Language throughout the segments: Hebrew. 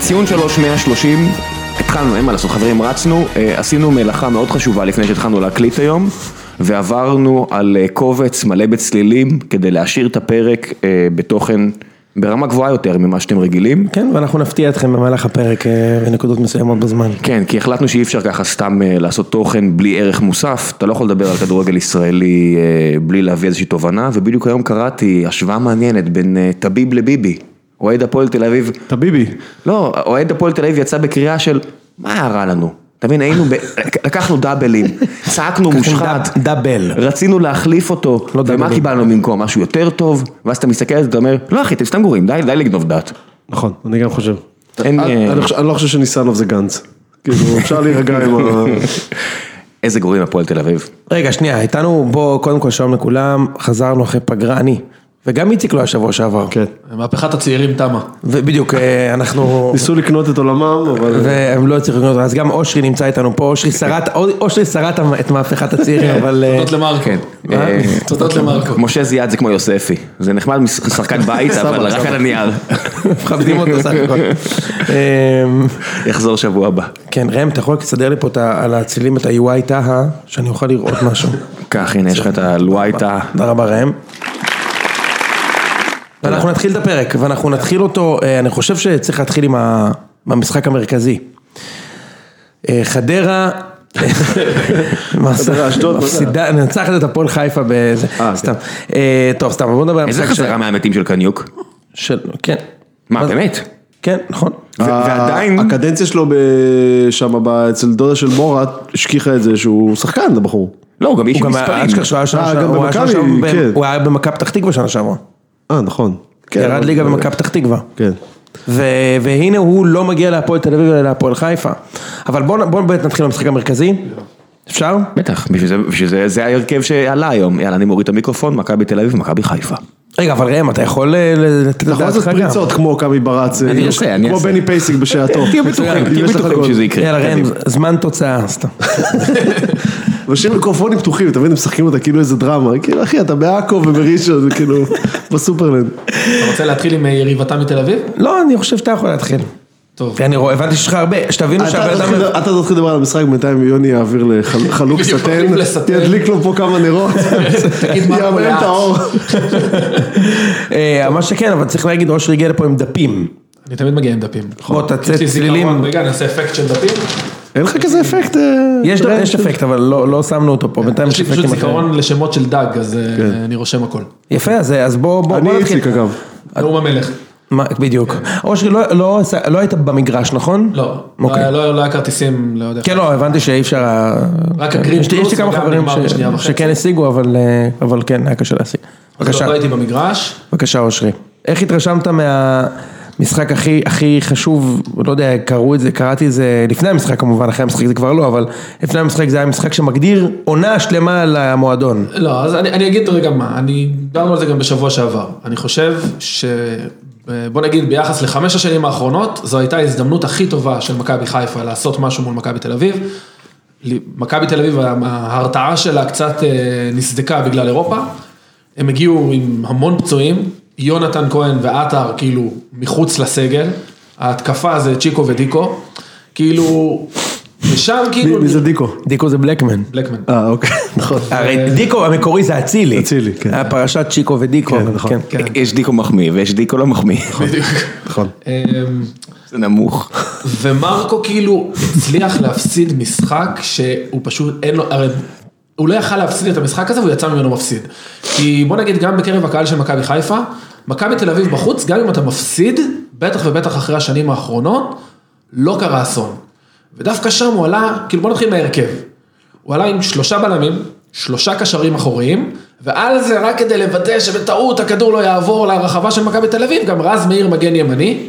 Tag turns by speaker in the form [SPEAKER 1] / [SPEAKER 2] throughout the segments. [SPEAKER 1] ציון 3130, התחלנו, אין מה לעשות, חברים, רצנו, אה, עשינו מלאכה מאוד חשובה לפני שהתחלנו להקליט היום, ועברנו על אה, קובץ מלא בצלילים כדי להשאיר את הפרק אה, בתוכן ברמה גבוהה יותר ממה שאתם רגילים.
[SPEAKER 2] כן, ואנחנו נפתיע אתכם במהלך הפרק אה, בנקודות מסוימות בזמן.
[SPEAKER 1] כן, כי החלטנו שאי אפשר ככה סתם אה, לעשות תוכן בלי ערך מוסף, אתה לא יכול לדבר על כדורגל ישראלי אה, בלי להביא איזושהי תובנה, ובדיוק היום קראתי השוואה מעניינת בין אה, טביב לביבי, אוהד הפועל תל אביב,
[SPEAKER 3] טביבי.
[SPEAKER 1] לא, אוהד הפועל תל אביב יצא בקריאה של מה רע לנו, אתה מבין, היינו, ב... לקחנו דאבלים, צעקנו מושחת,
[SPEAKER 2] דאב- דאבל.
[SPEAKER 1] רצינו להחליף אותו,
[SPEAKER 2] לא
[SPEAKER 1] ומה
[SPEAKER 2] דאבלים.
[SPEAKER 1] קיבלנו במקום, משהו יותר טוב, ואז אתה מסתכל על זה, אתה אומר, לא אחי, אתם סתם גורים, די, די לגנוב דעת.
[SPEAKER 3] נכון, אני גם חושב.
[SPEAKER 1] אין,
[SPEAKER 3] אני
[SPEAKER 1] אה,
[SPEAKER 3] אני חושב- אני לא חושב שניסנוב זה גנץ. כאילו, אפשר להירגע עם ה...
[SPEAKER 1] איזה גורים הפועל תל אביב.
[SPEAKER 2] רגע, שנייה, איתנו, בוא, קודם כל שלום לכולם, חזרנו אחרי פגרה, אני. וגם איציק לא היה שבוע שעבר.
[SPEAKER 3] כן.
[SPEAKER 4] מהפכת הצעירים תמה.
[SPEAKER 2] ובדיוק, אה, אנחנו...
[SPEAKER 3] ניסו לקנות את עולמם, אבל...
[SPEAKER 2] והם לא הצליחו לקנות, אז גם אושרי נמצא איתנו פה, אושרי שרד, אושרי שרד את מהפכת הצעירים,
[SPEAKER 3] כן.
[SPEAKER 2] אבל... אה,
[SPEAKER 4] תודות למרקו.
[SPEAKER 1] אה,
[SPEAKER 4] תודות למרקו.
[SPEAKER 1] משה זיאד זה כמו יוספי, זה נחמד משחקן בית, אבל רק על הנייר.
[SPEAKER 3] לא
[SPEAKER 2] מכבדים אותו סך הכל. אמ,
[SPEAKER 1] יחזור שבוע הבא.
[SPEAKER 2] כן, ראם, אתה יכול רק לסדר לי פה את ה- על הצילים את ה-UI טהה, אה, שאני אוכל לראות משהו.
[SPEAKER 1] קח, הנה, יש לך את הלואייטה.
[SPEAKER 2] תודה רבה ראם. ואנחנו נתחיל את הפרק, ואנחנו נתחיל אותו, אה, אני חושב שצריך להתחיל עם ה- עם המשחק המרכזי. אה, חדרה,
[SPEAKER 3] חדרה, אשדוד, מה זה?
[SPEAKER 2] מפסידה, ננצחת את הפועל חיפה באיזה,
[SPEAKER 3] אה,
[SPEAKER 2] סתם. אה, טוב, סתם, בוא נדבר על
[SPEAKER 1] איזה
[SPEAKER 2] המשחק של-
[SPEAKER 1] חזרה מהמתים של קניוק?
[SPEAKER 2] של, כן,
[SPEAKER 1] מה, באמת?
[SPEAKER 2] כן, נכון.
[SPEAKER 1] ו-
[SPEAKER 3] ה-
[SPEAKER 1] ועדיין,
[SPEAKER 3] הקדנציה שלו ב- שם, ב- אצל דודה של מורת, השכיחה את זה שהוא שחקן, הבחור.
[SPEAKER 1] לא, הוא גם איש
[SPEAKER 2] הוא
[SPEAKER 1] עם
[SPEAKER 2] גם היה
[SPEAKER 1] מספרים.
[SPEAKER 2] אשכרה שהוא היה שנה
[SPEAKER 3] אה,
[SPEAKER 2] שעברה,
[SPEAKER 3] גם
[SPEAKER 2] הוא היה שנה
[SPEAKER 3] במכבי,
[SPEAKER 2] שעברה ב-
[SPEAKER 3] כן.
[SPEAKER 2] הוא היה במכבי פתח תקווה שנה שעברה.
[SPEAKER 3] אה, נכון. כן,
[SPEAKER 2] ירד
[SPEAKER 3] אבל-
[SPEAKER 2] ליגה במכבי פתח תקווה.
[SPEAKER 3] כן.
[SPEAKER 2] ו- והנה הוא לא מגיע להפועל תל אביב אלא להפועל חיפה. אבל בואו בוא באמת נתחיל במשחק המרכזי. אפשר?
[SPEAKER 1] בטח, בשביל זה- בשביל זה, זה ההרכב שעלה היום. יאללה, אני מוריד את המיקרופון, מכבי תל אביב, מכבי חיפה.
[SPEAKER 2] רגע, אבל ראם, אתה יכול אה, ל- לתת את
[SPEAKER 3] אתה יכול לעשות
[SPEAKER 2] דעתך גם?
[SPEAKER 3] נכון, פריצות כמו קאמי ברץ,
[SPEAKER 1] אני
[SPEAKER 3] אה,
[SPEAKER 1] אעשה, אני
[SPEAKER 3] כמו
[SPEAKER 1] אעשה.
[SPEAKER 3] בני פייסיק בשעתו.
[SPEAKER 1] תהיו בטוחים,
[SPEAKER 3] אם
[SPEAKER 1] תהיו
[SPEAKER 3] יש לך
[SPEAKER 1] בטוחים
[SPEAKER 3] גול.
[SPEAKER 1] שזה יקרה.
[SPEAKER 2] יאללה ראם,
[SPEAKER 1] קדימה.
[SPEAKER 2] זמן תוצאה, סתם.
[SPEAKER 3] משאיר מיקרופונים פתוחים, אתה מבין, הם משחקים אותה כאילו איזה דרמה. כאילו, אחי, אתה בעכו ובראשון, כאילו, בסופרלנד.
[SPEAKER 4] אתה רוצה להתחיל עם אה, יריבתה מתל אביב?
[SPEAKER 2] לא, אני חושב שאתה יכול להתחיל.
[SPEAKER 4] טוב.
[SPEAKER 2] כי אני רואה, הבנתי שיש לך הרבה, שתבינו
[SPEAKER 3] אתה
[SPEAKER 2] שהבן
[SPEAKER 3] תתחיל-
[SPEAKER 2] אדם...
[SPEAKER 3] אתה תתחיל לדבר על המשחק, בינתיים יוני יעביר לחלוק
[SPEAKER 4] בדיוק,
[SPEAKER 3] סטן,
[SPEAKER 4] מחליף לסטן.
[SPEAKER 3] ידליק לו פה כמה נרות,
[SPEAKER 4] תגיד מה
[SPEAKER 3] יעמם
[SPEAKER 4] קורה.
[SPEAKER 3] את האור.
[SPEAKER 2] אה, מה שכן, אבל צריך להגיד, אושרי הגיע לפה עם דפים.
[SPEAKER 4] אני תמיד מגיע עם דפים.
[SPEAKER 2] בוא, תצא
[SPEAKER 4] יש לי זיכרון.
[SPEAKER 2] צלילים.
[SPEAKER 4] רגע, נעשה אפקט של דפים.
[SPEAKER 3] אין לך כזה אפקט? אה,
[SPEAKER 2] יש
[SPEAKER 3] ראם?
[SPEAKER 2] יש אפקט, אבל לא לא שמנו אותו פה, בינתיים
[SPEAKER 4] יש לי פשוט
[SPEAKER 2] אפקטים אחרים.
[SPEAKER 4] זיכרון לשמות של דג, אז אה,
[SPEAKER 2] כן.
[SPEAKER 4] אני רושם הכל.
[SPEAKER 2] יפה, אז אה, אז בוא בוא-
[SPEAKER 3] אני
[SPEAKER 2] בוא נתחיל.
[SPEAKER 3] איציק אגב.
[SPEAKER 4] נאום המלך.
[SPEAKER 2] מה, בדיוק. אושרי, לא- לא עשה- לא היית במגרש, נכון?
[SPEAKER 4] לא. לא
[SPEAKER 2] אוקיי.
[SPEAKER 4] היה- לא היה- לא היה כרטיסים, לא יודע.
[SPEAKER 2] כן, לא, הבנתי שאי אפשר... ה-
[SPEAKER 4] רק
[SPEAKER 2] כן.
[SPEAKER 4] הגרין
[SPEAKER 2] יש לי- יש לי
[SPEAKER 4] פלוס
[SPEAKER 2] כמה
[SPEAKER 4] וגם
[SPEAKER 2] חברים
[SPEAKER 4] נגמר
[SPEAKER 2] ש-
[SPEAKER 4] בשנייה וחצי.
[SPEAKER 2] שכן השיגו, אבל, אה, אבל כן, היה קשה להשיג.
[SPEAKER 4] בבקשה.
[SPEAKER 2] בבקשה,
[SPEAKER 4] לא הייתי במגרש.
[SPEAKER 2] בבקשה אושרי. איך התרשמת מהמשחק הכי הכי חשוב, לא יודע, קראו את זה, קראתי את זה לפני המשחק כמובן, אחרי המשחק זה כבר לא, אבל לפני המשחק זה היה משחק שמגדיר עונה שלמה למועדון.
[SPEAKER 4] לא, אז אני, אני אגיד רגע מה, אני, דיברנו על זה גם בשבוע שעבר. אני חושב ש... בוא נגיד ביחס לחמש השנים האחרונות, זו הייתה ההזדמנות הכי טובה של מכבי חיפה לעשות משהו מול מכבי תל אביב. מכבי תל אביב, ההרתעה שלה קצת אה, נסדקה בגלל אירופה. הם הגיעו עם המון פצועים, יונתן כהן ועטר כאילו מחוץ לסגל, ההתקפה זה צ'יקו ודיקו, כאילו, ושם כאילו...
[SPEAKER 3] מי- מי זה דיקו?
[SPEAKER 2] דיקו זה בלקמן.
[SPEAKER 4] בלקמן.
[SPEAKER 3] אה, אוקיי, נכון.
[SPEAKER 2] הרי דיקו המקורי זה אצילי.
[SPEAKER 3] אצילי, כן.
[SPEAKER 2] היה פרשת צ'יקו ודיקו.
[SPEAKER 3] כן,
[SPEAKER 2] אבל
[SPEAKER 3] נכון.
[SPEAKER 2] כן.
[SPEAKER 4] כן.
[SPEAKER 1] אה, יש דיקו מחמיא ויש דיקו לא מחמיא.
[SPEAKER 4] בדיוק.
[SPEAKER 3] נכון.
[SPEAKER 4] אמ,
[SPEAKER 1] זה נמוך.
[SPEAKER 4] ומרקו כאילו הצליח להפסיד משחק שהוא פשוט אין לו, הרי הוא לא יכל להפסיד את המשחק הזה והוא יצא ממנו מפסיד. כי בוא נגיד גם בקרב הקהל של מכבי חיפה, מכבי תל אביב בחוץ, גם אם אתה מפסיד, בטח ובטח אחרי השנים האחרונות, לא קרה אסון. ודווקא שם הוא עלה, כאילו בוא נתחיל מההרכב. הוא עלה עם שלושה בלמים, שלושה קשרים אחוריים, ועל זה רק כדי לוודא שבטעות הכדור לא יעבור לרחבה של מכבי תל אביב, גם רז מאיר מגן ימני,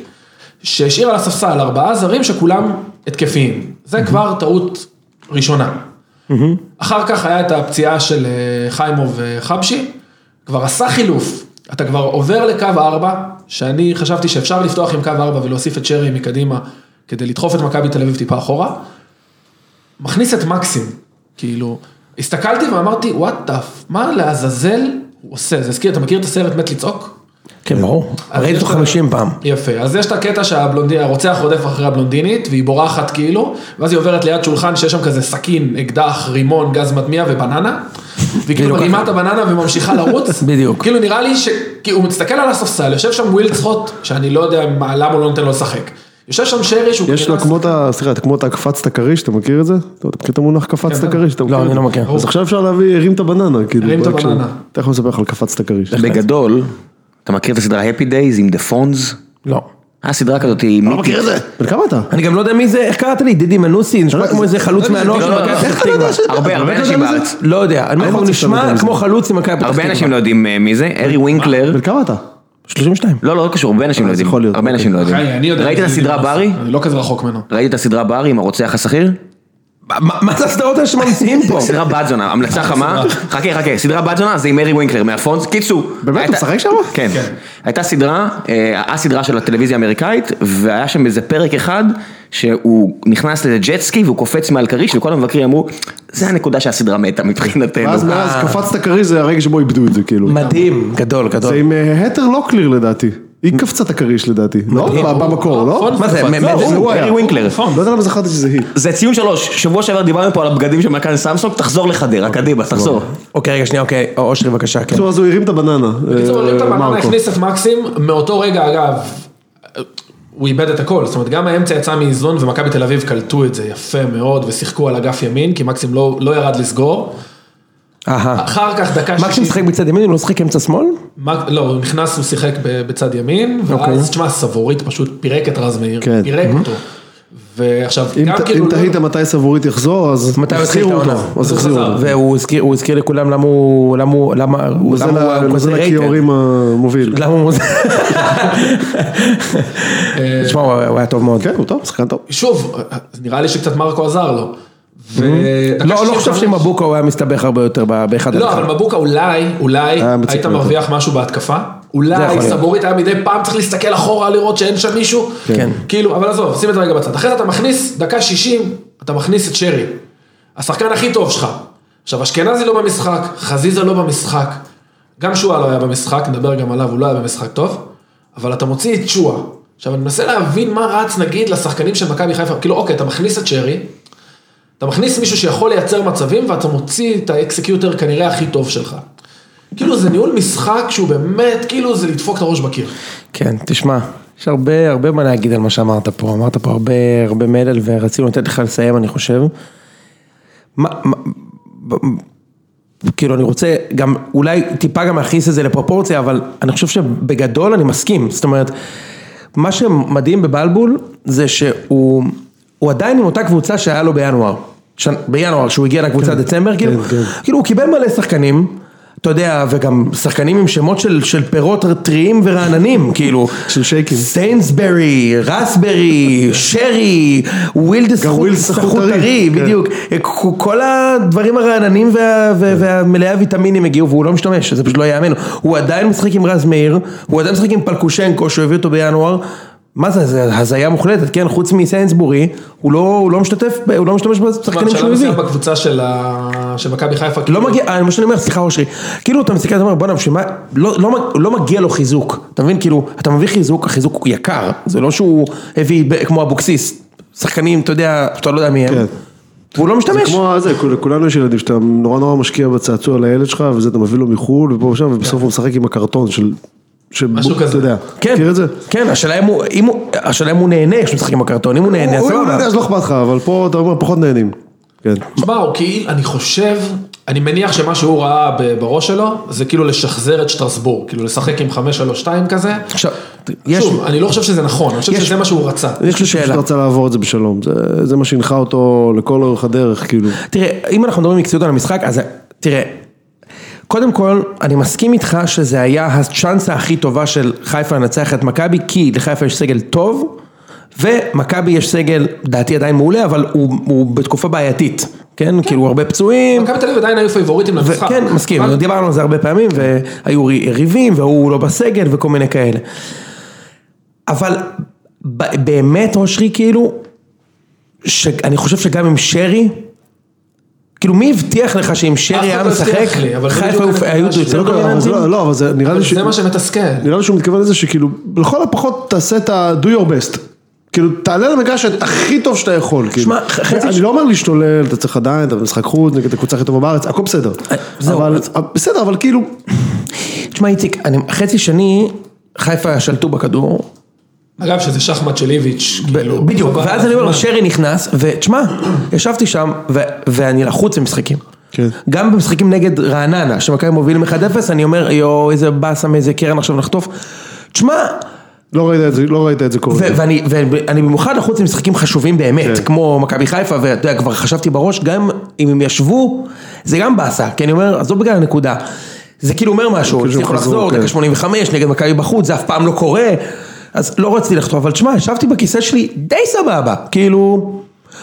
[SPEAKER 4] שהשאיר על הספסל ארבעה זרים שכולם התקפיים. זה כבר טעות ראשונה. אחר כך היה את הפציעה של אה, חיימוב וחבשי, כבר עשה חילוף, אתה כבר עובר לקו 4, שאני חשבתי שאפשר לפתוח עם קו 4 ולהוסיף את שרי מקדימה כדי לדחוף את מכבי תל אביב טיפה אחורה. מכניס את מקסים, כאילו, הסתכלתי ואמרתי, וואט דף, מה לעזאזל הוא עושה? זה הזכיר, אתה מכיר את הסרט מת לצעוק?
[SPEAKER 2] כן, ברור.
[SPEAKER 4] אז
[SPEAKER 2] ראיתי
[SPEAKER 4] יש
[SPEAKER 2] אותו
[SPEAKER 4] את ה-
[SPEAKER 2] 50 פעם.
[SPEAKER 4] יפה, אז יש את הקטע שהבלונדינית, הרוצח רודף אחרי הבלונדינית, והיא בורחת כאילו, ואז היא עוברת ליד שולחן שיש שם כזה סכין, אקדח, רימון, גז מטמיע ובננה, והיא כאילו
[SPEAKER 2] בדיוק
[SPEAKER 4] מרימה
[SPEAKER 2] ככה.
[SPEAKER 4] את הבננה וממשיכה לרוץ.
[SPEAKER 2] בדיוק.
[SPEAKER 4] כאילו נראה לי ש... כי הוא מסתכל על הספסל, יושב שם וויל צחוט, שאני לא יודע מה- למה הוא לא נותן לו לשחק. יושב שם שרי שהוא...
[SPEAKER 3] יש
[SPEAKER 4] כאילו-
[SPEAKER 3] לו כמו את ה... סליחה, כמו את הקפצת כריש, אתה מכיר את זה? אתה אתה מכיר את המונח קפצת כריש? אתה
[SPEAKER 2] לא,
[SPEAKER 3] מכיר
[SPEAKER 2] אני
[SPEAKER 3] את זה?
[SPEAKER 2] לא מכיר.
[SPEAKER 3] אז עכשיו אפשר להביא, הרים את הבננה, כאילו.
[SPEAKER 4] הרים את
[SPEAKER 3] באקשן.
[SPEAKER 4] הבננה.
[SPEAKER 3] תכף אני אספר לך על קפצת כריש.
[SPEAKER 5] בגדול, אתה מכיר את הסדרה Happy Days עם The Phones?
[SPEAKER 2] לא.
[SPEAKER 5] היה סדרה כזאת היא
[SPEAKER 3] לא
[SPEAKER 5] מיתית.
[SPEAKER 3] בן כמה אתה?
[SPEAKER 2] אני גם לא יודע מי זה, איך קראת לי? דידי מנוסי?
[SPEAKER 3] לא,
[SPEAKER 2] נשמע כמו איזה חלוץ מהנוער של
[SPEAKER 5] לא, לא,
[SPEAKER 2] מכבי
[SPEAKER 5] לא.
[SPEAKER 2] פתח תקווה.
[SPEAKER 5] הרבה, הרבה אנשים בארץ.
[SPEAKER 2] לא יודע, אני אומר לך, הוא
[SPEAKER 3] רוצה שאתה יודע
[SPEAKER 2] נשמע
[SPEAKER 3] מי זה.
[SPEAKER 2] כמו חלוץ ממכבי פתח תקווה.
[SPEAKER 5] הרבה אנשים לא יודעים אה, מי זה, ארי ווינקלר.
[SPEAKER 3] בן כמה אתה?
[SPEAKER 2] 32.
[SPEAKER 5] לא, לא, לא קשור, הרבה אנשים לא יודעים.
[SPEAKER 3] יכול להיות,
[SPEAKER 5] הרבה אנשים לא יודעים.
[SPEAKER 4] חיי, אוקיי. אני יודע...
[SPEAKER 5] ראית את
[SPEAKER 4] מי זה
[SPEAKER 5] הסדרה
[SPEAKER 4] דידי
[SPEAKER 5] ברי?
[SPEAKER 4] מנוסי. אני לא כזה רחוק ממנו.
[SPEAKER 5] ראית את הסדרה ברי עם הרוצח השכיר?
[SPEAKER 2] מה מה זה הסדרות האלה שממציאים פה?
[SPEAKER 5] סדרה בת זונה, המלצה חמה, חכה חכה, סדרה בת זונה זה עם מרי ווינקלר מהפונס, קיצור.
[SPEAKER 3] באמת?
[SPEAKER 5] הייתה-
[SPEAKER 3] הוא משחק שם?
[SPEAKER 5] כן. הייתה סדרה, אה, הסדרה של הטלוויזיה האמריקאית, והיה שם איזה פרק אחד, שהוא נכנס לאיזה ג'טסקי והוא קופץ מעל כריש, וכל המבקרים אמרו, זה הנקודה שהסדרה מתה מבחינתנו.
[SPEAKER 3] ואז מאז קפצת כריש זה הרגע שבו איבדו את זה, כאילו.
[SPEAKER 2] מדהים, גדול,
[SPEAKER 3] זה
[SPEAKER 2] גדול.
[SPEAKER 3] עם אה, התר לוקליר לדעתי. היא קפצה את הכריש לדעתי. לא? ב- במקור, לא?
[SPEAKER 4] פונס
[SPEAKER 2] מה זה,
[SPEAKER 4] קפץ.
[SPEAKER 2] מ-
[SPEAKER 4] לא,
[SPEAKER 2] מ-
[SPEAKER 3] הוא- הוא היה.
[SPEAKER 5] מרי ווינקלר.
[SPEAKER 3] לא יודע למה זכרתי שזה היא.
[SPEAKER 5] זה ציון שלוש, שבוע שעבר דיברנו פה על הבגדים של מנכ"ל סמסונג, תחזור לחדרה, קדימה, תחזור.
[SPEAKER 2] אוקיי, רגע, שנייה, אוקיי, אושרי בבקשה, כן.
[SPEAKER 3] בקיצור, אז הוא הרים את הבננה.
[SPEAKER 4] בקיצור,
[SPEAKER 3] אה,
[SPEAKER 4] אם אתה בננה
[SPEAKER 3] מרקו.
[SPEAKER 4] הכניס את מקסים, מאותו רגע אגב, הוא איבד את הכל, זאת אומרת גם האמצע יצא מאיזון ומכבי תל אביב קלטו את זה יפה מאוד ושיחקו על אגף ימין, כי מקסים לא, לא ירד לסגור,
[SPEAKER 2] אהה.
[SPEAKER 4] אחר כך דקה
[SPEAKER 2] מקסימום
[SPEAKER 4] שישית,
[SPEAKER 2] משחק בצד ימין, הוא לא משחק אמצע שמאל?
[SPEAKER 4] מק... לא, הוא נכנס, הוא שיחק ב- בצד ימין,
[SPEAKER 2] אוקיי.
[SPEAKER 4] ואז תשמע, סבורית פשוט פירק את רז מאיר,
[SPEAKER 3] כן.
[SPEAKER 4] פירק אותו, ועכשיו
[SPEAKER 3] אם
[SPEAKER 4] גם
[SPEAKER 3] ת-
[SPEAKER 4] כאילו,
[SPEAKER 3] אם תהית מתי סבורית יחזור, אז
[SPEAKER 2] מתי הוא התחיל את
[SPEAKER 3] החזירו אותו.
[SPEAKER 2] העונה?
[SPEAKER 3] אז
[SPEAKER 4] הוא
[SPEAKER 3] החזירו
[SPEAKER 4] חזר.
[SPEAKER 3] אותו.
[SPEAKER 2] והוא הזכיר- הוא הזכיר לכולם למה הוא, למה הוא, למה הוא,
[SPEAKER 3] זה
[SPEAKER 2] למה הוא
[SPEAKER 3] נוזל
[SPEAKER 2] underrated.
[SPEAKER 3] הכיורים המוביל.
[SPEAKER 2] למה הוא, תשמע, הוא הוא היה טוב מאוד.
[SPEAKER 3] כן, הוא טוב, שחקן טוב.
[SPEAKER 4] שוב, נראה לי שקצת מרקו עזר לו, ו...
[SPEAKER 2] לא, לא חושב שמבוקו הוא היה מסתבך הרבה יותר ב- באחד על
[SPEAKER 4] לא,
[SPEAKER 2] אחד.
[SPEAKER 4] אבל מבוקה אולי, אולי
[SPEAKER 3] היה מציק
[SPEAKER 4] היית
[SPEAKER 3] לו יותר.
[SPEAKER 4] מרוויח משהו בהתקפה.
[SPEAKER 2] זה יכול
[SPEAKER 4] אולי
[SPEAKER 2] להיות.
[SPEAKER 4] סבורית היה מדי פעם צריך להסתכל אחורה לראות שאין שם מישהו.
[SPEAKER 2] כן.
[SPEAKER 4] כאילו, אבל עזוב, שים את זה רגע בצד. אחרי זה אתה מכניס, דקה 60, אתה מכניס את שרי. השחקן הכי טוב שלך. עכשיו, אשכנזי לא במשחק, חזיזה לא במשחק. גם שועה לא היה במשחק, נדבר גם עליו, הוא לא היה במשחק טוב. אבל אתה מוציא את שועה. עכשיו, אני מנסה להבין מה רץ, נגיד, לשחקנים של מכבי חיפה. כאילו, אוקיי, אתה מכניס את שרי, אתה מכניס מישהו שיכול לייצר מצבים ואתה מוציא את האקסקיוטר כנראה הכי טוב שלך. כאילו זה ניהול משחק שהוא באמת, כאילו זה לדפוק את הראש בקיר.
[SPEAKER 2] כן, תשמע, יש הרבה הרבה מה להגיד על מה שאמרת פה, אמרת פה הרבה הרבה מלל ורצינו לתת לך לסיים אני חושב. מה, מה, ב- ב- כאילו אני רוצה גם אולי טיפה גם להכניס את זה לפרופורציה, אבל אני חושב שבגדול אני מסכים, זאת אומרת, מה שמדהים בבלבול זה שהוא הוא עדיין עם אותה קבוצה שהיה לו בינואר, ש... בינואר שהוא הגיע לקבוצה
[SPEAKER 3] כן.
[SPEAKER 2] דצמבר, כאילו, כאילו הוא קיבל מלא שחקנים. אתה יודע, וגם שחקנים עם שמות של, של פירות טריים ורעננים, כאילו.
[SPEAKER 3] של שייקים.
[SPEAKER 2] סיינסברי, רסברי, שרי, ווילדס
[SPEAKER 3] גם ווילדס סחוטרי,
[SPEAKER 2] סחוטרי,
[SPEAKER 3] כן.
[SPEAKER 2] בדיוק. כל הדברים הרעננים וה- וה-
[SPEAKER 3] כן.
[SPEAKER 2] והמלאי הוויטמינים הגיעו והוא לא משתמש, זה פשוט לא ייאמן. הוא עדיין משחק עם רז מאיר, הוא עדיין משחק עם פלקושנקו שהוא הביא אותו בינואר. מה זה, זה הזיה מוחלטת, כן? חוץ מסיינסבורי, הוא לא, הוא לא משתתף, ב- הוא לא משתמש בשחקנים
[SPEAKER 4] בשלב
[SPEAKER 2] שהוא הביא.
[SPEAKER 4] מסוים בקבוצה של ה- של מכבי חיפה,
[SPEAKER 2] לא
[SPEAKER 4] כאילו,
[SPEAKER 2] מגיע, אה, מה שאני אומר, סליחה אושרי, כאילו אתה מסתכל, אתה אומר בואנה, בשביל מה, לא, לא, מג- לא מגיע לו חיזוק, אתה מבין, כאילו, אתה מביא חיזוק, החיזוק הוא יקר, זה לא שהוא הביא ב- כמו אבוקסיס, שחקנים, אתה יודע, אתה לא יודע מי הם,
[SPEAKER 3] כן.
[SPEAKER 2] והוא לא
[SPEAKER 3] זה
[SPEAKER 2] משתמש,
[SPEAKER 3] כמו זה, כול- לכולנו יש ילדים שאתה נורא נורא משקיע בצעצוע לילד שלך, וזה אתה מביא לו מחול, ופה ושם, ובסוף הוא משחק עם הקרטון של...
[SPEAKER 4] משהו כזה.
[SPEAKER 3] אתה יודע,
[SPEAKER 2] כן,
[SPEAKER 3] מכיר את זה?
[SPEAKER 2] כן, השאלה אם הוא, אם הוא, השאלה אם הוא נהנה כשהוא משחק עם הקרטון, אם הוא נהנה,
[SPEAKER 3] הוא הוא
[SPEAKER 2] סבבה,
[SPEAKER 3] יודע, אז לא אכפת לך, אבל פה אתה אומר פחות נהנים. כן.
[SPEAKER 4] תשמע, הוא כאילו, אני חושב, אני מניח שמה שהוא ראה ב- בראש שלו, זה כאילו לשחזר את שטרסבורג, כאילו לשחק עם 5-3-2 כזה.
[SPEAKER 2] עכשיו, יש,
[SPEAKER 4] שוב, אני לא חושב שזה נכון, אני חושב
[SPEAKER 2] יש-
[SPEAKER 4] שזה מה שהוא רצה.
[SPEAKER 2] יש לי
[SPEAKER 3] פשוט
[SPEAKER 2] שאלה,
[SPEAKER 3] רצה לעבור את זה בשלום, זה- זה מה שהנחה אותו לכל אורך הדרך, כאילו.
[SPEAKER 2] תראה, אם אנחנו מדברים מקצועית על המשחק, אז תראה, קודם כל, אני מסכים איתך שזה היה הצ'אנסה הכי טובה של חיפה לנצח את מכבי, כי לחיפה יש סגל טוב, ומכבי יש סגל, דעתי עדיין מעולה, אבל הוא, הוא בתקופה בעייתית, כן? כאילו הרבה פצועים.
[SPEAKER 4] מכבי תל אביב עדיין היו פייבוריטים למשחק.
[SPEAKER 2] כן, מסכים,
[SPEAKER 4] אבל-
[SPEAKER 2] דיברנו על זה הרבה פעמים, והיו רי- יריבים, והוא לא בסגל, וכל מיני כאלה. אבל ב- באמת, אושרי, כאילו, שאני חושב שגם עם שרי, כאילו מי הבטיח לך שאם
[SPEAKER 4] אף אחד
[SPEAKER 2] שרי היה
[SPEAKER 4] לא הבטיח
[SPEAKER 2] משחק,
[SPEAKER 4] לי, אבל זה
[SPEAKER 2] חיפה
[SPEAKER 4] בדיוק
[SPEAKER 2] היו-
[SPEAKER 4] הנקודה
[SPEAKER 2] היו
[SPEAKER 4] שלי.
[SPEAKER 2] יותר
[SPEAKER 4] לא
[SPEAKER 3] אבל זה
[SPEAKER 2] דומיננטיים?
[SPEAKER 3] לא, לא, אבל זה נראה לי ש...
[SPEAKER 4] זה מה שמתסכל.
[SPEAKER 3] נראה לי שהוא מתכוון לזה שכאילו, לכל הפחות תעשה את ה-do your best. כאילו, תעלה למגרש את הכי טוב שאתה יכול. כאילו.
[SPEAKER 2] שמע, ח- חצי
[SPEAKER 3] אני
[SPEAKER 2] ש-
[SPEAKER 3] לא אומר להשתולל, אתה צריך עדיין, אתה במשחק חוץ, נגד הקבוצה הכי טובה בארץ, הכל בסדר.
[SPEAKER 2] זהו.
[SPEAKER 3] אבל- בסדר, אבל כאילו,
[SPEAKER 2] תשמע איציק, אני- חצי שני, חיפה שלטו בכדור,
[SPEAKER 4] אגב, שזה שחמט של איביץ', כאילו.
[SPEAKER 2] בדיוק,
[SPEAKER 4] חבל.
[SPEAKER 2] ואז אני אומר, שרי נכנס, ותשמע, ישבתי שם, ו- ואני לחוץ במשחקים.
[SPEAKER 3] כן.
[SPEAKER 2] גם במשחקים נגד רעננה, שמכבי מובילים 1-0, אני אומר, יואו, איזה באסה מאיזה קרן עכשיו נחטוף. תשמע,
[SPEAKER 3] לא ראית את זה, לא ראית את זה קורה.
[SPEAKER 2] ו- ואני ואני במיוחד לחוץ במשחקים חשובים באמת,
[SPEAKER 3] כן.
[SPEAKER 2] כמו מכבי חיפה, ואתה יודע, כבר חשבתי בראש, גם אם הם ישבו, זה גם באסה, כי אני אומר, עזוב בגלל הנקודה. זה כאילו אומר משהו,
[SPEAKER 3] כאילו
[SPEAKER 2] הצליחו
[SPEAKER 3] חזרו,
[SPEAKER 2] לחזור,
[SPEAKER 3] כן.
[SPEAKER 2] דקה 85, נגד מכבי בחוץ, זה אף פעם לא קורה, אז לא רציתי לחטוף, אבל תשמע, ישבתי בכיסא שלי די סבבה, כאילו...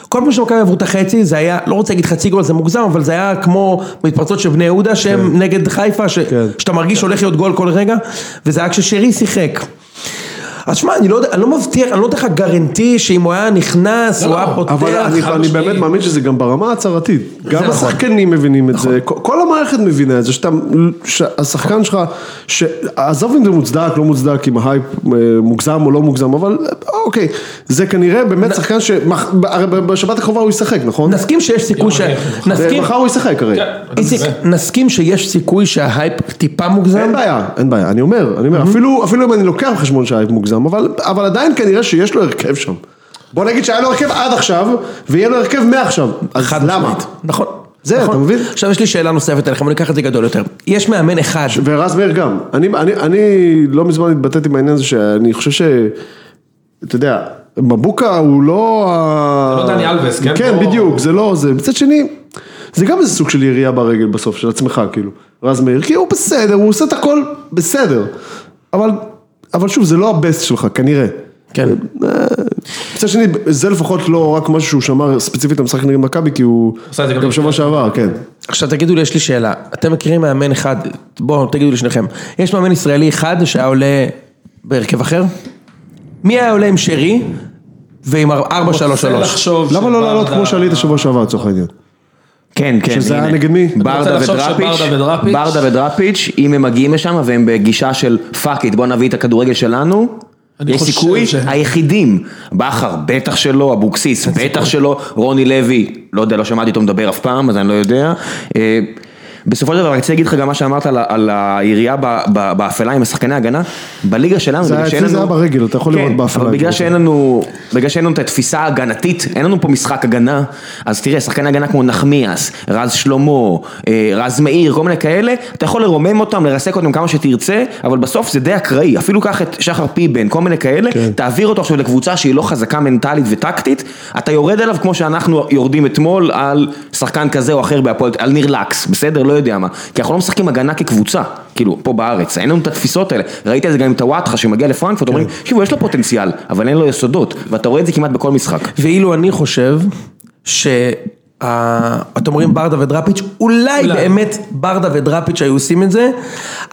[SPEAKER 2] כל פעם שמכבי עברו את החצי, זה היה, לא רוצה להגיד חצי גול, זה מוגזם, אבל זה היה כמו בהתפרצות של בני יהודה, שהם נגד חיפה, ש...
[SPEAKER 3] כן.
[SPEAKER 2] שאתה מרגיש שהולך להיות גול כל רגע, וזה היה כששרי שיחק. אז שמע, אני לא יודע, אני לא מבטיח, אני לא נותן לך גרנטי שאם הוא היה נכנס,
[SPEAKER 4] לא,
[SPEAKER 2] הוא
[SPEAKER 4] לא,
[SPEAKER 2] היה פותח.
[SPEAKER 3] אבל אני,
[SPEAKER 4] חד
[SPEAKER 3] אני
[SPEAKER 4] משמעית.
[SPEAKER 3] באמת מאמין שזה גם ברמה ההצהרתית. גם
[SPEAKER 2] נכון.
[SPEAKER 3] השחקנים מבינים את זה, כל- כל המערכת מבינה את זה, שאתה, שהשחקן שלך, ש- עזוב אם זה מוצדק, לא מוצדק, אם ההייפ אה, מוגזם או לא מוגזם, אבל אה, אוקיי, זה כנראה באמת שחקן ש... מח- ב- הרי ב- בשבת הקרובה הוא ישחק, נכון?
[SPEAKER 2] נסכים שיש סיכוי ש...
[SPEAKER 4] יום אחרי.
[SPEAKER 2] נסכים,
[SPEAKER 3] מחר הוא ישחק הרי.
[SPEAKER 4] כן, אני
[SPEAKER 2] איציק,
[SPEAKER 4] מקווה.
[SPEAKER 2] נסכים שיש סיכוי שההייפ טיפה מוגזם?
[SPEAKER 3] אין בעיה, אין בעיה, אני אומר, אני אומר,
[SPEAKER 2] Mm-hmm.
[SPEAKER 3] אפילו, אפילו אם אני לוקח בחשבון שההייפ מוגזם, אבל, אבל עדיין כנראה שיש לו הרכב שם. בוא נגיד שהיה לו הרכב עד עכשיו, ויהיה לו הרכב מעכשיו, אז
[SPEAKER 2] חד
[SPEAKER 3] למה?
[SPEAKER 2] משמעית. נכון.
[SPEAKER 3] זה,
[SPEAKER 2] נכון.
[SPEAKER 3] אתה מבין?
[SPEAKER 2] עכשיו יש לי שאלה נוספת אליכם, אני אקח את זה גדול יותר. יש מאמן אחד,
[SPEAKER 3] ורז מאיר גם. אני, אני, אני לא מזמן התבטאתי בעניין הזה שאני חושב ש... אתה יודע, מבוקה הוא לא... ה-
[SPEAKER 4] זה לא דני אלבס, כן?
[SPEAKER 3] כן,
[SPEAKER 4] לא-
[SPEAKER 3] בדיוק, זה לא זה. מצד שני, זה גם איזה סוג של ירייה ברגל בסוף, של עצמך, כאילו. רז מאיר, כי הוא בסדר, הוא עושה את הכל בסדר. אבל, אבל שוב, זה לא הבסט שלך, כנראה.
[SPEAKER 2] כן.
[SPEAKER 3] מצד שני, זה לפחות לא רק משהו שהוא שמר ספציפית למשחק נגד מכבי, כי הוא...
[SPEAKER 4] עשה את זה גם
[SPEAKER 3] גם שבוע שעבר, כן.
[SPEAKER 2] עכשיו תגידו לי, יש לי שאלה, אתם מכירים מאמן אחד, בואו תגידו לי שניכם, יש מאמן ישראלי אחד שהיה עולה בהרכב אחר? מי היה עולה עם שרי ועם 433?
[SPEAKER 4] לחשוב
[SPEAKER 3] למה לא
[SPEAKER 4] שברדה-
[SPEAKER 3] לעלות כמו שעלית שבוע שעבר, לצורך העניין?
[SPEAKER 1] כן, כן.
[SPEAKER 3] שזה היה
[SPEAKER 1] הנה.
[SPEAKER 3] נגד מי?
[SPEAKER 4] אתה
[SPEAKER 1] ברדה
[SPEAKER 4] רוצה לחשוב
[SPEAKER 1] ודראפיץ',
[SPEAKER 4] שברדה ודראפיץ'?
[SPEAKER 1] ברדה ודראפיץ', אם הם מגיעים לשם והם בגישה של פאק איט, בוא נביא את הכדורגל שלנו,
[SPEAKER 4] אני
[SPEAKER 1] יש
[SPEAKER 4] חושב
[SPEAKER 1] סיכוי,
[SPEAKER 4] ש-
[SPEAKER 1] היחידים, בכר בטח שלא, אבוקסיס בטח שלא, רוני לוי, לא יודע, לא שמעתי אותו מדבר אף פעם, אז אני לא יודע. אה, בסופו של דבר, אני רוצה להגיד לך גם מה שאמרת על ה- על הירייה ב- ב- באפלה עם השחקני ההגנה, בליגה שלנו,
[SPEAKER 3] זה
[SPEAKER 1] בגלל
[SPEAKER 3] היה-
[SPEAKER 1] שאין
[SPEAKER 3] אצלי זה
[SPEAKER 1] לנו-
[SPEAKER 3] היה ברגל, אתה יכול לראות
[SPEAKER 1] כן,
[SPEAKER 3] באפלה,
[SPEAKER 1] אבל בגלל
[SPEAKER 3] כאילו.
[SPEAKER 1] שאין לנו, בגלל שאין לנו את התפיסה ההגנתית, אין לנו פה משחק הגנה, אז תראה, שחקן הגנה כמו נחמיאס, רז שלמה, אה, רז מאיר, כל מיני כאלה, אתה יכול לרומם אותם, לרסק אותם כמה שתרצה, אבל בסוף זה די אקראי, אפילו קח את שחר פיבן, כל מיני כאלה,
[SPEAKER 3] כן.
[SPEAKER 1] תעביר אותו עכשיו לקבוצה שהיא לא חזקה מנטלית וטקטית, אתה יורד עליו כמו שאנחנו יורדים אתמול על שחקן כזה או אחר בהפועל, על ניר לקס, בסדר? לא יודע מה. כי אנחנו לא משחקים הגנה כקבוצה, כאילו, פה בארץ, אין לנו את התפיסות האלה. ראיתי את זה גם עם טוואטחה שמגיע לפרנקפורט,
[SPEAKER 5] כן.
[SPEAKER 1] אומרים, תקשיבו, יש לו פוטנציאל, אבל אין לו יסודות, ואתה רואה את זה כמעט בכל משחק.
[SPEAKER 2] ואילו אני חושב ש... ה- אתם אומרים ברדה ודראפיץ', אולי
[SPEAKER 4] אולי.
[SPEAKER 2] באמת ברדה ודראפיץ' היו עושים את זה.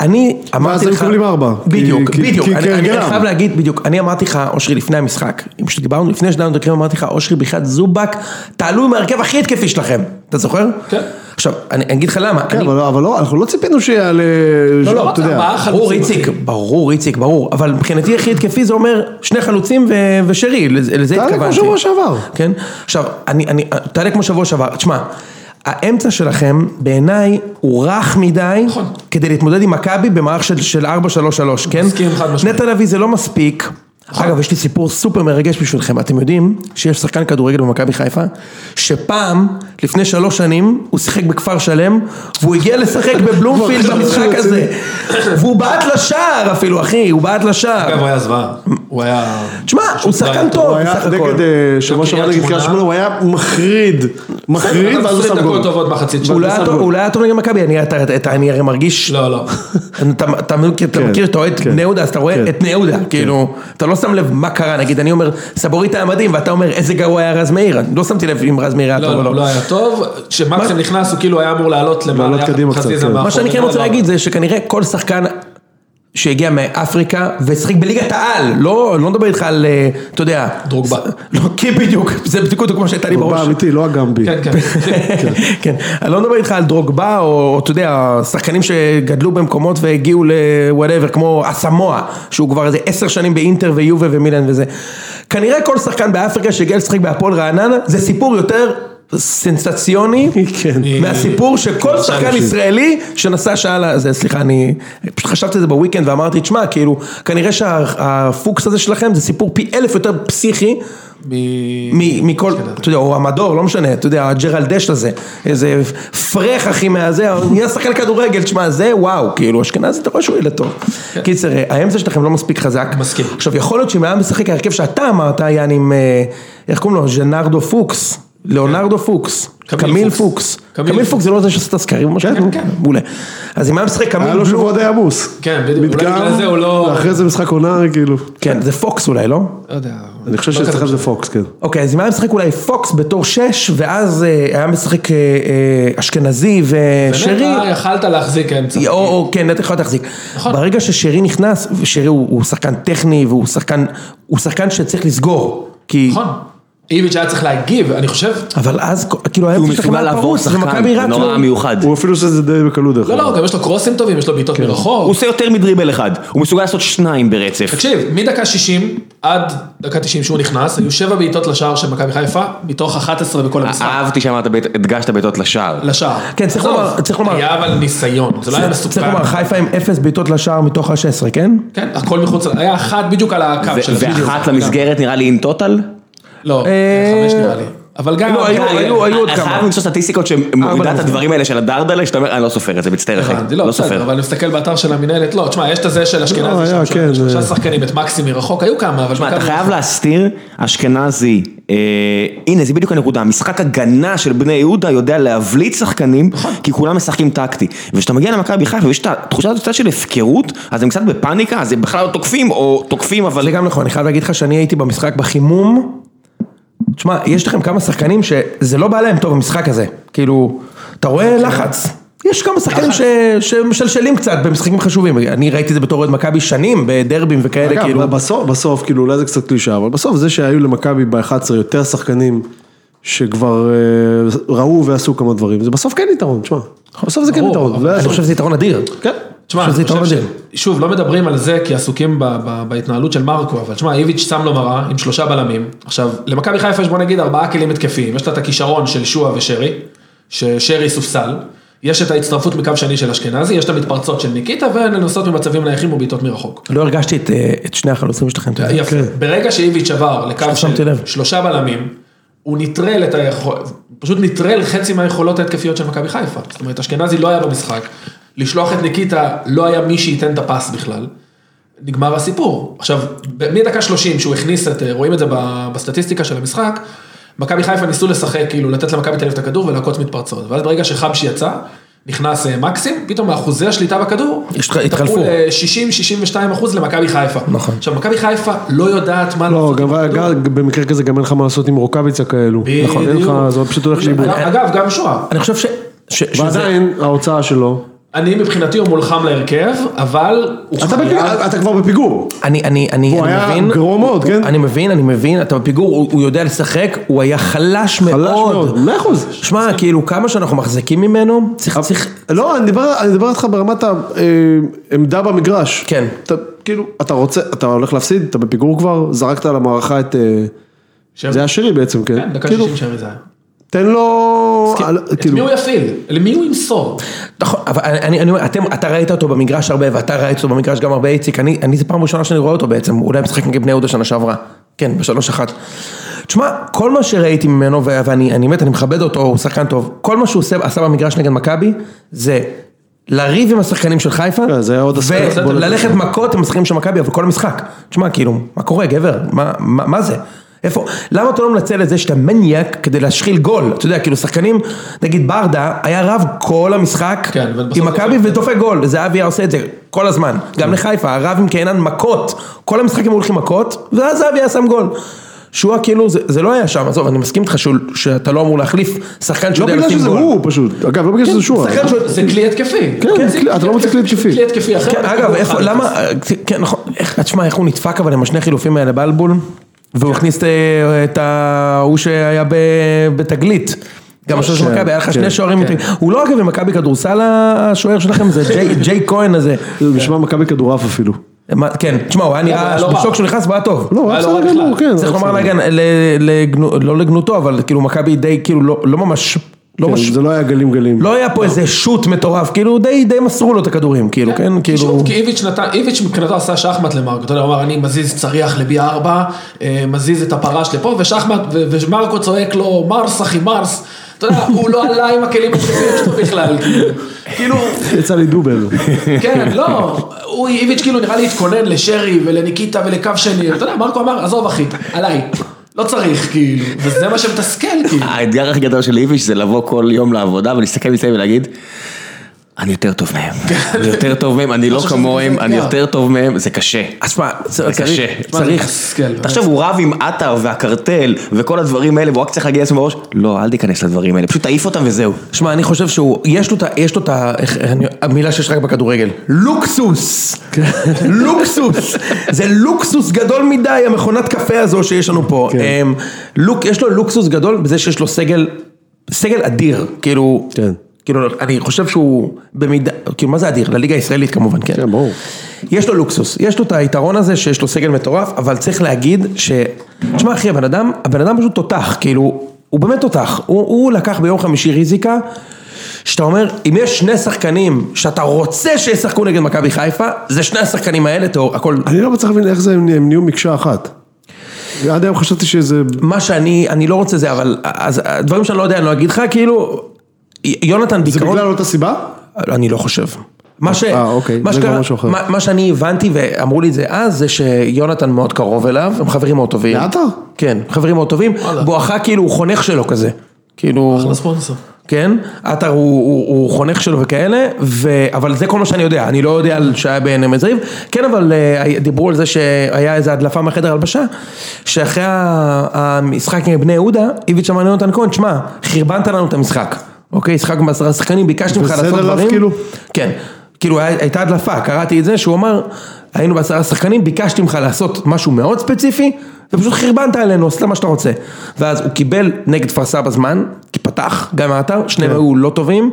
[SPEAKER 2] אני אמרתי לך...
[SPEAKER 3] היו מקבלים ארבע. כי-
[SPEAKER 2] בדיוק,
[SPEAKER 3] כי-
[SPEAKER 2] בדיוק.
[SPEAKER 3] כי-
[SPEAKER 2] אני- אני
[SPEAKER 3] כהרגלם.
[SPEAKER 2] אני חייב להגיד, בדיוק, אני אמרתי לך, אושרי, לפני המשחק, אם שדיברנו, לפני שדיברנו דקרים, אמרתי לך, אושרי, בחייאת זובק, תעלו עם ההרכב הכי התקפי שלכם. אתה זוכר?
[SPEAKER 4] כן.
[SPEAKER 2] עכשיו, אני אני אגיד לך למה.
[SPEAKER 3] כן,
[SPEAKER 2] אני-
[SPEAKER 3] אבל לא- אבל לא, אנחנו לא ציפינו שיעלה...
[SPEAKER 4] לא, לא,
[SPEAKER 3] אתה יודע.
[SPEAKER 4] ארבעה
[SPEAKER 2] ברור
[SPEAKER 4] חלוצים.
[SPEAKER 2] איציק, ברור איציק, ברור, אבל מבחינתי הכי התקפי זה אומר שני חלוצים ו- ושרי, לזה לזה
[SPEAKER 3] תעלה
[SPEAKER 2] התכוונתי.
[SPEAKER 3] כמו שבוע שעבר.
[SPEAKER 2] כן? עכשיו, אני, אני, תעלה כמו שבוע שעבר, תשמע, האמצע שלכם בעיניי הוא רך מדי
[SPEAKER 4] נכון.
[SPEAKER 2] כדי להתמודד עם מכבי במערך של, של 4-3-3, כן?
[SPEAKER 4] מסכים, חד משמעית. נכון.
[SPEAKER 2] נטע לביא זה לא מספיק. אגב, יש לי סיפור סופר מרגש בשבילכם, אתם יודעים שיש שחקן כדורגל במכבי חיפה, שפעם, לפני שלוש שנים, הוא שיחק בכפר שלם, והוא הגיע לשחק בבלומפילד
[SPEAKER 3] כבר חשבתי
[SPEAKER 2] במשחק
[SPEAKER 3] שהוא
[SPEAKER 2] הזה, והוא בעט לשער אפילו, אחי, הוא בעט
[SPEAKER 4] אגב,
[SPEAKER 2] לשער.
[SPEAKER 4] הוא היה זוועה. הוא היה...
[SPEAKER 2] תשמע, הוא שחקן טוב
[SPEAKER 3] הוא היה
[SPEAKER 2] בסך הכל.
[SPEAKER 3] נגד אה, שבוע שעבר
[SPEAKER 4] לא, קריית
[SPEAKER 3] נגד קריית
[SPEAKER 4] שמונה.
[SPEAKER 3] שמונה, הוא היה מחריד. מחריד, ואז הוא שם גול.
[SPEAKER 4] דקות טובות מחצית
[SPEAKER 2] הוא לא
[SPEAKER 4] שנייה.
[SPEAKER 2] היה טוב- הוא לא היה טוב נגד מכבי, אני- אתה- אתה- אני הרי מרגיש...
[SPEAKER 4] לא, לא.
[SPEAKER 2] אתה, אתה, מכיר- אתה
[SPEAKER 3] כן,
[SPEAKER 2] מכיר, אתה אוהד
[SPEAKER 3] כן.
[SPEAKER 2] בני יהודה, אז אתה רואה
[SPEAKER 3] כן.
[SPEAKER 2] את בני יהודה, כאילו, אתה לא שם לב מה קרה, נגיד, אני אומר, סבורית היה מדהים, ואתה אומר, איזה גרוע היה רז מאיר, אני לא שמתי לב אם רז מאיר היה טוב
[SPEAKER 4] לא,
[SPEAKER 2] או
[SPEAKER 4] לא,
[SPEAKER 2] לא.
[SPEAKER 4] הוא לא היה טוב. כשמקסם נכנס, הוא כאילו היה אמור לעלות למעלה.
[SPEAKER 3] לעלות
[SPEAKER 4] יחד עם
[SPEAKER 3] קדימה קצת,
[SPEAKER 4] חזיזה
[SPEAKER 3] כן.
[SPEAKER 4] מאחורי.
[SPEAKER 2] מה שאני כן רוצה
[SPEAKER 4] לא, לא.
[SPEAKER 2] להגיד זה שכנראה כל שחקן שהגיע מאפריקה ושיחק בליגת העל, לא, לא מדבר איתך על, אה, אתה יודע,
[SPEAKER 4] דרוגבה.
[SPEAKER 2] לא, כן בדיוק, זה בדיוק אותו כמו שהייתה לי
[SPEAKER 3] הוא
[SPEAKER 2] בראש.
[SPEAKER 3] בא אמיתי, לא הגמבי.
[SPEAKER 4] כן, כן.
[SPEAKER 2] כן, אני לא מדבר איתך על דרוגבה, או אתה יודע, שחקנים שגדלו במקומות והגיעו לוואטאבר, כמו אסמואה, שהוא כבר איזה עשר שנים באינטר ויובה ומילן וזה. כנראה כל שחקן באפריקה שהגיע לשחק בהפועל רעננה, זה סיפור יותר סנסציוני,
[SPEAKER 3] כן.
[SPEAKER 2] מהסיפור שכל שחקן ישראלי שנסע שעה לזה, סליחה, אני פשוט חשבתי על זה בוויקנד ואמרתי, תשמע, כאילו, כנראה שהפוקס הזה שלכם זה סיפור פי אלף יותר פסיכי.
[SPEAKER 4] מ-
[SPEAKER 2] מ- מכל, אתה יודע, או המדור, לא משנה, אתה יודע, הג'רלדש הזה, איזה פרח אחי מהזה, נהיה שחקן כדורגל, תשמע, זה וואו, כאילו, אשכנזי, אתה רואה שהוא ילד טוב. קיצר, האמצע שלכם לא מספיק חזק.
[SPEAKER 4] מסכים.
[SPEAKER 2] עכשיו, יכול להיות שאם היה משחק ההרכב שאתה אמרת, היה עם, אה, איך קוראים לו, ז'נרדו פוקס, ליאונרדו פוקס,
[SPEAKER 4] קמיל
[SPEAKER 2] קמיל
[SPEAKER 4] פוקס.
[SPEAKER 2] פוקס.
[SPEAKER 4] קמיל
[SPEAKER 2] קמיל
[SPEAKER 4] פוקס.
[SPEAKER 2] פוקס זה לא זה שעושה את הסקרים, או משהו
[SPEAKER 3] כן,
[SPEAKER 2] כזה?
[SPEAKER 3] כן.
[SPEAKER 2] מעולה. אז אם היה משחק קמיל
[SPEAKER 3] היה לו
[SPEAKER 2] בלו,
[SPEAKER 3] שבוע די עמוס.
[SPEAKER 4] כן, בדיוק, אולי
[SPEAKER 3] מדגם,
[SPEAKER 4] בגלל זה הוא לא-
[SPEAKER 3] ואחרי זה משחק עונה, כאילו.
[SPEAKER 2] כן, זה פוקס אולי, לא?
[SPEAKER 4] לא יודע.
[SPEAKER 3] אני חושב
[SPEAKER 4] לא
[SPEAKER 3] שאצלכם
[SPEAKER 4] כזה
[SPEAKER 3] זה פוקס, כן.
[SPEAKER 2] אוקיי, אז אם היה משחק אולי פוקס בתור שש, ואז אה, היה משחק אה, אה, אשכנזי ושרי,
[SPEAKER 4] באמת, אה, יכלת להחזיק אמצע.
[SPEAKER 2] או, או כן, נתן יכול להחזיק.
[SPEAKER 4] נכון.
[SPEAKER 2] ברגע ששרי נכנס, שרי הוא, הוא שחקן טכני והוא שחקן, הוא שחקן שצריך לסגור, כי...
[SPEAKER 4] נכון. איביץ' היה צריך להגיב, אני חושב.
[SPEAKER 2] אבל אז כאילו היה
[SPEAKER 5] הוא
[SPEAKER 2] פשוט
[SPEAKER 5] מסוגל
[SPEAKER 2] היה
[SPEAKER 5] לעבור
[SPEAKER 2] פרוץ,
[SPEAKER 5] שחקן,
[SPEAKER 2] ומכבי רץ
[SPEAKER 5] נורא
[SPEAKER 2] לו.
[SPEAKER 5] מיוחד.
[SPEAKER 3] הוא אפילו עושה את זה די בקלות, דרך
[SPEAKER 4] לא, לא, גם יש לו קרוסים טובים, יש לו בעיטות
[SPEAKER 5] הוא
[SPEAKER 4] מרחוק.
[SPEAKER 5] עושה יותר מדריבל אחד, הוא מסוגל לעשות שניים ברצף.
[SPEAKER 4] תקשיב, מדקה 60 עד דקה 90 שהוא נכנס, היו שבע בעיטות לשער של מכבי חיפה, מתוך 11 בכל המשחק.
[SPEAKER 5] אהבתי שאמרת, בית- הדגשת בעיטות לשער.
[SPEAKER 4] לשער.
[SPEAKER 2] אה, כן, צריך
[SPEAKER 4] עזוב,
[SPEAKER 2] לומר- צריך לומר-
[SPEAKER 4] היה אבל ניסיון, זה לא היה מסוכן.
[SPEAKER 2] צריך לומר, חיפה עם אפס בעיטות לשער מתוך ה-16, כן?
[SPEAKER 4] כן, הכל מחוץ, ל- היה אחת בדיוק על הקו
[SPEAKER 5] ו-
[SPEAKER 4] של
[SPEAKER 5] ואחת למסגרת נראה לי אין טוטל?
[SPEAKER 4] לא,
[SPEAKER 2] אה,
[SPEAKER 4] חמש נראה לי. אבל גם...
[SPEAKER 2] לא, היו-
[SPEAKER 4] גם-
[SPEAKER 2] היו- היו עוד
[SPEAKER 5] אתה
[SPEAKER 2] כמה.
[SPEAKER 5] חייב למצוא סטטיסטיקות
[SPEAKER 1] אה,
[SPEAKER 5] שמורידה את
[SPEAKER 2] למסגרת.
[SPEAKER 5] הדברים האלה של הדרדלה, שאתה אומר, אני לא סופר את זה, מצטער אחי,
[SPEAKER 4] הבנתי, לא,
[SPEAKER 5] לא
[SPEAKER 4] בסדר,
[SPEAKER 5] סופר.
[SPEAKER 4] אבל אני מסתכל באתר של המינהלת, לא, תשמע, יש את הזה של
[SPEAKER 3] לא,
[SPEAKER 4] אשכנזי
[SPEAKER 3] היה,
[SPEAKER 4] שם,
[SPEAKER 3] כן,
[SPEAKER 4] של שלושה
[SPEAKER 3] אה.
[SPEAKER 4] שחקנים, את מקסי מרחוק, היו כמה, אבל...
[SPEAKER 5] תשמע, אתה
[SPEAKER 4] מכבי- לא.
[SPEAKER 5] חייב להסתיר, אשכנזי, אה, הנה זה בדיוק הנקודה, משחק הגנה של בני יהודה יודע להבליט שחקנים,
[SPEAKER 1] נכון.
[SPEAKER 5] כי כולם משחקים טקטי. וכשאתה מגיע למכבי חיפה ויש את התחושה הזאת קצת של הפקרות, אז הם קצת בפאניקה, אז הם בכלל לא תוקפים, או תוקפים אבל...
[SPEAKER 2] זה גם נכון, אני חייב להגיד לך שאני הייתי במשחק בחימום. תשמע, יש לכם כמה שחקנים שזה לא בא להם טוב המשחק הזה. כאילו, אתה רואה
[SPEAKER 3] כן.
[SPEAKER 2] לחץ. יש כמה שחקנים ש... שמשלשלים קצת במשחקים חשובים. אני ראיתי את זה בתור אוהד מכבי שנים, בדרבים וכאלה,
[SPEAKER 3] אגב,
[SPEAKER 2] כאילו.
[SPEAKER 3] בסוף, בסוף, כאילו, אולי זה קצת קלישה, אבל בסוף זה שהיו למכבי ב-11 יותר שחקנים שכבר אה, ראו ועשו כמה דברים, זה בסוף כן יתרון, תשמע. בסוף זה כן
[SPEAKER 4] ברור,
[SPEAKER 3] יתרון.
[SPEAKER 4] אבל
[SPEAKER 3] לא
[SPEAKER 2] אני
[SPEAKER 3] יעזור.
[SPEAKER 2] חושב שזה יתרון אדיר.
[SPEAKER 3] כן.
[SPEAKER 4] תשמע,
[SPEAKER 2] אני
[SPEAKER 4] אני
[SPEAKER 2] חושב שזה
[SPEAKER 4] חושב
[SPEAKER 2] יתרון אדיר.
[SPEAKER 4] ש- שוב, לא מדברים על זה כי עסוקים ב- ב- בהתנהלות של מרקו, אבל תשמע, איביץ' שם לו מראה עם שלושה בלמים. עכשיו, למכבי חיפה יש בוא נגיד ארבעה כלים התקפיים, יש לה את הכישרון של שועה ושרי, ששרי סופסל, יש את ההצטרפות מקו שני של אשכנזי, יש את המתפרצות של ניקיטה, ולנסות ממצבים נייחים ובעיטות מרחוק.
[SPEAKER 2] לא הרגשתי את, אה, את שני החלוצים שלכם. אתה יודע.
[SPEAKER 4] יפה. ברגע שאיביץ' עבר לקו
[SPEAKER 2] כן, שמתי
[SPEAKER 4] של
[SPEAKER 2] לב.
[SPEAKER 4] שלושה בלמים, הוא נטרל את היכולת, פשוט נטרל חצי מהיכולות ההתקפיות של מכבי חיפה. זאת אומרת, אשכנזי לא היה במשחק, לשלוח את ניקיטה, לא היה מי שייתן את הפס בכלל. נגמר הסיפור. עכשיו, ב- מדקה 30 שהוא הכניס את, אה, רואים את זה ב- בסטטיסטיקה של המשחק, מכבי חיפה ניסו לשחק, כאילו לתת למכבי תל אביב את הכדור ולעקוץ מתפרצות, ואז ברגע שחבשי יצא, נכנס אה, מקסים, פתאום אחוזי השליטה בכדור,
[SPEAKER 2] יש- התחלפו.
[SPEAKER 4] ל-60-62 אחוז למכבי חיפה.
[SPEAKER 2] נכון.
[SPEAKER 4] עכשיו, מכבי חיפה לא יודעת מה
[SPEAKER 3] לא,
[SPEAKER 4] לעשות עם
[SPEAKER 3] גם
[SPEAKER 4] הכדור.
[SPEAKER 3] גם במקרה כזה גם אין לך מה לעשות עם רוקאביצה כאלו. נכון, אין לך,
[SPEAKER 4] בדיוק.
[SPEAKER 3] זה פשוט הולך לאיבוד.
[SPEAKER 4] אגב, אגב, גם שועה.
[SPEAKER 2] אני חושב ש... ש... שזה...
[SPEAKER 3] ועדיין ההוצאה שלו,
[SPEAKER 4] אני מבחינתי הוא מולחם להרכב, אבל הוא
[SPEAKER 3] אתה
[SPEAKER 4] חייב-
[SPEAKER 3] בפיגור- אתה כבר בפיגור.
[SPEAKER 2] אני, אני, אני,
[SPEAKER 3] הוא
[SPEAKER 2] אני
[SPEAKER 3] היה
[SPEAKER 2] מבין,
[SPEAKER 3] גרוע מאוד, כן?
[SPEAKER 2] אני מבין, אני מבין, אתה בפיגור, הוא, הוא יודע לשחק, הוא היה חלש
[SPEAKER 3] חלש
[SPEAKER 2] מאוד.
[SPEAKER 3] מאוד. מאה אחוז.
[SPEAKER 2] שמע, כאילו, כמה שאנחנו מחזיקים ממנו, צריך, צריך,
[SPEAKER 3] לא, אני מדבר, אני מדבר איתך ברמת העמדה במגרש.
[SPEAKER 2] כן.
[SPEAKER 3] אתה, כאילו, אתה רוצה, אתה הולך להפסיד, אתה בפיגור כבר, זרקת על המערכה את... אה,
[SPEAKER 4] שרי.
[SPEAKER 3] זה היה שרי בעצם, כן.
[SPEAKER 4] כן, דקה
[SPEAKER 3] כאילו,
[SPEAKER 4] 60 שרי זה היה.
[SPEAKER 3] תן לו... על-
[SPEAKER 4] את
[SPEAKER 3] כאילו, כן,
[SPEAKER 4] מי הוא יפעיל? למי הוא ימסור?
[SPEAKER 2] נכון, אבל אני, אני אומר, אתם, אתה ראית אותו במגרש הרבה, ואתה ראית אותו במגרש גם הרבה, איציק, אני, אני זו פעם ראשונה שאני רואה אותו בעצם, אולי משחק נגד בני יהודה שנה שעברה, כן, בשלוש אחת. תשמע, כל מה שראיתי ממנו, ו- ואני אני באמת, אני מכבד אותו, הוא שחקן טוב, כל מה שהוא עושה, עשה במגרש נגד מכבי, זה לריב עם השחקנים של חיפה,
[SPEAKER 3] כן, זה היה עוד אספקט, בוא נגיד.
[SPEAKER 2] וללכת מכות עם השחקנים של מכבי, אבל כל המשחק. תשמע, כאילו, מה קורה, גבר? מה, מה, מה זה? איפה? למה אתה לא מנצל את זה שאתה מניאק כדי להשחיל גול? אתה יודע, כאילו שחקנים, נגיד ברדה, היה רב כל המשחק
[SPEAKER 4] כן, אבל בסוף
[SPEAKER 2] עם מכבי ודופק גול, זהבי היה עושה את זה כל הזמן. גם לחיפה, הרב עם קהנן מכות, כל המשחק הם הולכים מכות, ואז זהבי היה שם גול. שועה כאילו, זה, זה לא היה שם, עזוב, אני מסכים איתך שהוא- שאתה לא אמור להחליף שחקן
[SPEAKER 3] לא
[SPEAKER 2] שיודע
[SPEAKER 3] בגלל
[SPEAKER 2] לשים
[SPEAKER 3] שזה
[SPEAKER 2] גול.
[SPEAKER 3] הוא פשוט, אגב לא בגלל שזה שועה,
[SPEAKER 2] שחקן שהוא-
[SPEAKER 4] זה כלי התקפי.
[SPEAKER 3] כן,
[SPEAKER 4] זה
[SPEAKER 3] כלי- אתה לא מוצא כלי התקפי.
[SPEAKER 4] כלי התקפי אחר.
[SPEAKER 2] כן, אגב, איפה, למה, כן, נכון, איך, תשמע, איך הוא נדפק אבל עם השני חילופים האלה בלבול, והוא
[SPEAKER 4] כן.
[SPEAKER 2] הכניס את, אה, את ההוא שהיה ב, בתגלית. גם השוער של מכבי, היה לך שני שוערים,
[SPEAKER 4] כן.
[SPEAKER 2] מתאים. הוא לא אגב במכבי כדורסל השוער שלכם, זה ג'יי- ג'יי כהן הזה.
[SPEAKER 3] זה נשמע מכבי כדורעף אפילו,
[SPEAKER 2] מה- כן, תשמע, הוא היה נראה,
[SPEAKER 4] אבל לא רע.
[SPEAKER 2] בשוק שהוא נכנס, הוא היה טוב.
[SPEAKER 3] לא, הוא היה
[SPEAKER 4] היה לא
[SPEAKER 3] בסדר
[SPEAKER 4] רע
[SPEAKER 3] גמור,
[SPEAKER 4] בכלל.
[SPEAKER 3] כן,
[SPEAKER 2] צריך
[SPEAKER 3] הוא היה
[SPEAKER 2] לומר
[SPEAKER 3] בסדר.
[SPEAKER 2] להגן, ל- לגנו- לא לגנותו, אבל כאילו מכבי די, כאילו לא לא ממש, לא
[SPEAKER 3] כן,
[SPEAKER 2] ממש,
[SPEAKER 3] זה לא היה גלים גלים,
[SPEAKER 2] לא היה פה איזה שוט מטורף, כאילו די די מסרו לו את הכדורים, כאילו, כן, כאילו,
[SPEAKER 4] שוב, כי איביץ' נתן, איביץ' מבחינתו עשה שחמט למרקו, אתה יודע, הוא אמר אני מזיז צריח לבי ארבע, אה, מזיז את הפרש לפה, ושחמט, ו- ומרקו צועק לו מרס אחי מרס, אתה יודע, הוא לא עלה עם הכלים השחורים שלו בכלל, כאילו. כאילו,
[SPEAKER 3] יצא לי דובל,
[SPEAKER 4] כן, לא, הוא, איביץ' כאילו נראה לי התכונן לשרי ולניקיטה ולקו שני, אתה יודע, מרקו אמר, עזוב אחי, עליי, לא צריך, כאילו, וזה מה שמתסכל, כאילו.
[SPEAKER 1] האתגר הכי גדול של איביץ' זה לבוא כל יום לעבודה ולהסתכל מסביב ולהגיד, אני יותר טוב מהם, אני יותר טוב מהם, אני לא
[SPEAKER 4] חושב שזה
[SPEAKER 1] כמוהם,
[SPEAKER 4] כזה
[SPEAKER 1] אני
[SPEAKER 4] אתגר.
[SPEAKER 1] יותר טוב מהם, זה קשה.
[SPEAKER 2] אז שמע,
[SPEAKER 1] זה
[SPEAKER 2] צריך,
[SPEAKER 1] קשה.
[SPEAKER 2] צריך,
[SPEAKER 4] מתסכל, באמת.
[SPEAKER 1] תחשוב, הוא רב עם עטר והקרטל וכל הדברים האלה, והוא רק צריך להגיד לעצמו בראש, לא, אל תיכנס לדברים האלה, פשוט תעיף אותם וזהו.
[SPEAKER 2] שמע, אני חושב שהוא, יש לו את ה... יש לו את ה... איך- אני- המילה שיש רק בכדורגל. לוקסוס! לוקסוס! זה לוקסוס גדול מדי, המכונת קפה הזו שיש לנו פה. אמ, לוק, יש לו לוקסוס גדול בזה שיש לו סגל, סגל אדיר. כאילו...
[SPEAKER 3] כן.
[SPEAKER 2] כאילו, אני חושב שהוא במידה... כאילו, מה זה אדיר? לליגה הישראלית כמובן, כן.
[SPEAKER 3] כן, ברור.
[SPEAKER 2] יש לו לוקסוס, יש לו את היתרון הזה שיש לו סגל מטורף, אבל צריך להגיד ש... תשמע אחי, הבן אדם, הבן אדם פשוט תותח, כאילו, הוא באמת תותח, הוא, הוא לקח ביום חמישי ריזיקה, שאתה אומר, אם יש שני שחקנים שאתה רוצה שישחקו נגד מכבי חיפה, זה שני השחקנים האלה, תאור, הכל...
[SPEAKER 3] אני לא מצליח להבין איך זה הם הם נהיו מקשה אחת, עד היום חשבתי שזה,
[SPEAKER 2] מה שאני, אני לא רוצה זה, אבל אז, הדברים שאני לא יודע, אני לא אגיד לך, כאילו, יונתן
[SPEAKER 3] זה
[SPEAKER 2] בעיקרון...
[SPEAKER 3] בגלל אותה סיבה?
[SPEAKER 2] אני לא חושב. מה, ש...
[SPEAKER 3] אה, אוקיי,
[SPEAKER 2] מה,
[SPEAKER 3] זה כבר
[SPEAKER 2] שקרה,
[SPEAKER 3] משהו אחר.
[SPEAKER 2] מה, מה שאני הבנתי ואמרו לי את זה אז, זה שיונתן מאוד קרוב אליו, הם חברים מאוד טובים.
[SPEAKER 3] לעטר?
[SPEAKER 2] כן, חברים מאוד טובים,
[SPEAKER 4] וואלה.
[SPEAKER 2] בואכה כאילו הוא חונך שלו כזה. כאילו,
[SPEAKER 4] אחלה ספונסר.
[SPEAKER 2] כן, עטר הוא, הוא, הוא חונך שלו וכאלה, ו... אבל זה כל מה שאני יודע, אני לא יודע על שהיה ביניהם איזה ריב, כן אבל אה, דיברו על זה שהיה איזו הדלפה מהחדר הלבשה, שאחרי ה- המשחק עם בני יהודה, איביץ' אמר ליונתן כהן, שמע, חרבנת לנו את המשחק, אוקיי, משחק עם עשרה שחקנים, ביקשתי ממך
[SPEAKER 3] בסדר
[SPEAKER 2] לעשות
[SPEAKER 3] לך,
[SPEAKER 2] דברים,
[SPEAKER 3] כאילו?
[SPEAKER 2] כן, כאילו היה- הייתה הדלפה, קראתי את זה שהוא אמר, היינו בעשרה שחקנים, ביקשתי ממך לעשות משהו מאוד ספציפי, ופשוט חרבנת עלינו, עשית מה שאתה רוצה. ואז הוא קיבל נגד כפר סבא זמן, כי פתח, גם האתר, שניהם היו לא טובים.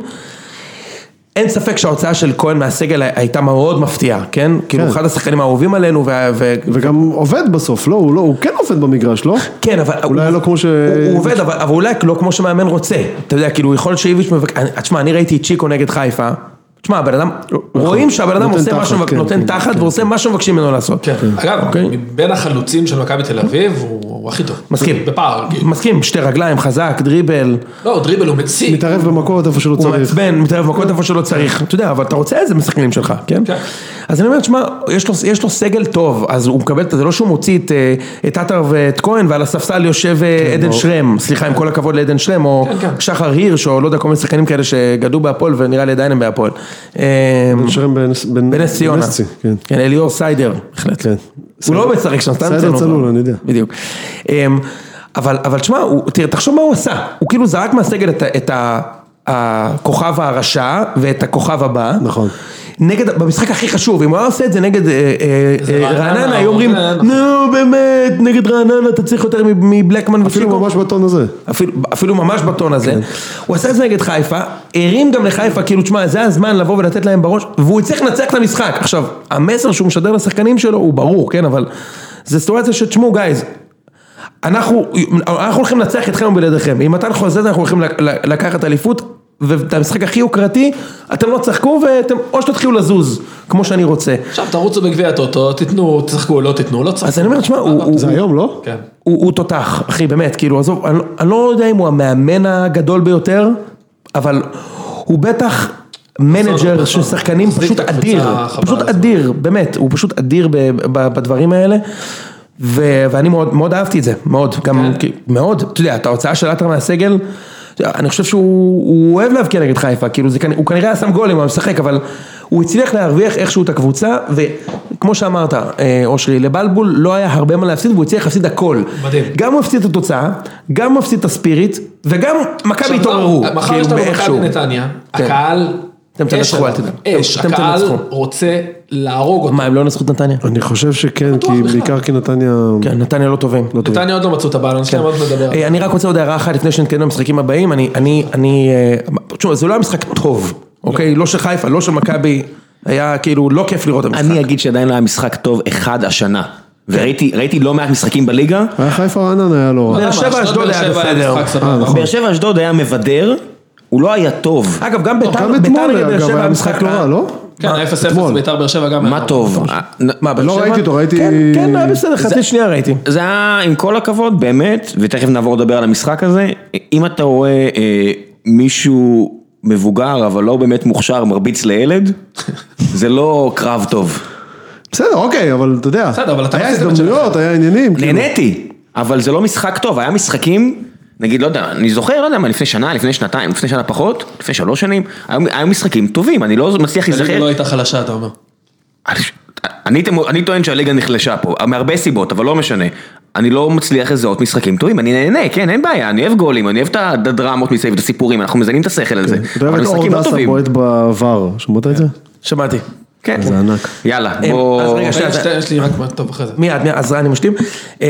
[SPEAKER 2] אין ספק שההוצאה של כהן מהסגל הייתה מאוד מפתיעה, כן? כאילו, אחד השחקנים האהובים עלינו, וה- ו...
[SPEAKER 3] וגם עובד בסוף, לא, הוא לא, הוא כן עובד במגרש, לא?
[SPEAKER 2] כן, אבל...
[SPEAKER 3] אולי
[SPEAKER 2] הוא-
[SPEAKER 3] לא כמו ש-
[SPEAKER 2] הוא הוא עובד, אבל אבל אולי לא כמו שמאמן רוצה. אתה יודע, כאילו, יכול להיות שאיביץ' מבק... אני- תשמע, אני ראיתי את צ'יקו נגד חיפה. תשמע, הבן אדם... רואים שהבן אדם
[SPEAKER 3] נותן
[SPEAKER 2] עושה מה
[SPEAKER 3] תחת,
[SPEAKER 2] שמבק-
[SPEAKER 3] כן,
[SPEAKER 2] נותן
[SPEAKER 3] כן,
[SPEAKER 2] תחת ועושה מה שמבקשים ממנו לעשות.
[SPEAKER 4] כן, אגב,
[SPEAKER 2] אוקיי.
[SPEAKER 4] מבין החלוצים של מכבי תל אביב, הוא הוא הכי טוב.
[SPEAKER 2] מסכים.
[SPEAKER 4] בפער, כאילו.
[SPEAKER 2] מסכים, שתי רגליים, חזק, דריבל,
[SPEAKER 4] לא, דריבל הוא מציא.
[SPEAKER 3] מתערב במכות איפה שלא
[SPEAKER 2] הוא
[SPEAKER 3] צריך.
[SPEAKER 2] מעצבן, מתערב במכות איפה שלא צריך, אתה יודע, אבל אתה רוצה את זה משחקנים שלך, כן?
[SPEAKER 4] כן.
[SPEAKER 2] אז אני אומר, תשמע, יש לו- יש לו סגל טוב, אז הוא מקבל, את זה זה לא שהוא מוציא את, אה, את עטר ואת כהן, ועל הספסל יושב אה,
[SPEAKER 3] כן,
[SPEAKER 2] עדן שרם, סליחה, עם כל הכבוד לעדן שרם, או
[SPEAKER 4] כן, כן.
[SPEAKER 2] שחר הירש, או לא יודע, כל מיני שחקנים כאלה שגדלו בהפועל ונראה לי עדיין הם בהפועל. אה,
[SPEAKER 3] שרם בנס- בנ-
[SPEAKER 2] בנס ציונה.
[SPEAKER 3] בנס ציונה, כן.
[SPEAKER 2] כן, אליאור סיידר, בהחלט.
[SPEAKER 3] כן.
[SPEAKER 2] הוא לא משחק שם, סתם
[SPEAKER 3] סיידר
[SPEAKER 2] צנוע.
[SPEAKER 3] צלול, אני יודע.
[SPEAKER 2] בדיוק. אמ, אבל, אבל תשמע, הוא- תראה, תחשוב מה הוא עשה. הוא כאילו זרק מהסגל את, ה- את ה- הכוכב הרשע ואת הכוכב הבא.
[SPEAKER 3] נכון.
[SPEAKER 2] נגד, במשחק הכי חשוב, אם הוא היה עושה את זה נגד אה, אה,
[SPEAKER 4] זה
[SPEAKER 2] אה,
[SPEAKER 4] רעננה,
[SPEAKER 2] רעננה, היו אומרים,
[SPEAKER 4] רעננה, נכון.
[SPEAKER 2] נו באמת, נגד רעננה אתה צריך יותר מ- מבלקמן
[SPEAKER 3] אפילו ממש בטון הזה.
[SPEAKER 2] אפילו, אפילו ממש בטון
[SPEAKER 3] כן.
[SPEAKER 2] הזה, הוא עשה את זה נגד חיפה, הרים גם לחיפה, כאילו תשמע זה הזמן לבוא ולתת להם בראש, והוא הצליח לנצח את המשחק, עכשיו המסר שהוא משדר לשחקנים שלו הוא ברור, כן, אבל זה סיטואציה שתשמעו גייז, אנחנו, אנחנו הולכים לנצח אתכם ובלעדיכם, אם מתן חוזה אנחנו הולכים לק- לקחת אליפות, ואת המשחק הכי יוקרתי, אתם לא תשחקו ואתם, או שתתחילו לזוז, כמו שאני רוצה,
[SPEAKER 4] עכשיו תרוצו בגביע הטוטו, תיתנו, תשחקו, לא תיתנו, לא
[SPEAKER 2] אז
[SPEAKER 4] תשחקו.
[SPEAKER 2] אני אומר, תשמע, הוא, הוא,
[SPEAKER 3] זה היום, לא?
[SPEAKER 4] כן.
[SPEAKER 2] הוא, הוא תותח, אחי, באמת, כאילו, עזוב, אני, לא- אני לא יודע אם הוא המאמן הגדול ביותר, אבל הוא בטח מנג'ר
[SPEAKER 4] פרסונה.
[SPEAKER 2] של שחקנים
[SPEAKER 4] מחזיק
[SPEAKER 2] פשוט
[SPEAKER 4] את הקבוצה,
[SPEAKER 2] אדיר,
[SPEAKER 4] חבל
[SPEAKER 2] פשוט
[SPEAKER 4] על הזמן.
[SPEAKER 2] אדיר, באמת, הוא פשוט אדיר ב, ב, בדברים האלה. ו- ואני מאוד, מאוד אהבתי את זה, מאוד,
[SPEAKER 4] כן.
[SPEAKER 2] גם, כי- מאוד, אתה יודע, את ההוצאה של עטר מהסגל, אני חושב שהוא הוא אוהב להבקיע נגד חיפה, כאילו, זה, כנ- הוא כנראה היה שם גולים, הוא היה משחק, אבל הוא הצליח להרוויח איכשהו את הקבוצה, וכמו שאמרת, אה, אושרי, לבלבול לא היה הרבה מה להפסיד, והוא הצליח להפסיד הכל.
[SPEAKER 4] מדהים.
[SPEAKER 2] גם הוא הפסיד את התוצאה, גם הוא הפסיד את הספירית, וגם מכבי
[SPEAKER 4] עכשיו, לא,
[SPEAKER 2] התעוררו,
[SPEAKER 4] מחר
[SPEAKER 2] כאילו,
[SPEAKER 4] יש לנו מכבי
[SPEAKER 2] באיכשהו.
[SPEAKER 4] נתניה,
[SPEAKER 2] כן.
[SPEAKER 4] הקהל...
[SPEAKER 2] אתם תנצחו,
[SPEAKER 4] אש
[SPEAKER 2] אל תדאג.
[SPEAKER 4] עליו. אש,
[SPEAKER 2] אתם
[SPEAKER 4] הקהל
[SPEAKER 2] תנצחו.
[SPEAKER 4] רוצה להרוג אותו.
[SPEAKER 2] מה, הם לא ינצחו את נתניה?
[SPEAKER 3] אני חושב שכן,
[SPEAKER 4] בטוח
[SPEAKER 3] כי
[SPEAKER 4] בכלל.
[SPEAKER 3] בעיקר כי נתניה...
[SPEAKER 2] כן, נתניה לא טובים.
[SPEAKER 4] נתניה עוד לא מצאו את הבאלנס שלהם, עוד נדבר. על זה.
[SPEAKER 2] אה, אני רק רוצה עוד הערה אחת לפני שנתקדם למשחקים הבאים, אני, אני, אני, אה, תשמע, זה לא היה משחק טוב, אוקיי? לא של חיפה, לא של מכבי, היה כאילו לא כיף לראות את המשחק.
[SPEAKER 1] אני אגיד שעדיין לא היה משחק טוב אחד השנה. וראיתי ראיתי לא מעט משחקים בליגה.
[SPEAKER 3] היה חיפה רעננה היה לא רע.
[SPEAKER 2] באר שבע
[SPEAKER 4] למה?
[SPEAKER 2] אשדוד היה
[SPEAKER 4] באר שבע
[SPEAKER 2] בסדר. אה,
[SPEAKER 4] משחק סבבה. נכון.
[SPEAKER 1] באר שבע אשדוד היה מבדר, הוא לא היה טוב.
[SPEAKER 2] אגב, גם ביתר,
[SPEAKER 3] לא, גם
[SPEAKER 2] ביתר נגד
[SPEAKER 3] אתמול
[SPEAKER 2] באר
[SPEAKER 3] אגב
[SPEAKER 2] שבע
[SPEAKER 3] היה משחק לא רע, לא?
[SPEAKER 4] כן,
[SPEAKER 2] מה?
[SPEAKER 4] 0-0
[SPEAKER 3] אתמול.
[SPEAKER 4] ביתר באר שבע גם...
[SPEAKER 1] מה
[SPEAKER 4] היה.
[SPEAKER 1] טוב? אה,
[SPEAKER 2] מה, באר
[SPEAKER 3] לא
[SPEAKER 2] שבע?
[SPEAKER 3] ראיתי אותו, ראיתי-
[SPEAKER 2] כן, כן, היה בסדר,
[SPEAKER 1] זה-
[SPEAKER 2] חצי שנייה ראיתי.
[SPEAKER 1] זה היה, עם כל הכבוד, באמת, ותכף נעבור לדבר על המשחק הזה, אם אתה רואה אה, מישהו מבוגר, אבל לא באמת מוכשר, מרביץ לילד, זה לא קרב טוב.
[SPEAKER 3] בסדר, אוקיי, אבל אתה יודע,
[SPEAKER 4] בסדר, אבל אתה
[SPEAKER 3] היה
[SPEAKER 4] מפסיד את
[SPEAKER 3] הזדמנויות, היה עניינים. כאילו.
[SPEAKER 1] נהניתי, אבל זה לא משחק טוב, היה משחקים, נגיד, לא יודע, אני זוכר, לא יודע מה, לפני שנה, לפני שנתיים, לפני שנה פחות, לפני שלוש שנים, היו, היו משחקים טובים, אני לא מצליח
[SPEAKER 4] הליגה לא
[SPEAKER 1] להיזכר.
[SPEAKER 4] הייתה חלשה, אתה אומר.
[SPEAKER 1] אני- אני, אני טוען שהליגה נחלשה פה, מהרבה סיבות, אבל לא משנה. אני לא מצליח לזהות משחקים טובים, אני נהנה, כן, אין בעיה, אני אוהב גולים, אני אוהב את הדרמות מסביב, את הסיפורים, אנחנו מזיינים את השכל על זה.
[SPEAKER 3] כן. אתה אוהב
[SPEAKER 1] אבל
[SPEAKER 3] את אור
[SPEAKER 1] משחקים לא
[SPEAKER 3] דסה
[SPEAKER 1] טובים.
[SPEAKER 3] בועט בעבר, שמעת את זה?
[SPEAKER 2] שמעתי.
[SPEAKER 1] כן.
[SPEAKER 3] זה ענק.
[SPEAKER 1] יאללה,
[SPEAKER 2] אה, אז
[SPEAKER 1] בוא...
[SPEAKER 2] רגע,
[SPEAKER 4] רגע,
[SPEAKER 2] שנייה,
[SPEAKER 4] שתי- יש לי רק מה טוב אחרי זה.
[SPEAKER 2] מיד, מיד, אז אני משלים. אמ,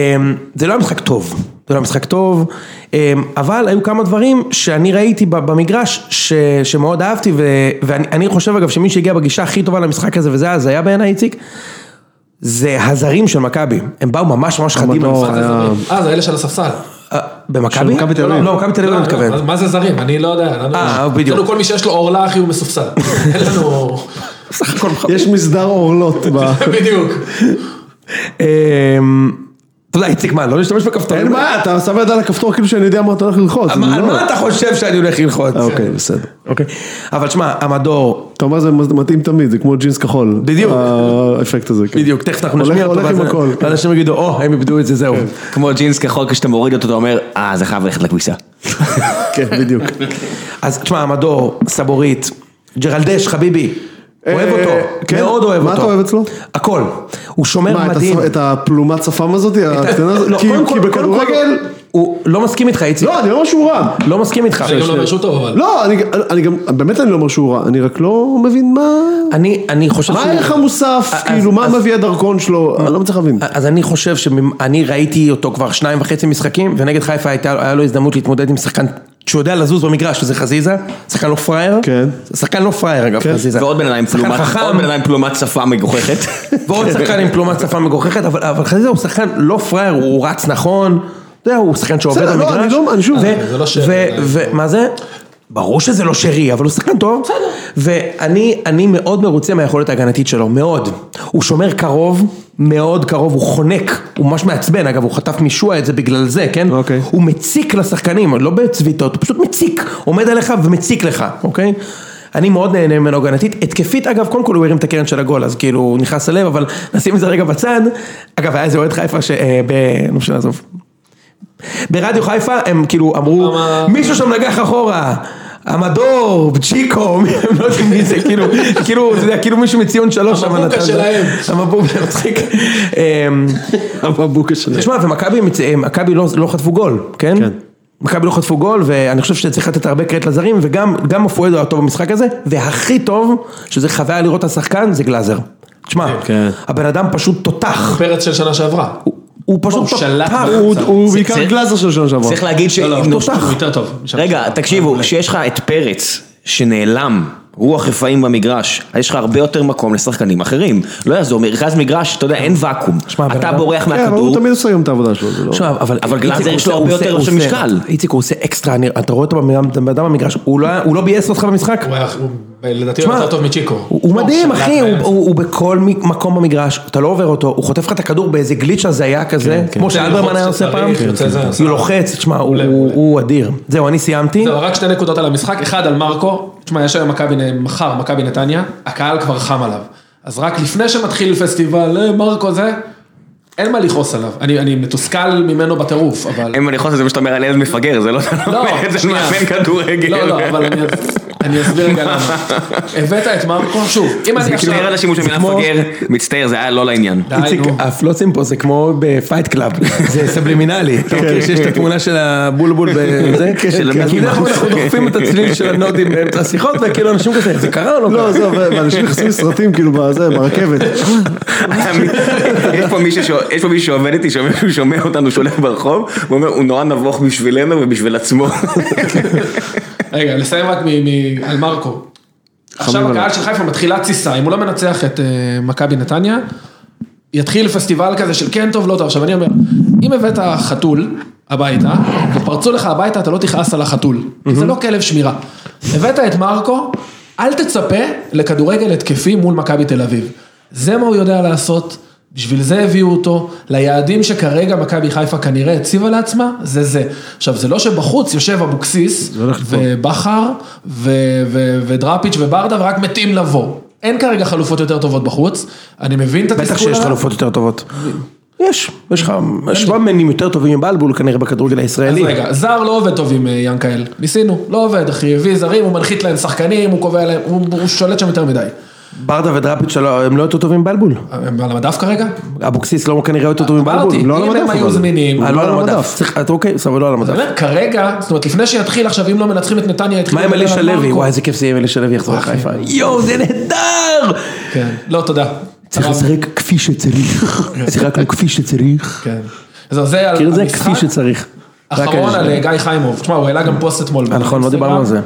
[SPEAKER 2] זה לא היה משחק טוב, זה לא היה משחק טוב, אמ, אבל היו כמה דברים שאני ראיתי ב- במגרש ש, שמאוד אהבתי, ו, ואני אני חושב אגב שמי שהגיע בגישה הכי טובה למשחק הזה, וזה הזיה בעיניי איציק, זה הזרים של מכבי, הם באו ממש ממש חדים
[SPEAKER 3] המדור
[SPEAKER 2] למשחק.
[SPEAKER 4] מה זה זרים? אה, זה אלה של הספסל.
[SPEAKER 2] אה, במכבי?
[SPEAKER 3] מכבי תל
[SPEAKER 2] לא,
[SPEAKER 3] אביב.
[SPEAKER 2] לא, מכבי תל אביב
[SPEAKER 4] לא,
[SPEAKER 2] אני
[SPEAKER 4] לא,
[SPEAKER 2] מתכוון.
[SPEAKER 4] מה- מה זה זרים? אני לא יודע. לנו-
[SPEAKER 2] אה, בדיוק.
[SPEAKER 4] אצלנו כל מי שיש לו עורלה, אחי, הוא מסופסל. אין לנו...
[SPEAKER 2] סך הכל מכבי.
[SPEAKER 3] יש מסדר אורלות. ב-
[SPEAKER 4] בדיוק.
[SPEAKER 2] אמ, אתה יודע, איציק, מה, לא להשתמש בכפתורים?
[SPEAKER 3] אין בעיה, אתה שם יד על הכפתור כאילו שאני יודע מה אתה הולך ללחוץ.
[SPEAKER 2] על מה-
[SPEAKER 3] אני
[SPEAKER 2] על
[SPEAKER 3] לא-
[SPEAKER 2] מה אתה חושב שאני הולך ללחוץ?
[SPEAKER 3] אה, אוקיי, בסדר.
[SPEAKER 2] אוקיי. אבל שמע, המדור,
[SPEAKER 3] אתה אומר זה מתאים תמיד, זה כמו ג'ינס כחול.
[SPEAKER 2] בדיוק.
[SPEAKER 3] האפקט הזה. כן.
[SPEAKER 2] בדיוק, תכף אנחנו
[SPEAKER 3] הולך-
[SPEAKER 2] נשמיע אותו,
[SPEAKER 3] הולך עם
[SPEAKER 2] ואז
[SPEAKER 3] הכל. כן.
[SPEAKER 2] אנשים יגידו, או, הם איבדו את זה, זהו.
[SPEAKER 1] כמו ג'ינס כחול, כשאתה מוריד אותו, אתה אומר, אה, זה חייב ללכת לכביסה.
[SPEAKER 3] כן, בדיוק.
[SPEAKER 2] אז תשמע, המדור, סבורית, ג'רלדש, חביבי,
[SPEAKER 3] אה,
[SPEAKER 2] אוהב אותו,
[SPEAKER 3] כן?
[SPEAKER 2] מאוד אוהב אותו.
[SPEAKER 3] מה אתה אוהב אצלו?
[SPEAKER 2] הכל. הוא שומר
[SPEAKER 3] מה, את
[SPEAKER 2] מדהים.
[SPEAKER 3] הס- את הפלומת שפם הזאת? הקטנה הזאת?
[SPEAKER 2] לא,
[SPEAKER 3] כי-
[SPEAKER 2] קודם
[SPEAKER 3] כי
[SPEAKER 2] כל- קודם כל,
[SPEAKER 3] בכדורגל...
[SPEAKER 2] הוא לא מסכים איתך, איציק.
[SPEAKER 3] לא, אני לא אומר שהוא רע.
[SPEAKER 2] לא מסכים איתך.
[SPEAKER 4] אני גם לא אומר שהוא טוב, אבל...
[SPEAKER 3] לא, אני- אני גם, באמת אני לא אומר שהוא רע, אני רק לא מבין מה...
[SPEAKER 2] אני, אני חושב
[SPEAKER 3] מה
[SPEAKER 2] שהוא-
[SPEAKER 3] הערך המוסף,
[SPEAKER 2] אז-
[SPEAKER 3] כאילו, מה
[SPEAKER 2] אז- אה,
[SPEAKER 3] מביא הדרכון שלו, אני לא מצליח להבין.
[SPEAKER 2] אז אני חושב שאני ראיתי אותו כבר שניים וחצי משחקים, ונגד חיפה הייתה, היה לו הזדמנות להתמודד עם שחקן שיודע לזוז במגרש, שזה חזיזה, שחקן לא פראייר.
[SPEAKER 3] כן.
[SPEAKER 2] שחקן לא פראייר אגב,
[SPEAKER 3] כן.
[SPEAKER 2] חזיזה.
[SPEAKER 1] ועוד בן אדם עם
[SPEAKER 2] שחקן
[SPEAKER 1] פלומת-
[SPEAKER 2] חכם.
[SPEAKER 1] עוד בן אדם עם פלומת שפה מגוחכת.
[SPEAKER 2] ועוד שחקן עם פלומת שפה מגוחכת, אבל, אבל חזיזה הוא שחקן לא פראייר, הוא רץ נכון, אתה יודע, הוא שחקן שעובד
[SPEAKER 3] בסדר, לא,
[SPEAKER 2] במגרש.
[SPEAKER 3] אני לא- אני שוב-
[SPEAKER 4] זה לא שרי,
[SPEAKER 2] ו-
[SPEAKER 4] עדיין.
[SPEAKER 2] ו- מה זה? ברור שזה לא שרי, אבל הוא שחקן טוב. ואני אני מאוד מרוצה מהיכולת ההגנתית שלו, מאוד. הוא שומר קרוב, מאוד קרוב, הוא חונק, הוא ממש מעצבן, אגב, הוא חטף משוע את זה בגלל זה, כן?
[SPEAKER 3] אוקיי.
[SPEAKER 2] הוא מציק לשחקנים, לא בצביטות, הוא פשוט מציק, עומד עליך ומציק לך, אוקיי? אני מאוד נהנה ממנו הגנתית, התקפית אגב, קודם כל הוא הרים את הקרן של הגול, אז כאילו הוא נכנס ללב, אבל נשים את זה רגע בצד. אגב, היה איזה אוהד חיפה ש... אה, ב... נו, אפשר לעזוב. ברדיו חיפה הם כאילו אמרו,
[SPEAKER 4] למה?
[SPEAKER 2] מישהו שם נגח אחורה, המדור, צ'יקו, מי- הם לא יודעים מי זה, כאילו, כאילו, אתה יודע, כאילו מישהו מציון שלוש, אבל
[SPEAKER 4] המבוקה
[SPEAKER 2] נתן-
[SPEAKER 4] שלהם.
[SPEAKER 2] המבוקה, מצחיק. אמ,
[SPEAKER 3] המבוקה שלהם.
[SPEAKER 2] תשמע, ומכבי מצ- אה, מכבי לא לא חטפו גול, כן?
[SPEAKER 3] כן.
[SPEAKER 2] מכבי לא חטפו גול, ואני חושב שצריך לתת הרבה קרדיט לזרים, וגם גם אפואדו היה טוב במשחק הזה, והכי טוב, שזה חוויה לראות את השחקן, זה גלאזר. תשמע,
[SPEAKER 3] כן.
[SPEAKER 2] הבן אדם פשוט תותח,
[SPEAKER 4] פרץ של שנה שעברה.
[SPEAKER 2] הוא- הוא
[SPEAKER 4] הוא
[SPEAKER 2] פשוט
[SPEAKER 4] שלט
[SPEAKER 2] תותח.
[SPEAKER 4] בהם.
[SPEAKER 3] אה, הוא- הוא
[SPEAKER 1] זה-
[SPEAKER 3] בעיקר
[SPEAKER 1] זה-
[SPEAKER 3] גלאזר של שנה שעברה.
[SPEAKER 1] צריך להגיד ש...
[SPEAKER 4] לא, לא,
[SPEAKER 1] נו,
[SPEAKER 4] הוא הוא יותר טוב.
[SPEAKER 2] לא.
[SPEAKER 1] רגע, תקשיבו, כשיש לך את פרץ שנעלם, רוח רפאים במגרש, אז יש לך הרבה יותר מקום לשחקנים אחרים. לא יעזור, מרכז מגרש, אתה יודע, אין ואקום.
[SPEAKER 2] שמע, בן
[SPEAKER 1] אתה
[SPEAKER 2] אדם-
[SPEAKER 1] בורח
[SPEAKER 3] כן, אבל הוא
[SPEAKER 1] מהכדור,
[SPEAKER 3] תמיד עושה גם את העבודה שלו, זה לא...
[SPEAKER 2] עכשיו, אבל,
[SPEAKER 1] אבל
[SPEAKER 2] איציק
[SPEAKER 1] גלאזר יש
[SPEAKER 2] עושה-
[SPEAKER 1] לו הרבה
[SPEAKER 2] הוא עושה-
[SPEAKER 1] יותר
[SPEAKER 2] הוא
[SPEAKER 1] של
[SPEAKER 2] עושה-
[SPEAKER 1] משקל.
[SPEAKER 2] איציק הוא עושה אקסטרה, אני- אתה רואה אותו בן אדם במגרש, הוא לא היה- הוא לא ביאס אותך במשחק?
[SPEAKER 4] הוא היה- הוא- לדעתי הוא
[SPEAKER 2] תשמע,
[SPEAKER 4] יותר טוב מצ'יקו. לא,
[SPEAKER 2] הוא הוא מדהים
[SPEAKER 4] שלט
[SPEAKER 2] אחי, הוא-
[SPEAKER 4] באמצע.
[SPEAKER 2] הוא הוא בכל מ- מקום במגרש, אתה לא עובר אותו, הוא חטף לך את הכדור באיזה גליץ' הזיה כזה, כמו שאלברמן
[SPEAKER 4] ללחוץ
[SPEAKER 2] היה עושה
[SPEAKER 4] שצריך,
[SPEAKER 2] פעם,
[SPEAKER 4] נכון, יוצא זה, עושה.
[SPEAKER 2] הוא לוחץ, תשמע, הוא-
[SPEAKER 4] מעולה,
[SPEAKER 2] הוא
[SPEAKER 4] מעולה.
[SPEAKER 2] הוא אדיר. זהו, אני סיימתי,
[SPEAKER 4] זהו, רק שתי נקודות על המשחק, אחד על מרקו, תשמע, יש היום מכבי, מחר מכבי נתניה, הקהל כבר חם עליו. אז רק לפני שמתחיל פסטיבל, "אה, מרקו זה, אין מה לכעוס עליו. אני, אני מתוסכל ממנו בטירוף, אבל...
[SPEAKER 1] אם אני יכול לעשות את זה מה שאתה אומר על ילד מפגר, זה לא...
[SPEAKER 4] לא,
[SPEAKER 1] זה
[SPEAKER 4] שנייה.
[SPEAKER 1] מאמן כדורגל.
[SPEAKER 4] לא, לא, אבל אני... אני אסביר רגע למה. הבאת את מרקו, שוב, אם אני עכשיו...
[SPEAKER 1] מצטער כאילו על השימוש במילה
[SPEAKER 2] כמו-
[SPEAKER 1] מפגר, מצטער, זה היה לא לעניין.
[SPEAKER 4] די,
[SPEAKER 2] איציק,
[SPEAKER 4] נו.
[SPEAKER 2] הפלוצים פה זה כמו בפייט קלאב, זה סבלימינלי, כן. אתה מכיר שיש את התמונה של הבולבול בזה?
[SPEAKER 1] של
[SPEAKER 2] אז
[SPEAKER 1] המיקי
[SPEAKER 2] בדרך כלל
[SPEAKER 1] מאוס.
[SPEAKER 2] כן. אנחנו דוחפים את הצליל של הנודים באמצע השיחות, וכאילו אנשים כזה, זה קרה או לא
[SPEAKER 3] לא,
[SPEAKER 2] קרה?
[SPEAKER 3] עזוב, ואנשים נכנסים לסרטים כאילו בזה, ברכבת.
[SPEAKER 1] יש פה מישהו ש- יש פה מישהו שעובד איתי, שאומר שהוא שומע אותנו שולח ברחוב, הוא אומר, הוא נורא נבוך בשבילנו ובשביל עצמו.
[SPEAKER 4] רגע, לסיים רק מ- מ- על מרקו. עכשיו
[SPEAKER 3] עליו.
[SPEAKER 4] הקהל של חיפה מתחילה תסיסה, אם הוא לא מנצח את אה, מכבי נתניה, יתחיל פסטיבל כזה של כן טוב, לא טוב. עכשיו אני אומר, אם הבאת חתול הביתה, ופרצו לך הביתה, אתה לא תכעס על החתול, כי זה לא כלב שמירה. הבאת את מרקו, אל תצפה לכדורגל התקפי מול מכבי תל אביב. זה מה הוא יודע לעשות, בשביל זה הביאו אותו, ליעדים שכרגע מכבי חיפה כנראה הציבה לעצמה, זה זה. עכשיו, זה לא שבחוץ יושב אבוקסיס, ובכר, ו- ו- ודראפיץ' וברדה, ורק מתים לבוא. אין כרגע חלופות יותר טובות בחוץ, אני מבין את התסכול
[SPEAKER 2] בטח שיש
[SPEAKER 4] עליו.
[SPEAKER 2] חלופות יותר טובות. יש, יש לך שוואמנים יותר טובים מבלבול כנראה בכדורגל
[SPEAKER 4] אז
[SPEAKER 2] הישראלי.
[SPEAKER 4] רגע, זר לא עובד טוב עם אה, ינקאל, ניסינו, לא עובד אחי, הביא זרים, הוא מנחית להם שחקנים, הוא קובע להם, הוא הוא שולט שם יותר מדי.
[SPEAKER 2] ברדה ודראפיץ' שלא- הם לא יותר טובים מבלבול.
[SPEAKER 4] הם על המדף כרגע?
[SPEAKER 2] אבוקסיס לא כנראה יותר טובים מבלבול.
[SPEAKER 4] אמרתי,
[SPEAKER 3] לא על
[SPEAKER 4] אם הם
[SPEAKER 3] המדף,
[SPEAKER 4] היו
[SPEAKER 3] אבל.
[SPEAKER 4] זמינים,
[SPEAKER 2] אה, לא
[SPEAKER 3] לא
[SPEAKER 2] על
[SPEAKER 3] על
[SPEAKER 2] המדף.
[SPEAKER 3] המדף.
[SPEAKER 2] צריך- אתה אוקיי, סבבה, לא על המדף.
[SPEAKER 4] אני אומר, כרגע, זאת אומרת, לפני שיתחיל עכשיו, אם לא מנצחים את נתניה, יתחיל...
[SPEAKER 2] מה עם
[SPEAKER 4] לדבר
[SPEAKER 2] אלישע
[SPEAKER 4] על
[SPEAKER 2] לוי?
[SPEAKER 4] מרקו.
[SPEAKER 2] וואי, איזה כיף זה יהיה אם אלישע לוי יחזור לחיפה. יואו, זה נהדר!
[SPEAKER 4] כן, לא, תודה.
[SPEAKER 2] צריך
[SPEAKER 4] הרב,
[SPEAKER 2] לשחק כפי שצריך. שיחקנו כפי שצריך.
[SPEAKER 4] כן. אז זה
[SPEAKER 2] מכיר
[SPEAKER 4] על
[SPEAKER 2] את כאילו זה?
[SPEAKER 4] המשחק
[SPEAKER 2] כפי שצריך.
[SPEAKER 4] האחרון על אה, גיא חיימוב. תשמע, הוא העלה גם פוסט אתמול.
[SPEAKER 2] אה, נכון, לא
[SPEAKER 4] באינסטגרם.
[SPEAKER 2] דיברנו על זה.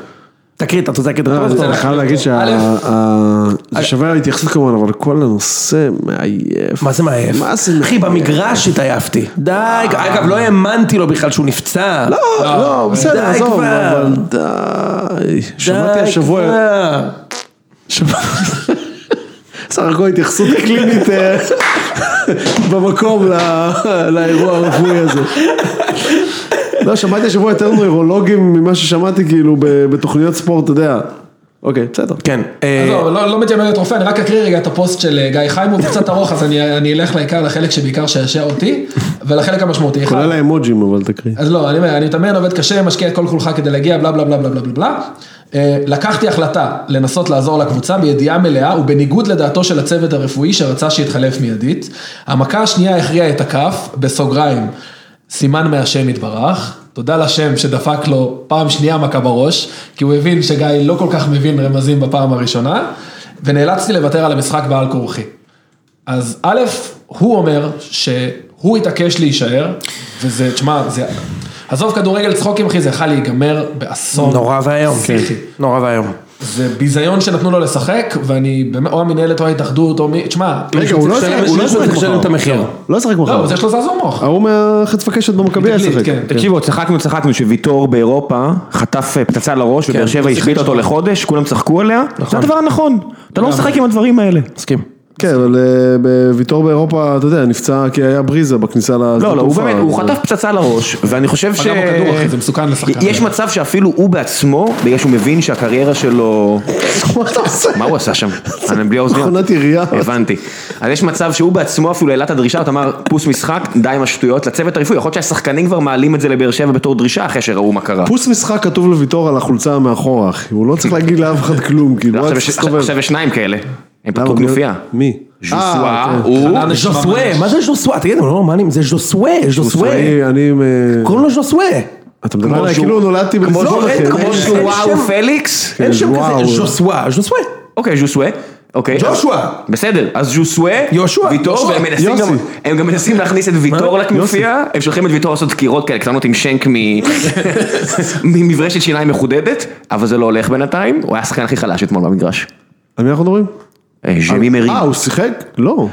[SPEAKER 2] תקריא את התוצאה כדבר.
[SPEAKER 3] אני חייב להגיד
[SPEAKER 4] א',
[SPEAKER 3] שזה שווה להתייחסות כמובן, אבל כל הנושא מעייף.
[SPEAKER 2] מה זה מעייף?
[SPEAKER 3] מה זה
[SPEAKER 2] אחי, במגרש התעייפתי. די, אגב, לא האמנתי לו בכלל שהוא נפצע.
[SPEAKER 3] לא, לא,
[SPEAKER 2] די
[SPEAKER 3] בסדר, עזוב,
[SPEAKER 2] כבר.
[SPEAKER 3] אבל די. שמעתי
[SPEAKER 2] די
[SPEAKER 3] השבוע,
[SPEAKER 2] כבר.
[SPEAKER 3] שמע- סך הכל התייחסות קלינית אה, במקום ל- לאירוע הרפואי הזה. לא, שמעתי השבוע יותר נוירולוגים ממה ששמעתי כאילו ב- בתוכניות ספורט, אתה יודע. אוקיי, בסדר.
[SPEAKER 2] כן. אה,
[SPEAKER 4] עזוב, לא לא מתיימר להיות רופא, אני רק אקריא רגע את הפוסט של אה, גיא חיימוב, הוא קצת ארוך, אז אני אני אלך לעיקר, לחלק שבעיקר שעשע אותי, ולחלק המשמעותי. אחד,
[SPEAKER 3] כולל האמוג'ים אבל תקריא.
[SPEAKER 4] אז לא, אני אומר, אני מתאמן, עובד קשה, משקיע את כל כולך כדי להגיע, בלה בלה בלה בלה בלה בלה בלה. אה, לקחתי החלטה לנסות לעזור לקבוצה בידיעה מלאה ובניגוד לדעתו של הצוות הרפואי שרצה שיתחלף מיידית. המכה השנייה הכריעה את הכף, בסוגריים, סימן מהשם יתברך. תודה לשם שדפק לו פעם שנייה מכה בראש, כי הוא הבין שגיא לא כל כך מבין רמזים בפעם הראשונה, ונאלצתי לוותר על המשחק בעל כורחי. אז א', הוא אומר שהוא התעקש להישאר, וזה, תשמע, זה... עזוב כדורגל צחוקים אחי, זה יכול להיגמר באסון.
[SPEAKER 2] נורא ואיום.
[SPEAKER 4] פסיכי.
[SPEAKER 2] כן. נורא ואיום.
[SPEAKER 4] זה ביזיון שנתנו לו לשחק, ואני באמת, או המינהלת או ההתאחדות, או מי, תשמע,
[SPEAKER 3] רגע, הוא לא ישחק- הוא לא
[SPEAKER 2] מישהו
[SPEAKER 3] ישחק
[SPEAKER 2] צריך לשלם
[SPEAKER 3] מחר.
[SPEAKER 2] את המחיר.
[SPEAKER 3] לא ישחק
[SPEAKER 4] לא,
[SPEAKER 3] מחר.
[SPEAKER 4] אבל יש לו זעזור מוח.
[SPEAKER 2] אה,
[SPEAKER 3] ההוא מהחץ וקשת במכבי היה
[SPEAKER 4] תקליט,
[SPEAKER 3] לשחק.
[SPEAKER 4] כן.
[SPEAKER 1] תקשיבו, צחקנו, צחקנו, שוויטור באירופה חטף אה, פצצה לראש, ובאר שבע השבית אותו לחודש, כולם צחקו עליה, זה הדבר הנכון, אתה לא משחק עם הדברים האלה.
[SPEAKER 2] מסכים.
[SPEAKER 3] כן, אבל אה, ב- ויטור באירופה, אתה יודע, נפצע כי היה בריזה בכניסה לשדה
[SPEAKER 1] לא, לא, הוא
[SPEAKER 3] תעופה,
[SPEAKER 1] באמת, הוא
[SPEAKER 3] אז-
[SPEAKER 1] חטף פצצה לראש, ואני חושב ש...
[SPEAKER 4] פגע בכדור, אחי, זה מסוכן לשחקן.
[SPEAKER 1] יש מצב שאפילו הוא בעצמו, בגלל שהוא מבין שהקריירה שלו...
[SPEAKER 3] מה אתה עושה?
[SPEAKER 1] מה הוא עשה שם? אני בלי האוזניות.
[SPEAKER 3] מכונת ירייה.
[SPEAKER 1] הבנתי. אז יש מצב שהוא בעצמו אפילו העלה את הדרישה, אתה אמר, פוס משחק, די עם השטויות, לצוות הרפואי, יכול להיות שהשחקנים כבר מעלים את זה לבאר שבע בתור דרישה אחרי שראו מה קרה.
[SPEAKER 3] פוס משחק כתוב לוויטור על החולצה מאחורה, אחי. הוא לא צריך להגיד לאף אחד כלום, כאילו, הוא
[SPEAKER 1] לא, עכשיו
[SPEAKER 3] רק
[SPEAKER 1] יש-
[SPEAKER 3] תסתובב.
[SPEAKER 1] עכשיו יש שניים כאלה, הם
[SPEAKER 3] למה? אה,
[SPEAKER 1] פתחו
[SPEAKER 3] מי-
[SPEAKER 1] כנופיה.
[SPEAKER 3] מי?
[SPEAKER 1] ז'וסואה,
[SPEAKER 2] אוקיי.
[SPEAKER 3] אה, כן.
[SPEAKER 1] הוא...
[SPEAKER 4] חנן נשמע
[SPEAKER 2] ז'וסווה,
[SPEAKER 4] ממש.
[SPEAKER 2] מה זה ז'וסווה? תגיד, הם לא נורמלים, זה ז'וסווה, ז'וסווה.
[SPEAKER 3] אני- אני... עם, אה,
[SPEAKER 2] קוראים לו ז'וסווה.
[SPEAKER 3] אתה מדבר
[SPEAKER 1] כמו
[SPEAKER 3] עליי,
[SPEAKER 1] שהוא-
[SPEAKER 3] כאילו נולדתי
[SPEAKER 2] לא,
[SPEAKER 3] בלזון
[SPEAKER 2] אין
[SPEAKER 3] אחר.
[SPEAKER 2] כמו
[SPEAKER 1] כמו
[SPEAKER 2] שהוא-
[SPEAKER 1] ז'ואה
[SPEAKER 2] שם-
[SPEAKER 1] ופליקס?
[SPEAKER 2] אין שם
[SPEAKER 3] כן, וואו.
[SPEAKER 2] כזה, ז'וסווה, ז'וסווה.
[SPEAKER 1] אוקיי, ז'וסווה. אוקיי.
[SPEAKER 2] ג'ושוע.
[SPEAKER 1] בסדר, אז ז'וסווה,
[SPEAKER 2] יהושע,
[SPEAKER 1] ויטור,
[SPEAKER 2] יהושע.
[SPEAKER 1] והם מנסים גם,
[SPEAKER 3] יוסי.
[SPEAKER 1] הם גם מנסים להכניס את ויטור לכנופיה, הם שולחים את ויטור לעשות דקירות כאלה קטנות עם שנק מ- ממברשת שיניים מחודדת, אבל זה לא הולך בינתיים, הוא היה השחקן הכי חלש אתמול במגרש.
[SPEAKER 3] על מי אנחנו מדברים?
[SPEAKER 1] אה, ז'מי מרי.
[SPEAKER 3] אה, הוא שיחק? לא.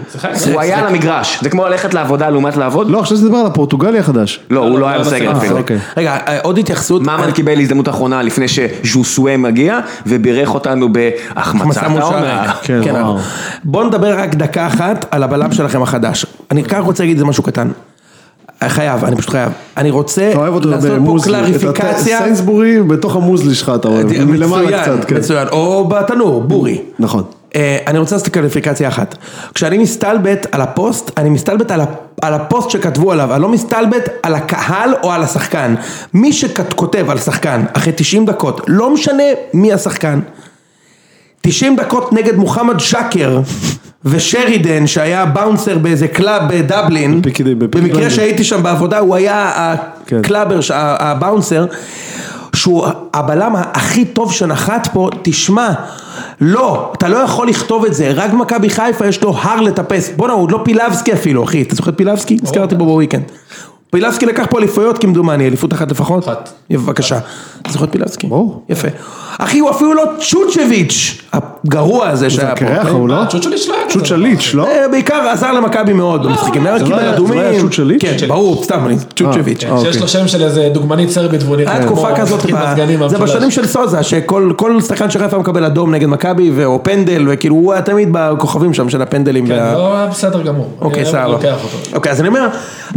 [SPEAKER 1] הוא היה על המגרש, זה כמו ללכת לעבודה לעומת לעבוד?
[SPEAKER 3] לא, עכשיו זה דבר על הפורטוגלי
[SPEAKER 2] כן,
[SPEAKER 3] החדש.
[SPEAKER 1] לא, הוא לא היה בסגל
[SPEAKER 4] בסגל.
[SPEAKER 1] אפילו.
[SPEAKER 3] אוקיי.
[SPEAKER 2] רגע, אה, עוד התייחסות.
[SPEAKER 1] ממן קיבל הזדמנות אחרונה לפני שז'וסווה מגיע, ובירך אותנו בהחמצת
[SPEAKER 2] מסע מול
[SPEAKER 1] העומר.
[SPEAKER 2] שער.
[SPEAKER 3] כן,
[SPEAKER 2] כן,
[SPEAKER 3] וואו.
[SPEAKER 2] אבל- בוא נדבר רק דקה אחת על הבלם שלכם החדש. אני רק רוצה להגיד איזה משהו קטן. חייב, אני פשוט חייב. אני רוצה
[SPEAKER 3] אתה אוהב אותו
[SPEAKER 2] לעשות פה
[SPEAKER 3] במוזלי. את
[SPEAKER 2] קלריפיקציה.
[SPEAKER 3] הת- סיינסבורי בתוך המוזלי שלך אתה אוהב. מלמעלה קצת, כן.
[SPEAKER 2] מצוין, או בתנור, בורי.
[SPEAKER 3] נכון.
[SPEAKER 2] אה, אני רוצה לעשות קליפיקציה אחת. כשאני מסתלבט על הפוסט, אני מסתלבט על, ה- על הפוסט שכתבו עליו, אני לא מסתלבט על הקהל או על השחקן. מי שכותב על שחקן אחרי 90 דקות, לא משנה מי השחקן, 90 דקות נגד מוחמד שקר ושרידן שהיה באונסר באיזה קלאב בדבלין,
[SPEAKER 3] בפיקי- בפיקי
[SPEAKER 2] במקרה
[SPEAKER 3] בליינדר.
[SPEAKER 2] שהייתי שם בעבודה הוא היה
[SPEAKER 3] כן.
[SPEAKER 2] הקלאבר, ש- ה- הבאונסר, שהוא הבלם הכי טוב שנחת פה, תשמע, לא, אתה לא יכול לכתוב את זה, רק מכבי חיפה יש לו הר לטפס, בואנה הוא עוד לא פילבסקי אפילו אחי, אתה זוכר את פילבסקי? הזכרתי בו בוויקנד. פילבסקי לקח פה אליפויות כמדומני, אליפות אחת לפחות?
[SPEAKER 4] אחת.
[SPEAKER 2] יפה, בבקשה. אתה זוכר את פילבסקי? ברור. יפה. אחי, הוא אפילו לא צ'וצ'ביץ', הגרוע הזה שהיה פה. אוקיי?
[SPEAKER 3] קרח, הוא לא?
[SPEAKER 4] צ'וצ'ליץ' לא היה כזה
[SPEAKER 3] צ'וצ'ליץ', לא?
[SPEAKER 2] אה, בעיקר עזר למכבי מאוד במשחקים, היה
[SPEAKER 3] לא
[SPEAKER 2] קיבל
[SPEAKER 3] היה-
[SPEAKER 2] אדומים.
[SPEAKER 3] זה לא היה צ'וצ'ביץ'? אה,
[SPEAKER 2] כן, ברור, סתם, אני- צ'וצ'ביץ'.
[SPEAKER 4] כן, שיש לו שם של איזה דוגמנית סרבית והוא נראה
[SPEAKER 2] היה אה, אוקיי. תקופה כזאת,
[SPEAKER 4] משחקים
[SPEAKER 2] ב-
[SPEAKER 4] בסגנים
[SPEAKER 2] זה
[SPEAKER 4] מהמשולש.
[SPEAKER 2] בשנים של סוזה, שכל כל שחקן של חיפה מקבל אדום נגד מכבי, ו- או פנדל, וכאילו הוא היה תמיד בכוכבים שם של הפנדלים. וה-
[SPEAKER 4] כן, לא, בסדר גמור.
[SPEAKER 2] אה. אוקיי,
[SPEAKER 4] אני
[SPEAKER 2] סבבה.
[SPEAKER 4] לוקח אותו.
[SPEAKER 2] אוקיי, אז אני אומר,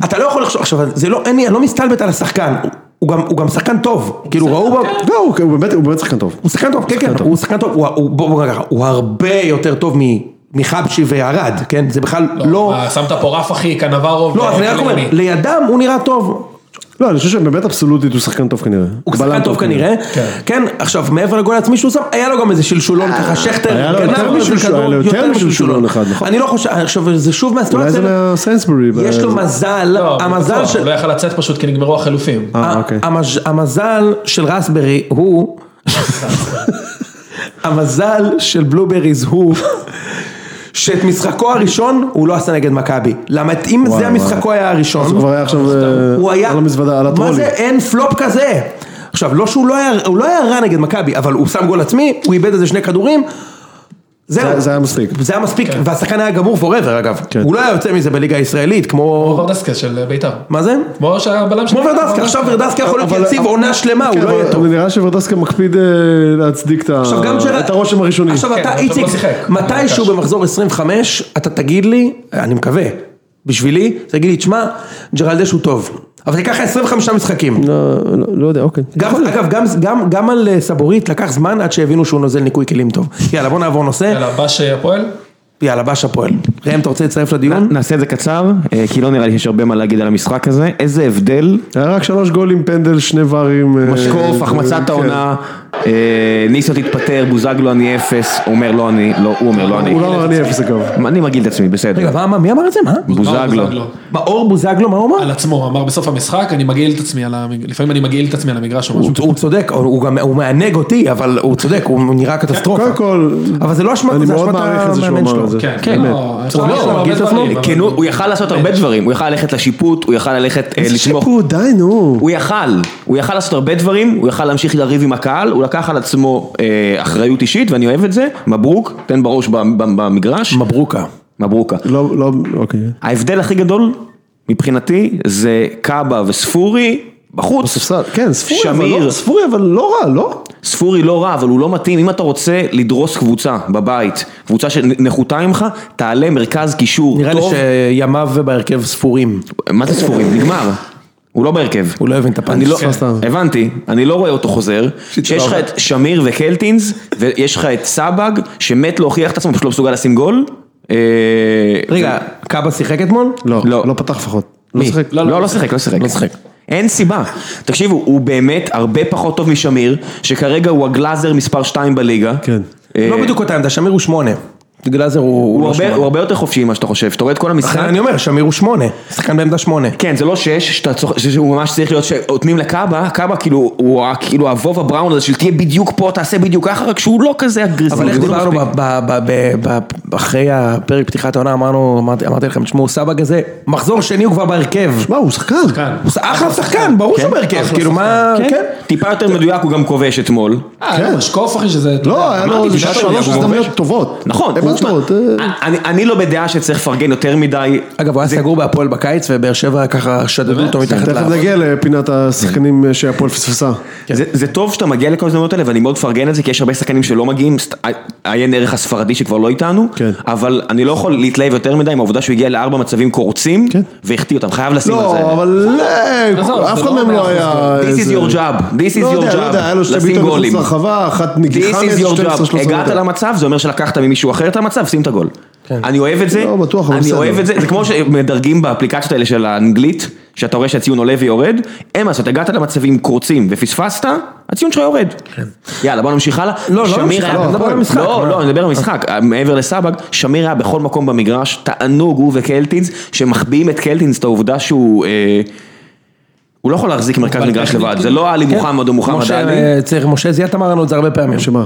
[SPEAKER 2] אתה לא יכול לחשוב, עכשיו, זה לא, אין לי, אני לא מסתלבט על השחקן, הוא- הוא גם- הוא גם שחקן טוב, כאילו ראו בו,
[SPEAKER 3] לא, הוא- הוא באמת- הוא באמת שחקן טוב.
[SPEAKER 2] הוא שחקן טוב, כן כן, הוא שחקן טוב, הוא- הוא- בוא נגיד ככה, הוא הרבה יותר טוב מ- מחבשי וערד, כן? זה בכלל לא,
[SPEAKER 4] מה, אה, שמת פה רף אחי, אה, קנברוב.
[SPEAKER 2] לא, אז אני רק אומר,
[SPEAKER 4] וקליני.
[SPEAKER 2] לידם הוא נראה טוב,
[SPEAKER 3] לא, אני חושב שבאמת אבסולוטית הוא שחקן טוב כנראה.
[SPEAKER 2] הוא שחקן
[SPEAKER 3] בלם
[SPEAKER 2] טוב כנראה, כן, עכשיו מעבר לגול העצמי שהוא שם, היה לו גם איזה שלשולון
[SPEAKER 4] אה,
[SPEAKER 2] ככה, שכטר,
[SPEAKER 3] היה לו
[SPEAKER 2] גנב
[SPEAKER 3] יותר
[SPEAKER 2] לו איזה
[SPEAKER 3] משלשול-
[SPEAKER 2] כדור,
[SPEAKER 3] היה לו יותר משלשולון אחד, נכון.
[SPEAKER 2] אני לא חושב, עכשיו זה שוב
[SPEAKER 3] אולי זה לא
[SPEAKER 2] מהסיטואציה,
[SPEAKER 3] מהסיינסבורי.
[SPEAKER 2] יש לו
[SPEAKER 3] ב-
[SPEAKER 2] מזל,
[SPEAKER 4] לא,
[SPEAKER 2] המזל
[SPEAKER 4] בטוח,
[SPEAKER 2] של...
[SPEAKER 4] הוא לא יכל לצאת פשוט כי נגמרו החילופים.
[SPEAKER 3] אה, אוקיי.
[SPEAKER 2] המז- המזל של רסברי הוא, המזל של בלובריז הוא, שאת משחקו הראשון הוא לא עשה נגד מכבי. למה את- אם
[SPEAKER 3] וואי,
[SPEAKER 2] זה המשחקו היה
[SPEAKER 3] אז הוא
[SPEAKER 2] הראשון,
[SPEAKER 3] כבר היה עכשיו
[SPEAKER 2] הוא
[SPEAKER 3] אה,
[SPEAKER 2] היה,
[SPEAKER 3] על המזוודה, על
[SPEAKER 2] מה
[SPEAKER 3] הטרולי.
[SPEAKER 2] זה אין פלופ כזה? עכשיו לא שהוא לא היה, הוא לא היה רע נגד מכבי, אבל הוא שם גול עצמי, הוא איבד איזה שני כדורים, זהו.
[SPEAKER 3] זה- זה היה מספיק.
[SPEAKER 2] זה היה מספיק, והשחקן היה גמור forever אגב,
[SPEAKER 3] כן.
[SPEAKER 2] הוא לא היה יוצא מזה בליגה הישראלית,
[SPEAKER 4] כמו
[SPEAKER 2] כמו,
[SPEAKER 4] ורדסקה של בית"ר.
[SPEAKER 2] מה זה?
[SPEAKER 4] כמו שהבלם של...
[SPEAKER 2] כמו ורדסקי, עכשיו ורדסקי יכול להיות יציב עונה שלמה, הוא
[SPEAKER 3] כן,
[SPEAKER 2] לא
[SPEAKER 3] אבל-
[SPEAKER 2] יהיה טוב.
[SPEAKER 3] אבל נראה שוורדסקה מקפיד אה, להצדיק את ה-
[SPEAKER 2] עכשיו גם ג'רד...
[SPEAKER 3] את הרושם הראשוני.
[SPEAKER 2] עכשיו
[SPEAKER 4] כן,
[SPEAKER 2] אתה,
[SPEAKER 4] אבל הוא
[SPEAKER 2] איציק,
[SPEAKER 4] לא שיחק.
[SPEAKER 2] מתישהו
[SPEAKER 4] הוא
[SPEAKER 2] במחזור 25, אתה תגיד לי, אני מקווה, בשבילי, תגיד לי, תשמע, ג'רלדש הוא טוב. אבל זה ייקח לך 25 משחקים.
[SPEAKER 3] לא- לא- לא יודע, אוקיי.
[SPEAKER 2] גם, אגב, גם, גם, גם על אה, סבורית לקח זמן עד שהבינו שהוא נוזל ניקוי כלים טוב. יאללה, בוא נעבור נושא.
[SPEAKER 4] יאללה, בש הפועל.
[SPEAKER 2] יאללה, בש הפועל. ראם, אתה רוצה להצטרף לדיון?
[SPEAKER 1] נעשה את זה קצר, אה, כי לא נראה לי שיש הרבה מה להגיד על המשחק הזה. איזה הבדל,
[SPEAKER 3] היה רק שלוש גולים, פנדל, שני ברים. אה,
[SPEAKER 1] משקוף,
[SPEAKER 3] אה,
[SPEAKER 1] החמצת
[SPEAKER 3] כן.
[SPEAKER 1] העונה, אה, ניסו תתפטר, בוזגלו אני אפס, הוא אומר לא אני, לא, הוא אומר לא אני.
[SPEAKER 3] הוא לא אמר אני אפס אגב.
[SPEAKER 1] אני מגעיל את עצמי,
[SPEAKER 2] רגע,
[SPEAKER 1] בסדר.
[SPEAKER 2] מה, מה- מי אמר את זה? מה?
[SPEAKER 1] בוזגלו.
[SPEAKER 2] מאור בוזגלו, מה הוא אמר?
[SPEAKER 4] על עצמו, אמר בסוף המשחק, אני מגעיל את עצמי על המגרש, לפעמים אני מגעיל את עצמי על המגרש או משהו.
[SPEAKER 2] הוא הוא צודק, הוא הוא גם, הוא מענג אותי, אבל הוא צודק, הוא נראה קטסטרופה.
[SPEAKER 3] קודם כל,
[SPEAKER 2] אבל זה לא אשמת,
[SPEAKER 3] אני
[SPEAKER 2] זה
[SPEAKER 3] מאוד
[SPEAKER 2] אשמת
[SPEAKER 3] מעריך את זה שהוא
[SPEAKER 2] המאמן
[SPEAKER 3] אמר
[SPEAKER 2] שלו.
[SPEAKER 3] את זה.
[SPEAKER 4] כן,
[SPEAKER 1] כן.
[SPEAKER 4] לא,
[SPEAKER 1] הוא
[SPEAKER 4] אפשר לעשות
[SPEAKER 2] לא,
[SPEAKER 4] הרבה
[SPEAKER 2] מרגיל את
[SPEAKER 4] דברים,
[SPEAKER 2] עצמו.
[SPEAKER 4] אבל-
[SPEAKER 1] כן, הוא הוא יכל לעשות הרבה דברים, הוא יכל ללכת לשיפוט, הוא יכל ללכת אה, לתמוך.
[SPEAKER 3] שיפוט, די נו.
[SPEAKER 1] הוא יכל, הוא יכל לעשות הרבה דברים, הוא יכל להמשיך לריב עם הקהל, הוא לקח על עצמו אה, אחריות אישית ואני אוהב את זה, מברוק, תן בראש ב- ב- במגרש,
[SPEAKER 2] מברוקה.
[SPEAKER 1] מברוקה.
[SPEAKER 3] לא, לא, אוקיי.
[SPEAKER 1] ההבדל הכי גדול מבחינתי זה קאבה וספורי בחוץ,
[SPEAKER 3] בספסל, כן, ספורי, אבל
[SPEAKER 1] שמיר.
[SPEAKER 3] לא, ספורי, אבל לא רע, לא?
[SPEAKER 1] ספורי לא רע אבל הוא לא מתאים, אם אתה רוצה לדרוס קבוצה בבית, קבוצה שנחותה ממך, תעלה מרכז קישור
[SPEAKER 2] נראה לי
[SPEAKER 1] טוב,
[SPEAKER 2] שימיו בהרכב ספורים.
[SPEAKER 1] מה זה ספורים? נגמר. הוא לא בהרכב.
[SPEAKER 2] הוא לא הבין את הפאנץ'.
[SPEAKER 1] אני לא,
[SPEAKER 2] כן.
[SPEAKER 1] הבנתי, אני לא רואה אותו חוזר, שיש לך את שמיר וקלטינס, ויש לך את סבג, שמת להוכיח את עצמו, פשוט לא מסוגל לשים גול. אה,
[SPEAKER 2] רגע, קאבה שיחק אתמול?
[SPEAKER 3] לא,
[SPEAKER 1] לא.
[SPEAKER 3] לא פתח לפחות. לא
[SPEAKER 1] מי?
[SPEAKER 3] שיחק.
[SPEAKER 1] לא, לא שיחק, לא שיחק.
[SPEAKER 2] לא שיחק.
[SPEAKER 1] אין סיבה. תקשיבו, הוא באמת הרבה פחות טוב משמיר, שכרגע הוא הגלאזר מספר 2 בליגה.
[SPEAKER 3] כן.
[SPEAKER 1] אה,
[SPEAKER 2] לא בדיוק אותה עמדה, שמיר הוא שמונה. גלאזר הוא
[SPEAKER 1] הוא
[SPEAKER 2] לא
[SPEAKER 1] הרבה-
[SPEAKER 2] שמונה.
[SPEAKER 1] הוא הרבה יותר חופשי ממה שאתה חושב, שאתה רואה את כל המשחק.
[SPEAKER 2] לכן אני אומר, שמיר הוא שמונה. שחקן בעמדה שמונה.
[SPEAKER 1] כן, זה לא שש, שאתה צוח... שהוא ממש צריך להיות שאוטמים לקאבה, קאבה כאילו, הוא ה- כאילו הוובה בראון הזה של תהיה בדיוק פה, תעשה בדיוק ככה, רק שהוא לא כזה אגרסיבי.
[SPEAKER 2] אבל איך
[SPEAKER 1] הוא לא
[SPEAKER 2] דיברנו
[SPEAKER 1] מספיק.
[SPEAKER 2] ב- ב- ב- ב- ב- אחרי הפרק פתיחת העונה, אמרנו, אמרתי אמרתי לכם, תשמעו, סבג הזה, מחזור שני הוא כבר בהרכב.
[SPEAKER 3] מה, הוא שחקן.
[SPEAKER 4] כאן.
[SPEAKER 2] הוא אחלה שחקן, ברור שהוא בהרכב. כאילו מה,
[SPEAKER 1] כן,
[SPEAKER 2] כן.
[SPEAKER 1] טיפה יותר מדויק, הוא גם כובש אתמול.
[SPEAKER 4] אה, משקוף אחי שזה... אתה יודע,
[SPEAKER 3] לא, היה לו
[SPEAKER 1] אמרתי,
[SPEAKER 3] איזה
[SPEAKER 1] תשעה
[SPEAKER 3] שלוש
[SPEAKER 1] שערים, הוא
[SPEAKER 3] הזדמנויות טובות.
[SPEAKER 1] נכון,
[SPEAKER 3] מה מטרות. אה,
[SPEAKER 1] אני- אני לא בדעה שצריך לפרגן יותר מדי.
[SPEAKER 2] אגב, הוא היה סגור בהפועל בקיץ, ובאר שבע ככה שדדו אותו מתחת
[SPEAKER 3] תכף
[SPEAKER 2] לאף.
[SPEAKER 3] נגיע לפינת השחקנים אה,
[SPEAKER 1] כן.
[SPEAKER 3] שהפועל פספסה.
[SPEAKER 2] כן.
[SPEAKER 1] זה- זה טוב שאתה מגיע לכל הזדמנות האלה, ואני מאוד מפרגן את זה, כי יש הרבה שחקנים שלא מגיעים, סט- עיין ערך הספרדי שכבר לא איתנו,
[SPEAKER 3] כן.
[SPEAKER 1] אבל אני לא יכול להתלהב יותר מדי עם העובדה שהוא הגיע לארבע מצבים קורצים,
[SPEAKER 3] כן.
[SPEAKER 1] והחטיא אותם, חייב לשים על זה.
[SPEAKER 3] לא, אבל
[SPEAKER 4] עזוב,
[SPEAKER 3] אה, אף
[SPEAKER 4] זה
[SPEAKER 3] אחד
[SPEAKER 4] לא
[SPEAKER 3] מהם לא
[SPEAKER 4] מאה אחוז
[SPEAKER 3] היה...
[SPEAKER 1] This is
[SPEAKER 3] איזה-
[SPEAKER 1] your job, this is
[SPEAKER 3] לא
[SPEAKER 1] your
[SPEAKER 3] יודע, לא
[SPEAKER 1] job,
[SPEAKER 3] יודע, היה לו שתי
[SPEAKER 1] לשים
[SPEAKER 3] בעיטות מחוץ
[SPEAKER 1] גולים.
[SPEAKER 3] לרחבה, אחת
[SPEAKER 1] This
[SPEAKER 3] נגיחה,
[SPEAKER 1] is
[SPEAKER 3] מאיזה
[SPEAKER 1] your
[SPEAKER 3] 12,
[SPEAKER 1] job,
[SPEAKER 3] 13
[SPEAKER 1] הגעת
[SPEAKER 3] מטר.
[SPEAKER 1] למצב, זה אומר שלקחת ממישהו אחר את המצב, שים את הגול. אני אוהב את זה,
[SPEAKER 3] לא בטוח, אבל
[SPEAKER 1] אני
[SPEAKER 3] בסדר.
[SPEAKER 1] אוהב את זה, זה כמו שמדרגים באפליקציות האלה של האנגלית, שאתה רואה שהציון עולה ויורד, אין מה לעשות, הגעת למצבים קורצים ופספסת, הציון שלך יורד. יאללה, בוא נמשיך הלאה.
[SPEAKER 2] לא, לא
[SPEAKER 1] שמיר
[SPEAKER 2] נמשיך,
[SPEAKER 1] היה-
[SPEAKER 2] לא, נדבר על המשחק.
[SPEAKER 1] לא, לא, אני מדבר על המשחק, מעבר לסבג, שמיר היה בכל מקום במגרש, תענוג הוא וקלטינס, שמחביאים את קלטינס את העובדה שהוא... אה, הוא לא יכול להחזיק מרכז מגרש לבד, זה לא עלי מוחמד או מוחמד
[SPEAKER 2] משה,
[SPEAKER 1] עלי.
[SPEAKER 2] אה, צריך, משה זיאת אמר לנו את זה הרבה פעמים.
[SPEAKER 1] לא,
[SPEAKER 3] שמה?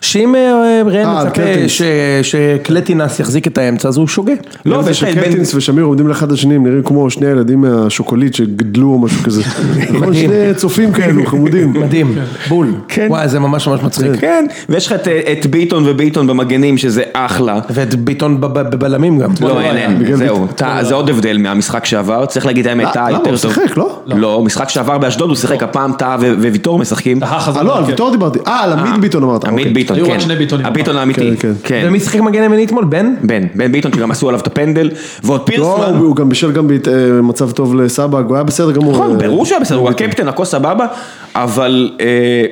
[SPEAKER 2] שאם אה,
[SPEAKER 3] אה,
[SPEAKER 2] ראם מצפה
[SPEAKER 3] קלטינס.
[SPEAKER 2] ש- שקלטינס יחזיק את האמצע, אז הוא שוגה.
[SPEAKER 1] לא,
[SPEAKER 3] לא, זה
[SPEAKER 1] ויש להם בין-
[SPEAKER 3] שקלטינס ושמיר עומדים לאחד לשני, הם נראים כמו שני ילדים מהשוקולית שגדלו או משהו כזה. כמו שני צופים כאלו, חמודים.
[SPEAKER 2] מדהים, בול.
[SPEAKER 1] כן.
[SPEAKER 2] וואי, זה ממש ממש מצחיק.
[SPEAKER 1] כן, ויש לך את- את ביטון וביטון במגנים שזה אחלה.
[SPEAKER 2] ואת ביטון בב- בבלמים גם.
[SPEAKER 1] לא, אין, אין,
[SPEAKER 3] בגלל
[SPEAKER 1] זהו, אתה- זה עוד הבדל מהמשחק שעבר, צריך להגיד את האמת, טאה
[SPEAKER 3] למה?
[SPEAKER 1] יותר
[SPEAKER 3] הוא
[SPEAKER 1] טוב.
[SPEAKER 3] שיחק, לא?
[SPEAKER 1] לא, משחק שעבר באשדוד הוא שיחק, הפעם טאה ו- וויטור משחקים.
[SPEAKER 4] טהה חזר
[SPEAKER 3] אה, לא, על
[SPEAKER 4] להרכב.
[SPEAKER 3] ויטור דיברתי. אה, על עמית ביטון אמרת.
[SPEAKER 1] כן. עמית
[SPEAKER 3] אוקיי.
[SPEAKER 1] ביטון,
[SPEAKER 4] היו
[SPEAKER 1] כן.
[SPEAKER 4] רק שני ביטונים.
[SPEAKER 1] הביטון האמיתי,
[SPEAKER 3] כן,
[SPEAKER 1] כן.
[SPEAKER 2] ומי שיחק מגן ימני אתמול? בן?
[SPEAKER 1] בן, בן ביטון שגם עשו עליו את הפנדל, ועוד
[SPEAKER 3] לא,
[SPEAKER 1] פירסמן.
[SPEAKER 3] הוא הוא גם בישל גם במצב טוב לסבג, הוא היה בסדר גמור.
[SPEAKER 1] נכון,
[SPEAKER 3] אה,
[SPEAKER 1] ברור שהיה בסדר, הוא הקפטן, הכל סבבה, אבל אה,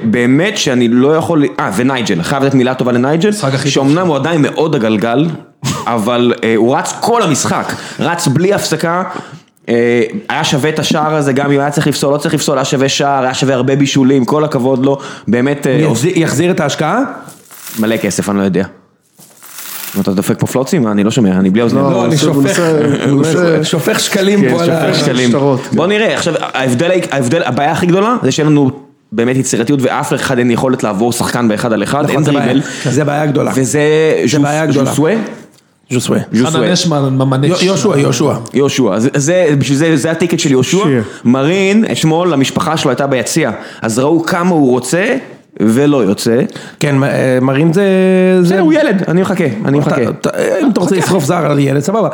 [SPEAKER 1] באמת שאני לא יכול, אה, ונייג'ל, חייב לתת מילה טובה לנייג'ל,
[SPEAKER 4] המשחק הכי טוב
[SPEAKER 1] שאומנם הוא עדיין מאוד הגלגל, אבל אה, הוא רץ כל המשחק, רץ בלי הפסקה. אה, היה שווה את השער הזה, גם אם היה צריך לפסול, לא צריך לפסול, היה שווה שער, היה שווה הרבה בישולים, כל הכבוד לו, באמת אה,
[SPEAKER 2] יחזיר- יחזיר את ההשקעה?
[SPEAKER 1] מלא כסף, אני לא יודע. נו, אתה דופק פה פלוצים? אני לא שומע, אני בלי אוזניים.
[SPEAKER 3] לא,
[SPEAKER 2] לא, אני
[SPEAKER 3] הוא
[SPEAKER 2] שופך,
[SPEAKER 3] עושה- הוא עושה-
[SPEAKER 2] שופך שקלים
[SPEAKER 1] כן,
[SPEAKER 2] פה על ה...
[SPEAKER 1] שופך שקלים.
[SPEAKER 3] שטרות, כן.
[SPEAKER 1] בוא נראה, עכשיו ההבדל, ההבדל, הבעיה הכי גדולה זה שאין לנו באמת יצירתיות ואף אחד אין יכולת לעבור שחקן באחד על אחד, אין
[SPEAKER 2] נכון, זה בעיה.
[SPEAKER 1] דריבל.
[SPEAKER 2] זה בעיה גדולה.
[SPEAKER 1] וזה ז'וס-
[SPEAKER 2] בעיה גדולה.
[SPEAKER 1] ז'וסווה?
[SPEAKER 2] ז'וסווה.
[SPEAKER 1] ז'וסווה.
[SPEAKER 4] חנן נשמן ממנש.
[SPEAKER 2] יו- יהושע, יהושע.
[SPEAKER 1] יהושע, זה- זה, בשביל זה, זה הטיקט של יהושע,
[SPEAKER 3] שיר.
[SPEAKER 1] מרין, אתמול המשפחה שלו הייתה ביציע, אז ראו כמה הוא רוצה ולא יוצא,
[SPEAKER 2] כן, מ- אה, מרין זה... זה-
[SPEAKER 1] זהו ילד, אני מחכה, אני מחכה.
[SPEAKER 2] אתה- אתה- אם אתה רוצה לשרוף זר על ילד, סבבה.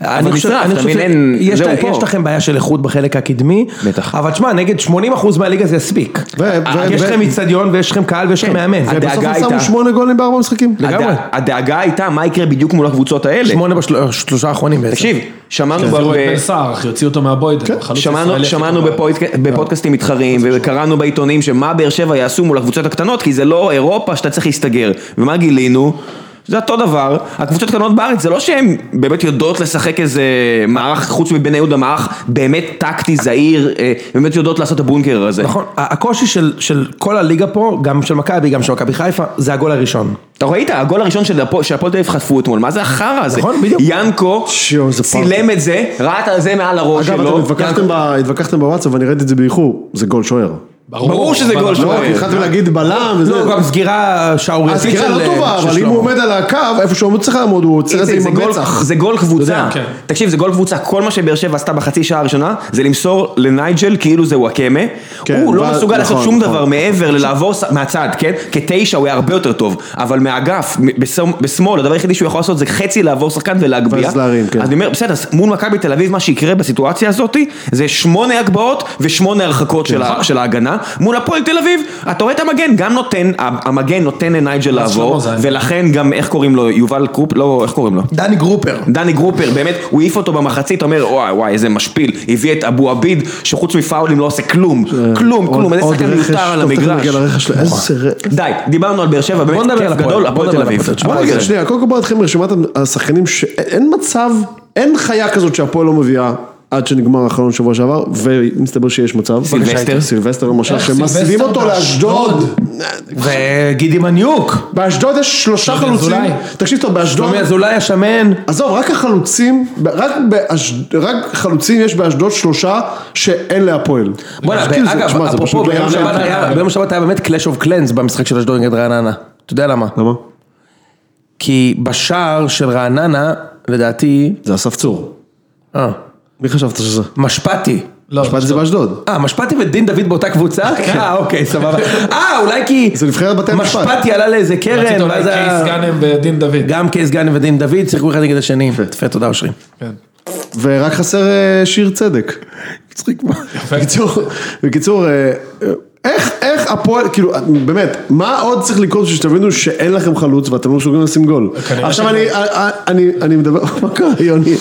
[SPEAKER 2] אני חושב-
[SPEAKER 1] נשרף,
[SPEAKER 2] אני
[SPEAKER 1] אתה
[SPEAKER 2] חושב
[SPEAKER 1] מבין? אין-
[SPEAKER 2] שיש
[SPEAKER 1] זהו,
[SPEAKER 2] לה-
[SPEAKER 1] פה.
[SPEAKER 2] יש לכם בעיה של איכות בחלק הקדמי.
[SPEAKER 1] בטח.
[SPEAKER 2] אבל תשמע, נגד 80% מהליגה זה יספיק.
[SPEAKER 3] ו- ו-
[SPEAKER 2] יש
[SPEAKER 3] ו-
[SPEAKER 2] לכם איצטדיון ויש לכם קהל ויש לכם מאמן. זה
[SPEAKER 1] הדאגה
[SPEAKER 3] בסוף הם שמו
[SPEAKER 1] הייתה-
[SPEAKER 3] שמונה גולים בארבע משחקים.
[SPEAKER 2] לגמרי.
[SPEAKER 1] הדע- הדאגה הייתה מה יקרה בדיוק מול הקבוצות האלה.
[SPEAKER 2] שמונה כן. בשלושה האחרונים בעצם.
[SPEAKER 1] תקשיב, שמענו
[SPEAKER 4] תחזירו את
[SPEAKER 1] ב-
[SPEAKER 4] כן. בן סער, אחי, הוציאו אותו מהבוידן. החלוץ
[SPEAKER 1] כן. שמענו,
[SPEAKER 4] הישראלי הכי
[SPEAKER 1] שמענו
[SPEAKER 4] טוב
[SPEAKER 1] בפודק- בפודקאסטים מתחרים וקראנו בעיתונים שמה באר שבע יעשו מול הקבוצות הקטנות כי זה לא אירופה שאתה צריך להסתגר ומה גילינו? זה אותו דבר, הקבוצות הקטנות בארץ זה לא שהן באמת יודעות לשחק איזה מערך חוץ מבני יהודה מערך באמת טקטי זהיר, אה, באמת יודעות לעשות את הבונקר הזה.
[SPEAKER 2] נכון, ה- הקושי של, של כל הליגה פה, גם של מכבי, גם של מכבי חיפה, זה הגול הראשון.
[SPEAKER 1] אתה ראית, הגול הראשון של הפועל של הפועל תל אביב חטפו אתמול, מה זה החרא הזה?
[SPEAKER 2] נכון, בדיוק.
[SPEAKER 1] ינקו
[SPEAKER 3] שיו, זה פרטי.
[SPEAKER 1] צילם את זה, ראה את זה מעל הראש
[SPEAKER 3] אגב,
[SPEAKER 1] שלו.
[SPEAKER 3] אתם התווכחתם ב- התווכחתם בוואטסאפ ואני ראיתי את זה באיחור, זה גול שוער.
[SPEAKER 1] ברור שזה גול
[SPEAKER 3] לא,
[SPEAKER 1] שוער.
[SPEAKER 3] כי התחלתם להגיד בלם וזה.
[SPEAKER 2] לא, גם סגירה שערורייתית
[SPEAKER 3] הסגירה
[SPEAKER 1] אה,
[SPEAKER 3] לא טובה, אבל אם הוא עומד על הקו, איפה שהוא צריך לעמוד, הוא עוצר את זה
[SPEAKER 1] איציק, זה
[SPEAKER 3] עם
[SPEAKER 1] גול-
[SPEAKER 3] המצח.
[SPEAKER 1] זה גול קבוצה,
[SPEAKER 4] כן.
[SPEAKER 1] תקשיב זה גול קבוצה, כל מה שבאר שבע עשתה בחצי שעה הראשונה זה למסור לנייג'ל כאילו זה וואקמה,
[SPEAKER 3] כן,
[SPEAKER 1] הוא לא
[SPEAKER 3] ואז-
[SPEAKER 1] מסוגל לעשות
[SPEAKER 3] נכון,
[SPEAKER 1] שום
[SPEAKER 3] נכון.
[SPEAKER 1] דבר מעבר ללעבור ס- מהצד, כן? כתשע הוא היה הרבה יותר טוב, אבל מהאגף, מ- בשמ- בשמאל, הדבר היחידי שהוא יכול לעשות זה חצי לעבור שחקן ולהגביה,
[SPEAKER 3] ואז להרים, כן.
[SPEAKER 1] אז אני אומר בסדר, אז מול מכבי תל אביב מה שיקרה בסיטואציה הזאת זה שמונה הגבהות ושמונה הרחקות של
[SPEAKER 2] כן.
[SPEAKER 1] ה- של ההגנה, מול הפועל תל אביב, אתה רואה את המגן, גם נותן, המגן נותן לנייג'ל לעבור,
[SPEAKER 4] שלמה זין.
[SPEAKER 1] ולכן גם איך קוראים לו, יובל קרופ, לא, איך קוראים לו?
[SPEAKER 2] דני גרופר.
[SPEAKER 1] דני גרופר, באמת, הוא העיף אותו במחצית, אומר, וואי, וואי, איזה משפיל, הביא את אבו עביד, שחוץ מפאולים לא עושה כלום,
[SPEAKER 2] כן.
[SPEAKER 1] כלום, כלום, איזה שחקן מיותר על המגרש. נכון. די, דיברנו על באר שבע,
[SPEAKER 2] בוא
[SPEAKER 1] באמת,
[SPEAKER 2] נדבר
[SPEAKER 1] כיף
[SPEAKER 2] על הפועל,
[SPEAKER 1] גדול,
[SPEAKER 2] בוא
[SPEAKER 1] הפועל
[SPEAKER 2] נדבר
[SPEAKER 1] תל
[SPEAKER 2] על
[SPEAKER 1] אביב.
[SPEAKER 2] הפועל.
[SPEAKER 1] בוא
[SPEAKER 3] בוא נגיד,
[SPEAKER 1] נגיד,
[SPEAKER 3] שנייה, קודם כל בוא נתחיל מרשימת השחקנים שאין מצב, אין חיה כזאת שהפועל לא מביאה. עד שנגמר החלון שבוע שעבר, ומסתבר שיש מצב.
[SPEAKER 1] סילבסטר. אה,
[SPEAKER 3] סילבסטר למשל,
[SPEAKER 4] איך
[SPEAKER 3] שמסבים
[SPEAKER 4] סילבסטר
[SPEAKER 3] אותו לאשדוד.
[SPEAKER 4] באשדוד?
[SPEAKER 2] וגידי מניוק.
[SPEAKER 3] באשדוד יש שלושה
[SPEAKER 4] שלומי
[SPEAKER 3] חלוצים.
[SPEAKER 4] אזולאי.
[SPEAKER 3] תקשיב טוב, באשדוד...
[SPEAKER 2] שלומי אזולאי השמן.
[SPEAKER 3] עזוב, רק החלוצים, רק, באש... רק חלוצים יש באשדוד שלושה שאין להפועל.
[SPEAKER 2] בואנה,
[SPEAKER 3] תשכיל זה,
[SPEAKER 2] אגב,
[SPEAKER 3] תשמע, זה
[SPEAKER 2] אפרופו, אה,
[SPEAKER 3] פשוט לא
[SPEAKER 2] ביום
[SPEAKER 3] יאמן.
[SPEAKER 2] שבת היה- ביום שבת היה באמת קלאש אוף קלנס במשחק של אשדוד נגד רעננה. אתה יודע למה?
[SPEAKER 3] למה?
[SPEAKER 2] כי בשער של רעננה, לדעתי,
[SPEAKER 3] זה אסף צור.
[SPEAKER 2] אה,
[SPEAKER 3] מי חשבת שזה?
[SPEAKER 2] משפטי.
[SPEAKER 4] לא,
[SPEAKER 3] משפטי זה באשדוד.
[SPEAKER 2] אה, משפטי ודין דוד באותה קבוצה? אה, אוקיי, סבבה. אה, אולי כי...
[SPEAKER 3] זה נבחרת בתי המשפט.
[SPEAKER 2] משפטי עלה לאיזה קרן,
[SPEAKER 4] רצית אולי
[SPEAKER 2] אולי זה... היה-
[SPEAKER 4] קייס גאנם ודין דוד.
[SPEAKER 2] גם קייס גאנם ודין דוד שיחקו אחד נגד השני. יפה, תודה אושרי.
[SPEAKER 4] כן.
[SPEAKER 3] ורק חסר אה, שיר צדק. מצחיק מה. בקיצור, בקיצור, אה, אה, איך, איך הפועל, כאילו, אה, באמת, מה עוד צריך לקרות בשביל שתבינו שאין לכם חלוץ ואתם לא מסוגלים לשים גול?
[SPEAKER 4] כנראה
[SPEAKER 3] עכשיו
[SPEAKER 4] ש-
[SPEAKER 3] אני, אה, אה, אני, אני מדבר, מה קרה, יוני?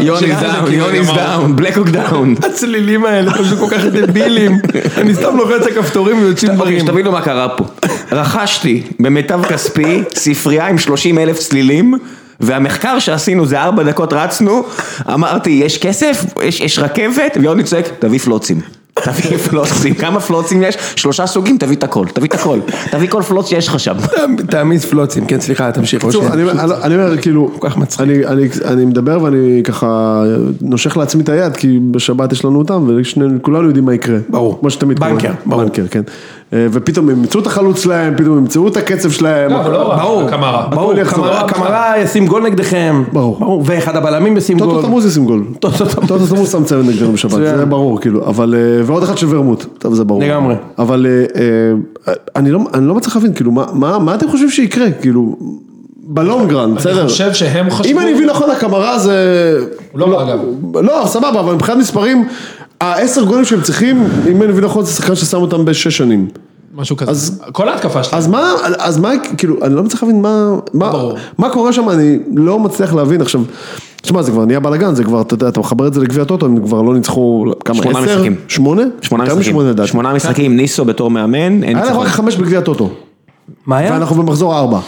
[SPEAKER 5] יוני
[SPEAKER 4] שזה
[SPEAKER 5] דאון,
[SPEAKER 4] כאילו
[SPEAKER 5] יוני
[SPEAKER 4] גם ה-
[SPEAKER 5] דאון, בלקוק דאון.
[SPEAKER 2] הצלילים האלה פשוט כל כך דבילים. אני סתם לוחץ הכפתורים ויוצאים
[SPEAKER 5] אוקיי, שתבינו מה קרה פה. רכשתי במיטב כספי ספרייה עם 30 אלף צלילים, והמחקר שעשינו זה ארבע דקות רצנו, אמרתי, יש כסף? יש, יש רכבת? ויוני צועק, תביא פלוצים. תביא פלוצים, כמה פלוצים יש? שלושה סוגים, תביא את הכל, תביא את הכל, תביא כל פלוץ שיש לך שם.
[SPEAKER 2] תעמיס פלוצים, כן סליחה, תמשיך.
[SPEAKER 3] שוב,
[SPEAKER 2] אושרי.
[SPEAKER 3] אני אני- אני אומר, כאילו,
[SPEAKER 2] כל כך מצחיק.
[SPEAKER 3] אני- אני- אני מדבר ואני ככה נושך לעצמי את היד, כי בשבת יש לנו אותם, וכולנו יודעים מה יקרה.
[SPEAKER 2] ברור.
[SPEAKER 3] כמו שתמיד קורה.
[SPEAKER 2] בנקר, ברור.
[SPEAKER 3] בנקר, כן. אה, ופתאום הם ימצאו את החלוץ שלהם, פתאום הם ימצאו את הקצב שלהם.
[SPEAKER 4] לא, אבל לא
[SPEAKER 2] ברור,
[SPEAKER 4] רק קמרה.
[SPEAKER 2] ברור,
[SPEAKER 3] הכל יחזור.
[SPEAKER 2] קמרה- קמרה ישים גול נגדכם.
[SPEAKER 3] ברור.
[SPEAKER 2] ואחד הבלמים ישים גול.
[SPEAKER 3] טוטו תמוז ישים גול.
[SPEAKER 2] טוטו תמוז.
[SPEAKER 3] טוטו תמוז שם צמד נגדנו בשבת,
[SPEAKER 2] מצוין.
[SPEAKER 3] זה ברור, כאילו, אבל, אה, ועוד אחד של ורמוט, טוב, זה ברור.
[SPEAKER 2] לגמרי.
[SPEAKER 3] אבל אה, אה, אני לא- אני לא מצליח להבין, כאילו, מה- מה מה אתם חושבים שיקרה, כאילו, בלונגרנד, בסדר.
[SPEAKER 4] אני חושב שהם חשבו...
[SPEAKER 3] אם אני מבין נכון, הקמרה זה...
[SPEAKER 4] הוא לא רע, אגב.
[SPEAKER 3] לא, סבבה, אבל מבחינת מספרים, העשר גולים שהם צריכים, אם אני מבין נכון, זה שחקן ששם אותם בשש שנים.
[SPEAKER 4] משהו כזה.
[SPEAKER 3] אז-
[SPEAKER 4] כל ההתקפה שלהם.
[SPEAKER 3] אז מה, אז מה, כאילו, אני לא מצליח להבין מה, מה,
[SPEAKER 4] ברור.
[SPEAKER 3] מה קורה שם, אני לא מצליח להבין עכשיו. תשמע, זה כבר נהיה בלאגן, זה כבר, אתה יודע, אתה מחבר את זה לגביע הטוטו, הם כבר לא ניצחו, כמה,
[SPEAKER 5] שמונה
[SPEAKER 3] עשר?
[SPEAKER 5] משחקים.
[SPEAKER 3] שמונה?
[SPEAKER 5] שמונה
[SPEAKER 2] לא
[SPEAKER 3] יותר משמונה,
[SPEAKER 5] משחקים,
[SPEAKER 3] לדעתי.
[SPEAKER 5] שמונה משחקים, ניסו בתור מאמן, אין
[SPEAKER 2] אה,
[SPEAKER 3] היה לך
[SPEAKER 2] נכון,
[SPEAKER 5] צחוק.
[SPEAKER 3] רק חמש בגביע הטוטו,
[SPEAKER 2] מה היה?
[SPEAKER 3] ואנחנו במחזור ארבע.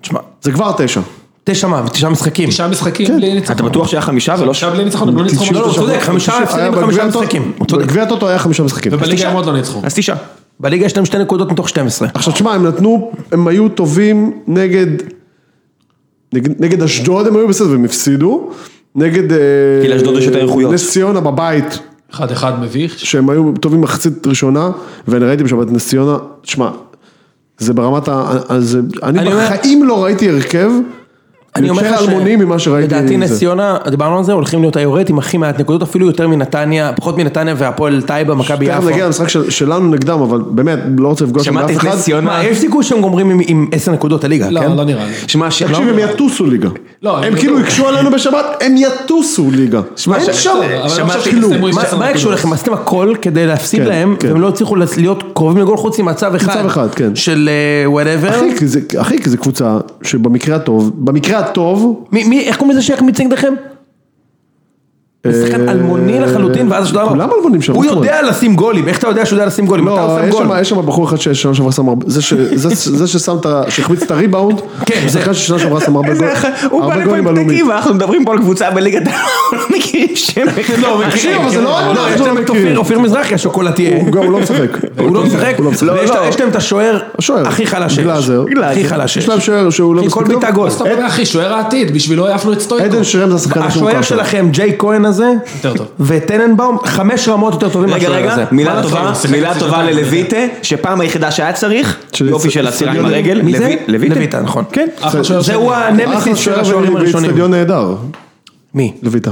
[SPEAKER 2] תשמע,
[SPEAKER 3] זה כבר תשע.
[SPEAKER 5] לא,
[SPEAKER 2] תשע מה, תשעה משחקים.
[SPEAKER 4] תשעה משחקים בלי ניצחון.
[SPEAKER 5] אתה בטוח שהיה
[SPEAKER 1] אה,
[SPEAKER 5] חמישה ולא
[SPEAKER 4] עכשיו בלי ניצחון, הם לא ניצחו.
[SPEAKER 2] לא, לא, הוא
[SPEAKER 4] במשחק.
[SPEAKER 2] צודק, חמישה
[SPEAKER 3] היה
[SPEAKER 2] הפסדים
[SPEAKER 3] בגביע
[SPEAKER 2] וחמישה
[SPEAKER 3] הטוטו-
[SPEAKER 2] משחקים. הוא צודק.
[SPEAKER 3] בגביע הטוטו היה חמישה משחקים.
[SPEAKER 4] ובליגה הם עוד לא ניצחו.
[SPEAKER 5] אז תשעה.
[SPEAKER 2] בליגה יש להם שתי נקודות מתוך 12.
[SPEAKER 3] עכשיו תשמע, הם נתנו, הם היו טובים נגד, נגד, נגד אשדוד הם היו בסדר והם הפסידו, נגד, אה,
[SPEAKER 5] כי לאשדוד יש יותר איכויות.
[SPEAKER 3] נס ציונה בבית,
[SPEAKER 4] אחד אחד מביך.
[SPEAKER 3] שהם היו טובים מחצית ראשונה, ואני ראיתי בשבת נס ציונה, תשמע, זה ברמת ה... אז, אני,
[SPEAKER 2] אני אומר-
[SPEAKER 3] בחיים לא ראיתי הרכב,
[SPEAKER 2] אני אומר
[SPEAKER 3] יותר
[SPEAKER 2] לך ש-
[SPEAKER 3] אלמוני ממה שראיתי,
[SPEAKER 2] לדעתי
[SPEAKER 3] זה.
[SPEAKER 2] נס ציונה, דיברנו על זה, הולכים להיות היורט עם הכי מעט נקודות, אפילו יותר מנתניה, פחות מנתניה והפועל טייבה, מכבי
[SPEAKER 3] תכף
[SPEAKER 2] יפו.
[SPEAKER 3] נגיע למשחק של, שלנו נגדם, אבל באמת, לא רוצה לפגוש שם
[SPEAKER 5] שמעתי
[SPEAKER 3] באף
[SPEAKER 5] את
[SPEAKER 3] אחד.
[SPEAKER 5] נס ציונה.
[SPEAKER 2] מה, יש סיכוי שהם גומרים עם- עם 10 נקודות הליגה, כן?
[SPEAKER 4] לא, לא נראה לי.
[SPEAKER 5] שמע, ש-
[SPEAKER 3] תקשיב, הם יטוסו ליגה.
[SPEAKER 4] לא, הם
[SPEAKER 3] הם כאילו
[SPEAKER 4] יטוסו.
[SPEAKER 3] הקשו עלינו בשבת, הם יטוסו ליגה.
[SPEAKER 5] שמע,
[SPEAKER 3] אין
[SPEAKER 5] ש-
[SPEAKER 3] שם,
[SPEAKER 4] אבל אני
[SPEAKER 3] שם
[SPEAKER 4] חושב שהם
[SPEAKER 3] כלום.
[SPEAKER 4] יסיימו עם
[SPEAKER 2] מה-
[SPEAKER 4] עשר
[SPEAKER 2] מה הקשור
[SPEAKER 4] נקודות.
[SPEAKER 2] לכם? עשיתם הכל כדי להפסיד
[SPEAKER 3] כן,
[SPEAKER 2] להם,
[SPEAKER 3] כן.
[SPEAKER 2] והם לא הצליחו לס- להיות קרובים לגול חוץ ממצב אחד.
[SPEAKER 3] מצב אחד, כן.
[SPEAKER 2] של אה, וואטאבר.
[SPEAKER 3] אחי, כי זה, אחי, כי זה קבוצה שבמקרה הטוב, במקרה הטוב,
[SPEAKER 2] איך קוראים לזה שהחמיץ נגדכם? זה שחקן
[SPEAKER 3] אה,
[SPEAKER 2] אלמוני לחלוטין, ואז אתה יודע מה?
[SPEAKER 3] כולם אלמונים שם,
[SPEAKER 2] הוא
[SPEAKER 3] מה זאת אומרת?
[SPEAKER 2] יודע לשים גולים, איך אתה יודע שהוא יודע לשים גולים? אתה
[SPEAKER 3] לא,
[SPEAKER 2] עושה
[SPEAKER 3] יש
[SPEAKER 2] גול.
[SPEAKER 3] שם, יש שם בחור אחד ששנה שעברה שם הרבה, זה, ש, זה, זה ששם את, ה- שהחמיץ את הריבאונד,
[SPEAKER 2] כן,
[SPEAKER 3] זה
[SPEAKER 2] זה-
[SPEAKER 3] אחד ששנה שעברה שם הרבה גול-
[SPEAKER 5] איזה אח- הוא בא
[SPEAKER 3] הרבה
[SPEAKER 5] לפה
[SPEAKER 3] גולים
[SPEAKER 5] עם
[SPEAKER 3] בלאומית.
[SPEAKER 5] פתקים ואנחנו מדברים פה על קבוצה בליגת העולם, לא מכירים שם
[SPEAKER 2] כן,
[SPEAKER 5] אחד.
[SPEAKER 3] מכירים, אבל זה לא-
[SPEAKER 2] לא,
[SPEAKER 3] לא,
[SPEAKER 2] יש
[SPEAKER 3] לא
[SPEAKER 2] להם את
[SPEAKER 3] מכירים.
[SPEAKER 2] אופיר- אופיר מזרחי השוקולטייה.
[SPEAKER 3] הוא גם הוא לא משחק.
[SPEAKER 2] הוא לא משחק,
[SPEAKER 3] הוא לא משחק.
[SPEAKER 2] ויש
[SPEAKER 3] לא,
[SPEAKER 2] לה-
[SPEAKER 3] לא.
[SPEAKER 2] יש להם את השוער
[SPEAKER 3] השוער.
[SPEAKER 2] הכי חלש שיש.
[SPEAKER 3] גלאזר.
[SPEAKER 2] הכי חלש שיש.
[SPEAKER 3] יש להם שוער שהוא לא
[SPEAKER 2] כי כל
[SPEAKER 3] משחק.
[SPEAKER 2] בעיטה גול.
[SPEAKER 4] אז אתה אומר, אחי, שוער העתיד, בשבילו העפנו את סטויקו.
[SPEAKER 3] עדן שרם זה השחקן הכי
[SPEAKER 2] השוער
[SPEAKER 3] מוכר שלו.
[SPEAKER 2] שלכם, ג'יי כהן הזה,
[SPEAKER 4] יותר טוב.
[SPEAKER 2] וטננבאום, חמש רמות יותר טובים
[SPEAKER 5] רגע,
[SPEAKER 2] מהשוער הזה.
[SPEAKER 5] רגע, מילה
[SPEAKER 4] מה
[SPEAKER 5] טובה,
[SPEAKER 4] לעשות?
[SPEAKER 5] מילה
[SPEAKER 4] שיחק
[SPEAKER 5] טובה
[SPEAKER 4] שנתיים.
[SPEAKER 5] ללויטה, שפעם היחידה שהיה צריך,
[SPEAKER 3] שזה
[SPEAKER 5] יופי
[SPEAKER 3] אצ-
[SPEAKER 5] של עצירה עם
[SPEAKER 3] אצטדיון-
[SPEAKER 5] הרגל,
[SPEAKER 2] מי זה?
[SPEAKER 5] לוי- לויטה.
[SPEAKER 2] לויטה, נכון.
[SPEAKER 3] כן.
[SPEAKER 4] אחלה שוער שני.
[SPEAKER 2] זהו
[SPEAKER 3] אחלה
[SPEAKER 2] הנמסיס של
[SPEAKER 3] שוער
[SPEAKER 2] השוערים הראשונים.
[SPEAKER 3] באיצטדיון נהדר,
[SPEAKER 2] מי?
[SPEAKER 3] לויטה.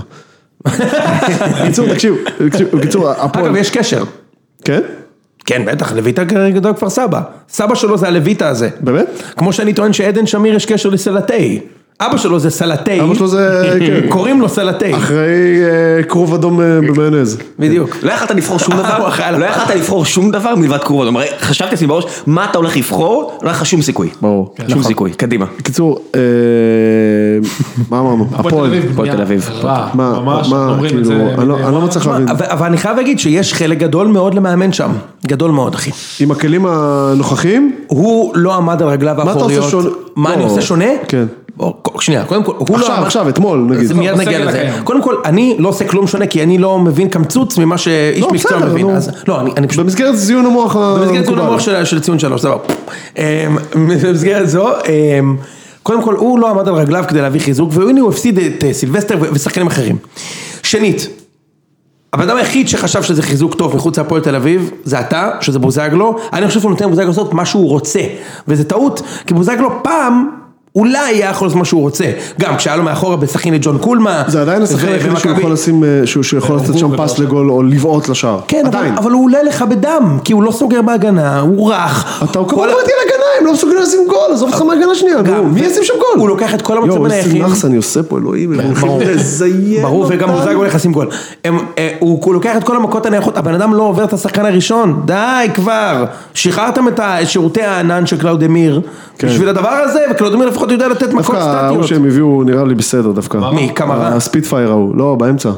[SPEAKER 3] בקיצור, תקשיב, תקשיב, בקיצור,
[SPEAKER 2] אגב,
[SPEAKER 3] הפועל,
[SPEAKER 2] יש קשר.
[SPEAKER 3] כן?
[SPEAKER 2] כן, בטח, לויטה גדול כפר סבא. סבא שלו זה הלויטה הזה.
[SPEAKER 3] באמת?
[SPEAKER 2] כמו שאני טוען שעדן שמיר יש קשר לסלטי. אבא שלו זה סלטי.
[SPEAKER 3] אבא שלו זה, כן.
[SPEAKER 2] קוראים לו סלטי.
[SPEAKER 3] אחרי אה, כרוב אדום אה, במיונז.
[SPEAKER 2] בדיוק.
[SPEAKER 5] לא יכלת לבחור שום
[SPEAKER 2] הוא
[SPEAKER 5] דבר,
[SPEAKER 2] אכל.
[SPEAKER 5] לא יכלת לבחור שום דבר מלבד קרובות, הרי חשבתי לעצמי בראש, מה אתה הולך לבחור, לא היה לך שום סיכוי,
[SPEAKER 3] ברור.
[SPEAKER 5] שום סיכוי, קדימה.
[SPEAKER 3] בקיצור, אה, מה אמרנו?
[SPEAKER 4] הפועל
[SPEAKER 5] הפועל
[SPEAKER 3] הפועל.
[SPEAKER 4] תל אביב.
[SPEAKER 5] תל אביב.
[SPEAKER 4] רע,
[SPEAKER 3] מה,
[SPEAKER 4] ממש,
[SPEAKER 3] מה,
[SPEAKER 4] אומרים את
[SPEAKER 3] כאילו,
[SPEAKER 4] זה.
[SPEAKER 3] אני לא- אני לא מצליח
[SPEAKER 2] תשמע,
[SPEAKER 3] להבין.
[SPEAKER 2] אבל אבל אני חייב להגיד שיש חלק גדול מאוד למאמן שם. גדול מאוד, אחי.
[SPEAKER 3] עם הכלים הנוכחיים?
[SPEAKER 2] הוא לא עמד על רגליו
[SPEAKER 3] אתה עושה
[SPEAKER 2] האחוריות.
[SPEAKER 3] שונה?
[SPEAKER 2] מה אני
[SPEAKER 3] לא.
[SPEAKER 2] עושה שונה?
[SPEAKER 3] כן.
[SPEAKER 2] או, ק- שנייה, קודם כל, הוא לא
[SPEAKER 3] עכשיו,
[SPEAKER 2] עמד...
[SPEAKER 3] עכשיו, אתמול נגיד.
[SPEAKER 2] זה מיד
[SPEAKER 4] בסגל
[SPEAKER 2] נגיע לזה.
[SPEAKER 4] הקיים.
[SPEAKER 2] קודם כל, אני לא עושה כלום שונה, כי אני לא מבין קמצוץ ממה שאיש
[SPEAKER 3] לא,
[SPEAKER 2] מקצוע
[SPEAKER 3] בסדר,
[SPEAKER 2] מבין.
[SPEAKER 3] נו.
[SPEAKER 2] אז- לא, אני אני פשוט...
[SPEAKER 3] במסגרת זיון המוח המקובל.
[SPEAKER 2] במסגרת ציון המוח של- של ציון שלוש, סבבה. אמ, במסגרת זו, אמ, קודם כל, הוא לא עמד על רגליו כדי להביא חיזוק, והנה הוא הפסיד את אה, סילבסטר ו- ושחקנים אחרים. שנית, הבן אדם היחיד שחשב שזה חיזוק טוב מחוץ להפועל תל אביב, זה אתה, שזה בוזגלו, אני חושב שהוא נותן לבוזגלו לעשות מה שהוא רוצה, וזה טעות, כי בוזגלו פעם... אולי היה יכול לעשות מה שהוא רוצה. גם כשהיה לו מאחורה בסכין את ג'ון קולמה.
[SPEAKER 3] זה עדיין השחקן
[SPEAKER 2] ו-
[SPEAKER 3] היחיד שהוא
[SPEAKER 2] ומכבי-
[SPEAKER 3] יכול לשים, אה, שהוא שהוא יכול לתת שם פס לגול או לבעוט לשער.
[SPEAKER 2] כן, אבל,
[SPEAKER 3] עדיין.
[SPEAKER 2] אבל הוא עולה לך בדם, כי הוא לא סוגר בהגנה, הוא רך.
[SPEAKER 3] אתה
[SPEAKER 2] כל
[SPEAKER 3] קבוע
[SPEAKER 2] ה-
[SPEAKER 3] מתי על הגנה, הם לא מסוגלים לשים גול, עזוב אותך מהגנה שנייה, נו,
[SPEAKER 2] גם,
[SPEAKER 3] מי
[SPEAKER 2] ו-
[SPEAKER 3] ישים שם גול?
[SPEAKER 2] הוא לוקח לא את כל המצבים
[SPEAKER 3] יואו,
[SPEAKER 2] הנייחים.
[SPEAKER 3] איזה נחס אני עושה פה, אלוהים, הם הולכים
[SPEAKER 2] כן, ברור.
[SPEAKER 3] לזיין
[SPEAKER 2] ברור, וגם
[SPEAKER 3] אותנו.
[SPEAKER 2] בוזגלו הולך לשים גול. הם, אה, הוא, הוא לוקח את כל המכות הנייחות, הבן אדם לא עובר את השחקן הראשון, די כבר. שחררתם את ה- את שירותי הענן של קלאודמיר, בשביל הדבר הזה, וקלאודמיר לפחות יודע לתת מכות
[SPEAKER 3] כן. דווקא ההוא
[SPEAKER 2] סטטיות.
[SPEAKER 3] שהם הביאו נראה לי בסדר דווקא.
[SPEAKER 2] מי, קמרה?
[SPEAKER 3] הספיטפייר ההוא, לא, באמצע.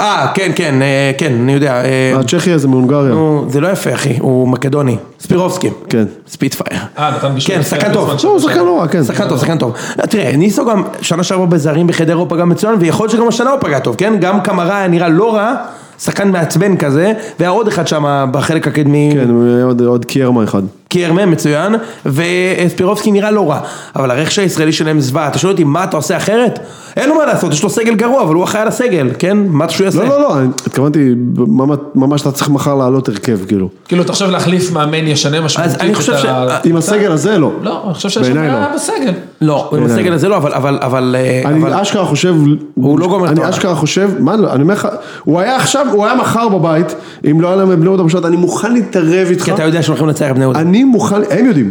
[SPEAKER 2] אה, כן, כן, אה, כן, אני יודע. אה,
[SPEAKER 3] הצ'כי הזה מהונגריה.
[SPEAKER 2] הוא- זה לא יפה, אחי, הוא מקדוני. ספירובסקי.
[SPEAKER 3] כן.
[SPEAKER 2] ספיטפייר.
[SPEAKER 4] אה, נתן בישול.
[SPEAKER 2] כן, שחקן טוב.
[SPEAKER 3] לא, הוא שחקן לא רע, כן.
[SPEAKER 2] שחקן טוב, שחקן טוב. לא, תראה, ניסו גם שנה שעברה בזרים בחדרה הוא פגע מצוין, ויכול להיות שגם השנה הוא פגע טוב, כן? גם קמרה היה נראה לא רע, שחקן מעצבן כזה, והיה עוד אחד שם בחלק הקדמי,
[SPEAKER 3] כן, היה עוד- עוד קיירמה אחד.
[SPEAKER 2] קיירמה מצוין, וספירובסקי נראה לא רע. אבל הרכש הישראלי שלהם זוועה, אתה שואל אותי מה אתה עושה אחרת? אין לו מה לעשות, יש לו סגל גרוע, אבל הוא אחראי על הסגל, כן? מה אתה שהוא יעשה?
[SPEAKER 3] לא, לא, לא, אני- התכוונתי, ממש- ממש אתה צריך מחר לעלות הרכב, כאילו.
[SPEAKER 4] כאילו, אתה חושב להחליף מאמן ישנה משמעותית
[SPEAKER 2] אני חושב
[SPEAKER 4] את ה-
[SPEAKER 2] ש-
[SPEAKER 3] עם הסגל הזה לא.
[SPEAKER 4] לא, אני חושב שיש
[SPEAKER 3] בעיניי
[SPEAKER 4] בעיה
[SPEAKER 3] לא.
[SPEAKER 4] בסגל.
[SPEAKER 2] לא, עם הסגל הזה לא, אבל, אבל, אבל... אה, אבל-
[SPEAKER 3] אני אשכרה חושב,
[SPEAKER 2] הוא לא גומר את
[SPEAKER 3] אני
[SPEAKER 2] העונה.
[SPEAKER 3] אשכרה חושב, מה לא, אני אומר לך, הוא היה עכשיו, הוא היה מחר בבית, אם לא היה להם את בני יהודה בשבת, אני מוכן להתערב איתך,
[SPEAKER 2] כי אתה יודע שהם הולכים לנצח את בני יהודה.
[SPEAKER 3] אני מוכן, הם יודעים,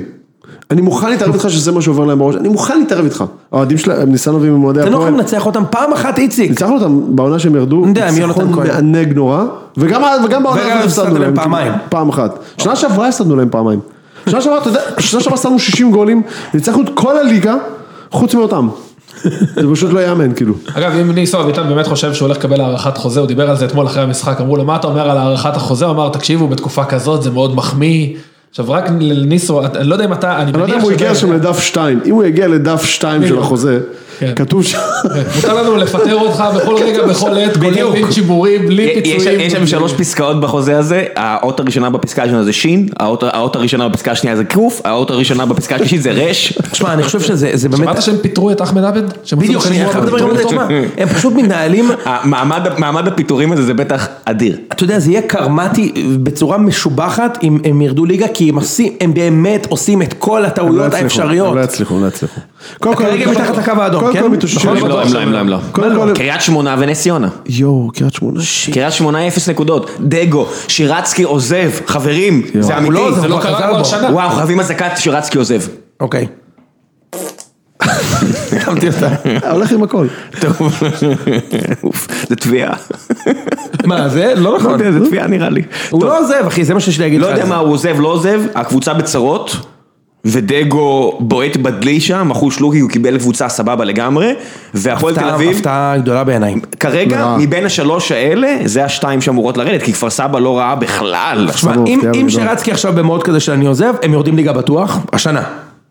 [SPEAKER 3] אני מוכן להתערב איתך שזה מה שעובר להם בראש, אני מוכן להתערב איתך, האוהדים שלהם, ניסן אביב עם אוהדי
[SPEAKER 2] אתם לא
[SPEAKER 3] הפועל,
[SPEAKER 2] יכולים לנצח אותם פעם אחת, איציק.
[SPEAKER 3] ניצחנו אותם בעונה שהם ירדו,
[SPEAKER 2] אני יודע, עם יונתן
[SPEAKER 3] ניצחון
[SPEAKER 2] כהן.
[SPEAKER 3] מענג נורא, וגם וגם בעונה
[SPEAKER 2] וגם
[SPEAKER 3] הזאת הפסדנו
[SPEAKER 2] הפסדתם
[SPEAKER 3] להם,
[SPEAKER 2] פעמיים.
[SPEAKER 3] פעם אחת, שנה שעברה הפסדנו להם פעמיים, שנה שעברה, אתה יודע, שנה שעברה שמנו 60 גולים, ניצחנו את כל הליגה, חוץ מאותם, זה פשוט לא יאמן כאילו.
[SPEAKER 4] אגב, אם ניסו אביטן באמת חושב שהוא הולך לקבל הארכת חוזה, הוא דיבר על זה אתמול אחרי המשחק, אמרו לו, מה אתה אומר על הארכת החוזה? הוא אמר, תקשיבו, בתקופה כזאת זה מאוד מחמיא. עכשיו, רק לניסו, אני לא יודע אם אתה, אני
[SPEAKER 3] אני לא יודע אם הוא הגיע שם לדף 2, אם הוא יגיע לדף 2 של
[SPEAKER 2] לא.
[SPEAKER 4] בדיוק.
[SPEAKER 3] החוזה,
[SPEAKER 4] כן.
[SPEAKER 3] כתוב שם,
[SPEAKER 4] מותר לנו לפטר אותך בכל רגע, בכל עת, כולל
[SPEAKER 2] בדיוק.
[SPEAKER 4] דין שיבורי, בלי
[SPEAKER 1] יש
[SPEAKER 4] פיצויים.
[SPEAKER 1] יש שם שלוש פסקאות בחוזה הזה, האות הראשונה בפסקה הראשונה זה שין, האות האות הראשונה בפסקה השנייה זה קוף, האות הראשונה בפסקה השלישית זה רש.
[SPEAKER 2] תשמע, אני חושב שזה זה באמת...
[SPEAKER 4] שמעת שהם פיטרו את אחמד עבד? שהם
[SPEAKER 2] בדיוק,
[SPEAKER 4] רצו
[SPEAKER 2] אני
[SPEAKER 4] לשמוע
[SPEAKER 2] חייב
[SPEAKER 4] אותו.
[SPEAKER 2] לדבר גם על זה, תשמע, הם פשוט מתנהלים,
[SPEAKER 1] המעמד- מעמד הפיטורים הזה זה בטח אדיר.
[SPEAKER 2] אתה יודע, זה יהיה קרמטי בצורה משובחת אם הם ירדו ליגה, כי הם עושים, הם באמת עושים את כל
[SPEAKER 3] הם לא
[SPEAKER 2] הטעויות
[SPEAKER 3] יצליחו,
[SPEAKER 2] האפשריות.
[SPEAKER 3] הם לא יצליחו, הם לא יצליחו. קודם כל-
[SPEAKER 2] כרגע
[SPEAKER 3] קודם-
[SPEAKER 2] מתחת לקו האדום,
[SPEAKER 3] קודם
[SPEAKER 2] כן?
[SPEAKER 3] כל מתאוששים.
[SPEAKER 1] הם לא, הם לא, הם לא, הם לא.
[SPEAKER 3] קודם כל-
[SPEAKER 1] קריית שמונה ונס ציונה.
[SPEAKER 3] יואו, קריית שמונה.
[SPEAKER 1] קריית שמונה אפס נקודות, דגו, שירצקי עוזב, חברים, זה
[SPEAKER 2] הוא
[SPEAKER 1] אמיתי.
[SPEAKER 2] לא עוזב,
[SPEAKER 4] זה
[SPEAKER 2] הוא
[SPEAKER 4] לא
[SPEAKER 2] כבר
[SPEAKER 4] קרה
[SPEAKER 2] חזר
[SPEAKER 4] כבר
[SPEAKER 2] בו.
[SPEAKER 4] שנה.
[SPEAKER 1] וואו, חייבים אזעקת שירצקי עוזב.
[SPEAKER 2] אוקיי. הרמתי אותה.
[SPEAKER 3] הולך עם הכל.
[SPEAKER 1] טוב, אוף, זה תביעה.
[SPEAKER 2] מה, זה לא
[SPEAKER 1] לא
[SPEAKER 2] נכון.
[SPEAKER 1] יודע, זה תביעה נראה לי.
[SPEAKER 2] הוא לא עוזב, אחי, זה מה שיש לי להגיד
[SPEAKER 1] לא
[SPEAKER 2] לך.
[SPEAKER 1] יודע מה הוא עוזב, לא עוזב, הקבוצה בצרות, ודגו בועט בדלי שם, אחוש לוקי הוא קיבל קבוצה סבבה לגמרי, והפועל תל
[SPEAKER 2] הפתעה-
[SPEAKER 1] אביב,
[SPEAKER 2] הפתעה גדולה בעיניי.
[SPEAKER 1] כרגע
[SPEAKER 3] נורא.
[SPEAKER 1] מבין השלוש האלה, זה השתיים שאמורות לרדת, כי כפר סבא לא רעה בכלל.
[SPEAKER 2] תשמע,
[SPEAKER 3] הוא
[SPEAKER 2] אם-
[SPEAKER 3] הפתעה
[SPEAKER 2] אם
[SPEAKER 3] גדולה.
[SPEAKER 2] שרצקי עכשיו במוד כזה של אני עוזב, הם יורדים ליגה בטוח, השנה.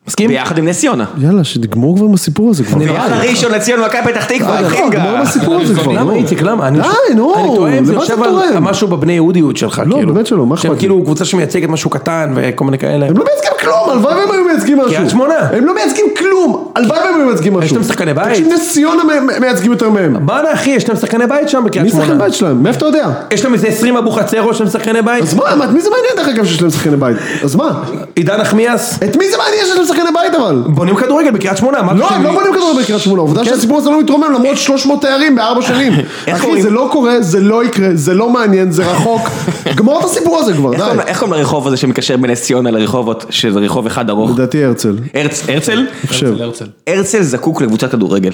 [SPEAKER 2] מסכים?
[SPEAKER 1] ביחד עם נס ציונה.
[SPEAKER 2] אה,
[SPEAKER 3] יאללה, שתגמור כבר עם הסיפור הזה כבר.
[SPEAKER 1] ביחד ראשון לציון, מכבי פתח תקווה,
[SPEAKER 3] אה, נכון,
[SPEAKER 1] אחינגה.
[SPEAKER 3] גמור עם הסיפור הזה כבר.
[SPEAKER 2] למה
[SPEAKER 3] נו.
[SPEAKER 2] איציק למה? אני-
[SPEAKER 3] די, נו,
[SPEAKER 2] אני טועה אם זה
[SPEAKER 3] למה אתה
[SPEAKER 2] יושב על
[SPEAKER 3] תורם?
[SPEAKER 2] משהו בבני יהודיות שלך,
[SPEAKER 3] לא,
[SPEAKER 2] כאילו.
[SPEAKER 3] באמת שלא, מה
[SPEAKER 2] שהם
[SPEAKER 3] אכפת לי?
[SPEAKER 2] כאילו קבוצה שמייצגת משהו קטן וכל מיני כאלה.
[SPEAKER 3] הם לא מייצגים כלום, הלוואי והם היו מייצגים משהו.
[SPEAKER 2] קריית שמונה.
[SPEAKER 3] הם לא מייצגים כלום, הלוואי והם היו מייצגים משהו.
[SPEAKER 2] להם שחקני בית.
[SPEAKER 3] תקשיב, נס ציונה מ- מייצגים יותר מהם.
[SPEAKER 2] בואנה אחי, יש להם שחקני בית שם בקריית
[SPEAKER 3] מי
[SPEAKER 2] שמונה.
[SPEAKER 3] שחקן בית שלהם? מאיפה אתה יודע?
[SPEAKER 2] יש להם איזה 20 אבוחצירו שהם שחקני בית.
[SPEAKER 3] אז מה, את מי זה מעניין דרך אגב שיש להם שחקני בית? אז מה?
[SPEAKER 2] עידן נחמיאס.
[SPEAKER 3] את מי זה מעניין שיש להם שחקני בית אבל?
[SPEAKER 2] בונים כדורגל בקריית שמונה. מה אתה
[SPEAKER 3] לא,
[SPEAKER 2] חושב?
[SPEAKER 3] הם לא בונים כדורגל בקריית שמונה, עובדה
[SPEAKER 2] כן.
[SPEAKER 3] שהסיפור הזה לא מתרומם למרות 300 תארים בארבע שנים.
[SPEAKER 1] איך
[SPEAKER 3] אחי,
[SPEAKER 1] קוראים?
[SPEAKER 3] זה לא קורה, זה לא יקרה, זה לא מעניין, זה רחוק. גמור את הסיפור הזה כבר,
[SPEAKER 1] איך
[SPEAKER 3] די.
[SPEAKER 1] קוראים- איך קוראים לרחוב הזה שמקשר בין נס ציונה לרחובות, שזה רחוב אחד ארוך?
[SPEAKER 3] לדעתי הרצל.
[SPEAKER 1] הרצ- הרצל?
[SPEAKER 4] הרצל, הרצל.
[SPEAKER 1] הרצל זקוק לקבוצת כדורגל.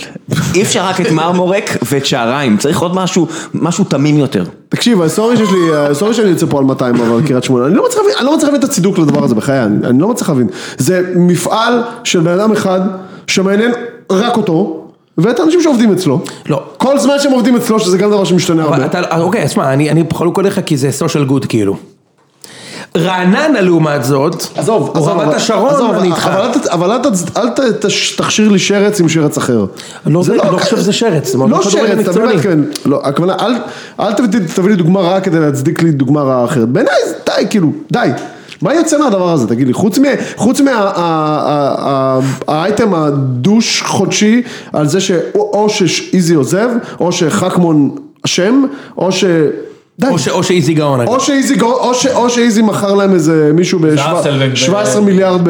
[SPEAKER 1] אי אפשר רק את מרמורק ואת שעריים, צריך עוד משהו, משהו תמים יותר.
[SPEAKER 3] תקשיב, הסורי שיש לי, הסורי שאני יוצא פה על 200 אבל קריית שמונה, אני לא מצליח להבין, אני לא מצליח להבין את הצידוק לדבר הזה בחיי, אני, אני לא מצליח להבין. זה מפעל של בן אדם אחד שמעניין רק אותו, ואת האנשים שעובדים אצלו.
[SPEAKER 2] לא.
[SPEAKER 3] כל זמן שהם עובדים אצלו, שזה גם דבר שמשתנה
[SPEAKER 2] אבל
[SPEAKER 3] הרבה.
[SPEAKER 2] אתה- אה, אוקיי, אז שמע, אני אני חלוק עליך כי זה סושיאל גוד כאילו. רעננה לעומת זאת,
[SPEAKER 3] עזוב,
[SPEAKER 2] או
[SPEAKER 3] עזוב,
[SPEAKER 2] רמת
[SPEAKER 3] אבל- עזוב,
[SPEAKER 2] השרון, אני
[SPEAKER 3] אבל-
[SPEAKER 2] איתך.
[SPEAKER 3] אבל אל ת- אבל אל ת- אל ת- תש- תכשיר לי שרץ עם שרץ אחר.
[SPEAKER 2] לא, זה-
[SPEAKER 3] לא-
[SPEAKER 2] אני לא חושב שזה שרץ, זה מאוד
[SPEAKER 3] לא
[SPEAKER 2] כדורגל
[SPEAKER 3] שרץ, אתה
[SPEAKER 2] מקצועני.
[SPEAKER 3] באמת מתכוון, לא, הכוונה, אל- אל תביא- תביא לי דוגמה רעה כדי להצדיק לי דוגמה רעה אחרת. בעיניי, די, כאילו, די. מה יוצא מהדבר הזה, תגיד לי? חוץ מה- חוץ מהאייטם הדוש חודשי על זה שאו שאיזי עוזב, או שחכמון אשם, או ש... די.
[SPEAKER 2] או ש- או שאיזי גאון. אגב.
[SPEAKER 3] או שאיזי, גו- או ש- או שאיזי מכר להם איזה מישהו
[SPEAKER 4] זאסלבנק ב-
[SPEAKER 3] ב-17 מיליארד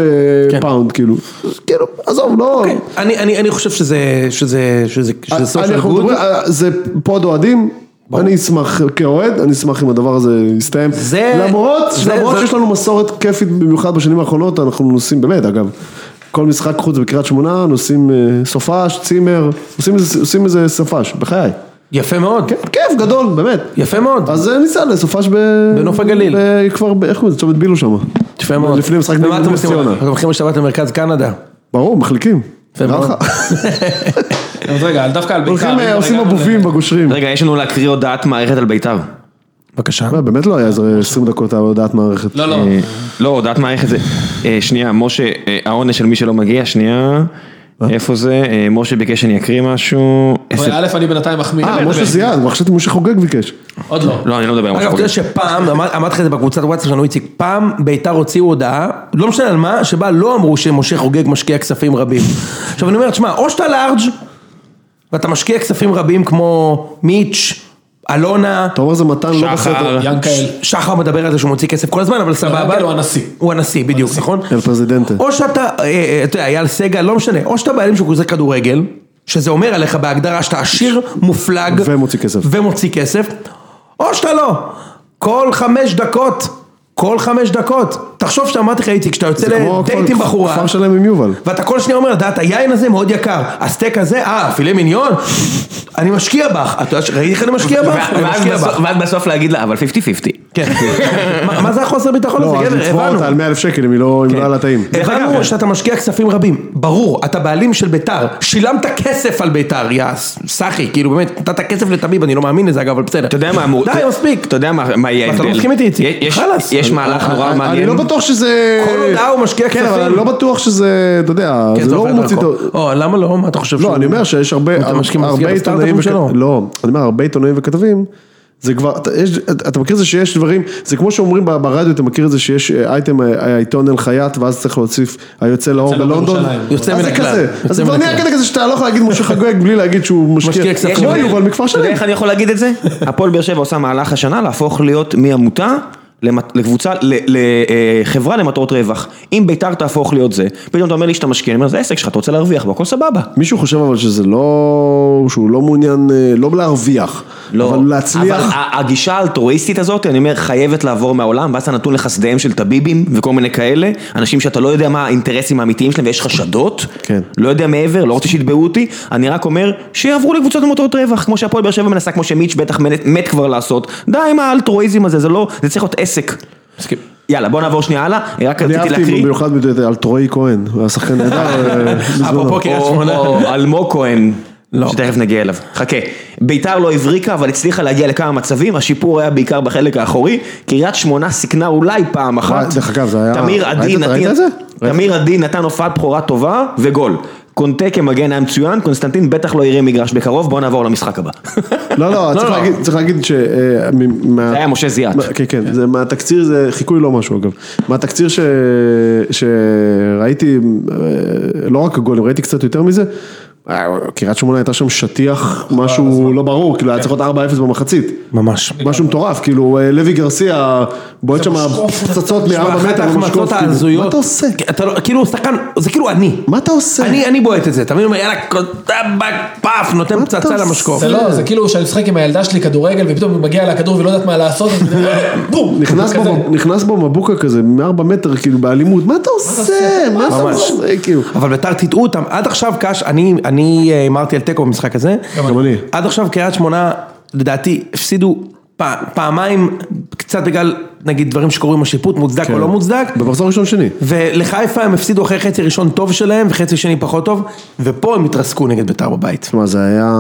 [SPEAKER 3] בפאונד, כאילו. כאילו, עזוב, לא...
[SPEAKER 2] אני- אני אני חושב שזה שזה שזה שזה סושיאל
[SPEAKER 3] אנחנו
[SPEAKER 2] גוד.
[SPEAKER 3] מדברים- אה, זה פוד אוהדים, אני אשמח כאוהד, אני אשמח אם הדבר הזה יסתיים.
[SPEAKER 2] זה-
[SPEAKER 3] למרות
[SPEAKER 2] זה-
[SPEAKER 3] למרות
[SPEAKER 2] זה-
[SPEAKER 3] שיש לנו מסורת כיפית במיוחד בשנים האחרונות, אנחנו נוסעים באמת, אגב. כל משחק חוץ בקריית שמונה, נוסעים אה, סופש, צימר, עושים איזה- עושים איזה סופש, בחיי.
[SPEAKER 2] יפה מאוד.
[SPEAKER 3] כן, כיף גדול, באמת.
[SPEAKER 2] יפה מאוד.
[SPEAKER 3] אז אה, ניסע לסופש ב...
[SPEAKER 2] בנוף הגליל.
[SPEAKER 3] ב- כבר, ב- איך קוראים לזה? צומת בילו שם.
[SPEAKER 2] יפה מאוד.
[SPEAKER 3] לפני משחק
[SPEAKER 2] ומה
[SPEAKER 3] נגד
[SPEAKER 2] אתם
[SPEAKER 3] נס
[SPEAKER 2] עושים?
[SPEAKER 3] ציונה.
[SPEAKER 2] אתם הולכים בשבת למרכז קנדה.
[SPEAKER 3] ברור, מחליקים.
[SPEAKER 2] יפה
[SPEAKER 3] נראה
[SPEAKER 2] מאוד.
[SPEAKER 3] לך?
[SPEAKER 4] אז רגע, על- דווקא על בית"ר.
[SPEAKER 3] הולכים,
[SPEAKER 4] רגע,
[SPEAKER 3] אה, עושים
[SPEAKER 4] רגע,
[SPEAKER 3] אבובים בגושרים.
[SPEAKER 1] רגע, יש לנו להקריא הודעת מערכת על בית"ר.
[SPEAKER 2] בבקשה.
[SPEAKER 3] מה, באמת לא היה איזה 20 דקות הודעת מערכת.
[SPEAKER 4] לא, לא.
[SPEAKER 1] אה, לא, הודעת מערכת זה... אה, שנייה, משה, אה, העונש של מי שלא מגיע, שנייה. איפה זה? אה, משה ביקש שאני אקריא משהו.
[SPEAKER 4] אבל
[SPEAKER 1] איזה-
[SPEAKER 4] א', אני בינתיים מחמיא.
[SPEAKER 3] אה, משה זיאד, אבל חשבתי משה חוגג ביקש.
[SPEAKER 4] עוד לא.
[SPEAKER 1] לא, אני לא מדבר על משהו.
[SPEAKER 2] אגב, אתה יודע שפעם, אמר- אמרתי לך את זה בקבוצת וואטסאפ שלנו, איציק, פעם ביתר הוציאו הודעה, לא משנה על מה, שבה לא אמרו שמשה חוגג משקיע כספים רבים. עכשיו אני אומר, תשמע, או שאתה לארג' ואתה משקיע כספים רבים כמו מיץ', אלונה,
[SPEAKER 3] אתה אומר זה מתן לא בסדר.
[SPEAKER 1] שחר.
[SPEAKER 4] ינקאל.
[SPEAKER 2] שחר מדבר על זה שהוא מוציא כסף כל הזמן, אבל סבבה.
[SPEAKER 4] הוא הנשיא.
[SPEAKER 2] הוא הנשיא, בדיוק, נכון?
[SPEAKER 3] אל פרזידנטה.
[SPEAKER 2] או שאתה, אה, אה, אתה יודע, אייל סגל, לא משנה, או שאתה בעלים של קבוצת כדורגל, שזה אומר עליך בהגדרה שאתה עשיר, מופלג.
[SPEAKER 3] ומוציא כסף.
[SPEAKER 2] ומוציא כסף, או שאתה לא. כל חמש דקות, כל חמש דקות. תחשוב שאמרתי לך, איציק, שאתה יוצא
[SPEAKER 3] זה כמו
[SPEAKER 2] לדייט
[SPEAKER 3] הכפר-
[SPEAKER 2] עם בחורה. לא,
[SPEAKER 3] כפר שלם עם יובל.
[SPEAKER 2] ואתה כל שניה אומר, דעת היין הזה מאוד יקר, הסטייק הזה, אה, פילה מיניון, אני משקיע בך, אתה יודע, ש- ראיתי איך אני משקיע בך,
[SPEAKER 1] ואז
[SPEAKER 2] אני משקיע
[SPEAKER 1] בסוף-
[SPEAKER 2] בך.
[SPEAKER 1] ואז בסוף להגיד לה, אבל 50-50.
[SPEAKER 2] כן. מה- מה זה החוסר ביטחון
[SPEAKER 3] לא,
[SPEAKER 2] הזה,
[SPEAKER 3] אז
[SPEAKER 2] גבר,
[SPEAKER 3] לצבוע
[SPEAKER 2] הבנו.
[SPEAKER 3] אותה על 100 אלף שקל אם היא לא אם לא היה לה
[SPEAKER 2] אה,
[SPEAKER 3] טעים.
[SPEAKER 2] הבנו שאתה משקיע כספים רבים, ברור, אתה בעלים של ביתר, שילמת כסף על ביתר, יא סחי, כאילו באמת, נתת כסף לתמיב, אני לא מאמין לזה אגב, אבל בסדר.
[SPEAKER 1] אתה יודע מה אמור...
[SPEAKER 2] די, מספיק.
[SPEAKER 1] אתה יודע מה מה יהיה
[SPEAKER 2] אתה
[SPEAKER 1] ההבדל.
[SPEAKER 2] לא מסכים איתי, איציק?
[SPEAKER 1] יש-
[SPEAKER 2] חלאס.
[SPEAKER 1] יש מהלך נורא מעניין.
[SPEAKER 3] אני לא בטוח שזה...
[SPEAKER 2] כל הודעה הוא משקיע
[SPEAKER 3] כן, אבל
[SPEAKER 2] כספים.
[SPEAKER 3] אני לא בטוח שזה, אתה יודע,
[SPEAKER 2] כן,
[SPEAKER 3] זה
[SPEAKER 2] זה
[SPEAKER 3] לא
[SPEAKER 2] עובר
[SPEAKER 3] הוא מוציא את...
[SPEAKER 2] דרכו. או, למה לא? מה אתה חושב
[SPEAKER 3] לא, אני אומר שיש הרבה
[SPEAKER 2] אתה משקיע
[SPEAKER 3] הרבה
[SPEAKER 2] משקיע
[SPEAKER 3] עיתונאים...
[SPEAKER 2] בסטארט-אפים שלו?
[SPEAKER 3] וכת- לא, אני אומר, הרבה עיתונאים וכתבים. זה כבר, אתה, יש, אתה מכיר את זה שיש דברים, זה כמו שאומרים ב- ברדיו, אתה מכיר את זה שיש אה, אייטם, אה, העיתון אלחייאת, ואז צריך להוסיף היוצא לאור
[SPEAKER 4] לאור
[SPEAKER 3] בלונדון.
[SPEAKER 4] בירושלים.
[SPEAKER 2] יוצא
[SPEAKER 3] אז
[SPEAKER 2] מן
[SPEAKER 3] זה
[SPEAKER 2] הכלל.
[SPEAKER 3] כזה.
[SPEAKER 2] יוצא
[SPEAKER 3] אז זה
[SPEAKER 2] מן
[SPEAKER 3] כבר נהיה
[SPEAKER 2] הכלל.
[SPEAKER 3] קטע כזה שאתה לא יכול להגיד משה חגג בלי להגיד שהוא
[SPEAKER 2] משקיע
[SPEAKER 3] משקיע.
[SPEAKER 2] כספים.
[SPEAKER 3] כמו
[SPEAKER 2] יש-
[SPEAKER 3] יובל מכפר
[SPEAKER 1] אתה יודע
[SPEAKER 3] שלם.
[SPEAKER 1] איך אני יכול להגיד את זה? הפועל באר שבע עושה מהלך השנה להפוך להיות מעמותה למת- לקבוצה, לחברה למטרות רווח. אם ביתר תהפוך להיות זה, פתאום אתה אומר לי שאתה משקיע, אני אומר, זה עסק שלך, אתה רוצה להרוויח בו, הכל סבבה.
[SPEAKER 3] מישהו חושב אבל שזה לא, שהוא לא מעוניין, אה, לא להרוויח,
[SPEAKER 1] לא,
[SPEAKER 3] אבל להצליח.
[SPEAKER 1] אבל ה- הגישה האלטרואיסטית הזאת, אני אומר, חייבת לעבור מהעולם, ואז אתה נתון לחסדיהם של טביבים וכל מיני כאלה, אנשים שאתה לא יודע מה האינטרסים האמיתיים שלהם ויש חשדות,
[SPEAKER 3] כן.
[SPEAKER 1] לא יודע מעבר, לא רוצה שיתבעו אותי, אני רק אומר, שיעברו לקבוצות למטרות רווח, כמו שהפועל באר שבע מנסה, כמו שמיץ' בטח מת, מת כבר לעשות, די עם האלטרואיזם הזה, זה לא, זה צריך להיות עסק. יאללה, בוא נעבור שנייה הלאה, רק
[SPEAKER 3] אני
[SPEAKER 1] רציתי
[SPEAKER 3] אהבתי
[SPEAKER 1] להקריא,
[SPEAKER 3] במיוחד את- על טרועי כהן, הוא היה שחקן נהדר. אה, בזמנו.
[SPEAKER 2] אפרופו קריית
[SPEAKER 1] או
[SPEAKER 2] שמונה. לא.
[SPEAKER 1] או אלמוג כהן. שתכף נגיע אליו, חכה. ביתר לא הבריקה אבל הצליחה להגיע לכמה מצבים, השיפור היה בעיקר בחלק האחורי, קריית שמונה סיכנה אולי פעם אחת.
[SPEAKER 3] וואי, דרך אגב, זה היה-
[SPEAKER 1] תמיר
[SPEAKER 3] ראית-
[SPEAKER 1] עדי
[SPEAKER 3] ראית
[SPEAKER 1] נתן-
[SPEAKER 3] את זה?
[SPEAKER 1] תמיר עדי נתן הופעת בכורה טובה וגול. קונטה כמגן היה מצוין, קונסטנטין בטח לא יראה מגרש בקרוב, בואו נעבור למשחק הבא.
[SPEAKER 3] לא, לא, צריך להגיד- צריך להגיד ש... אה, מ- מה-
[SPEAKER 1] זה היה משה זיאת.
[SPEAKER 3] מה- כן, כן, זה מהתקציר, זה חיקוי לא משהו אגב. מהתקציר ש- שראיתי, אה, לא רק הגולים, ראיתי קצת יותר מזה. אה, קריית שמונה הייתה שם שטיח, משהו לא ברור, כאילו היה צריך להיות 4-0 במחצית.
[SPEAKER 2] ממש.
[SPEAKER 3] משהו מטורף, כאילו אה, לוי גרסיה בועט שם פצצות
[SPEAKER 2] תשמע,
[SPEAKER 3] מ-4
[SPEAKER 2] אחת
[SPEAKER 3] מטר, ממש
[SPEAKER 2] ההחמצות
[SPEAKER 3] קוף, כאילו.
[SPEAKER 2] ההזויות.
[SPEAKER 3] מה אתה עושה?
[SPEAKER 2] אתה לא- כאילו, שחקן, זה כאילו אני.
[SPEAKER 3] מה אתה עושה?
[SPEAKER 2] אני אני בועט את זה, אתה מבין? אומר, יאללה, טבק, פאף, נותן
[SPEAKER 3] מה אתה
[SPEAKER 2] פצצה
[SPEAKER 3] עושה?
[SPEAKER 2] למשקוף.
[SPEAKER 4] זה לא, זה כאילו שאני משחק עם הילדה שלי כדורגל, ופתאום הוא מגיע לכדור ולא יודעת מה לעשות, אז בום!
[SPEAKER 3] נכנס
[SPEAKER 4] כזה.
[SPEAKER 3] בו- נכנס בו מבוקה כזה, מארבע מטר, כאילו, באלימות, מה אתה עושה? מה אתה
[SPEAKER 2] ממש.
[SPEAKER 3] עושה? כאילו,
[SPEAKER 2] אבל ביתר טיטאו אותם, עד עכשיו קאש, אני- אני אה, הימרתי על תיקו במשחק הזה.
[SPEAKER 3] גם אני.
[SPEAKER 2] עד עכשיו קריית שמונה, לדעתי, הפסידו פע- פעמיים, קצת בגלל, נגיד, דברים שקורים עם השיפוט, מוצדק או לא מוצדק.
[SPEAKER 3] כן. במחזור ראשון שני.
[SPEAKER 2] ולחיפה הם הפסידו אחרי חצי ראשון טוב שלהם וחצי שני פחות טוב, ופה הם התרסקו נגד ביתר בבית.
[SPEAKER 3] תשמע, זה היה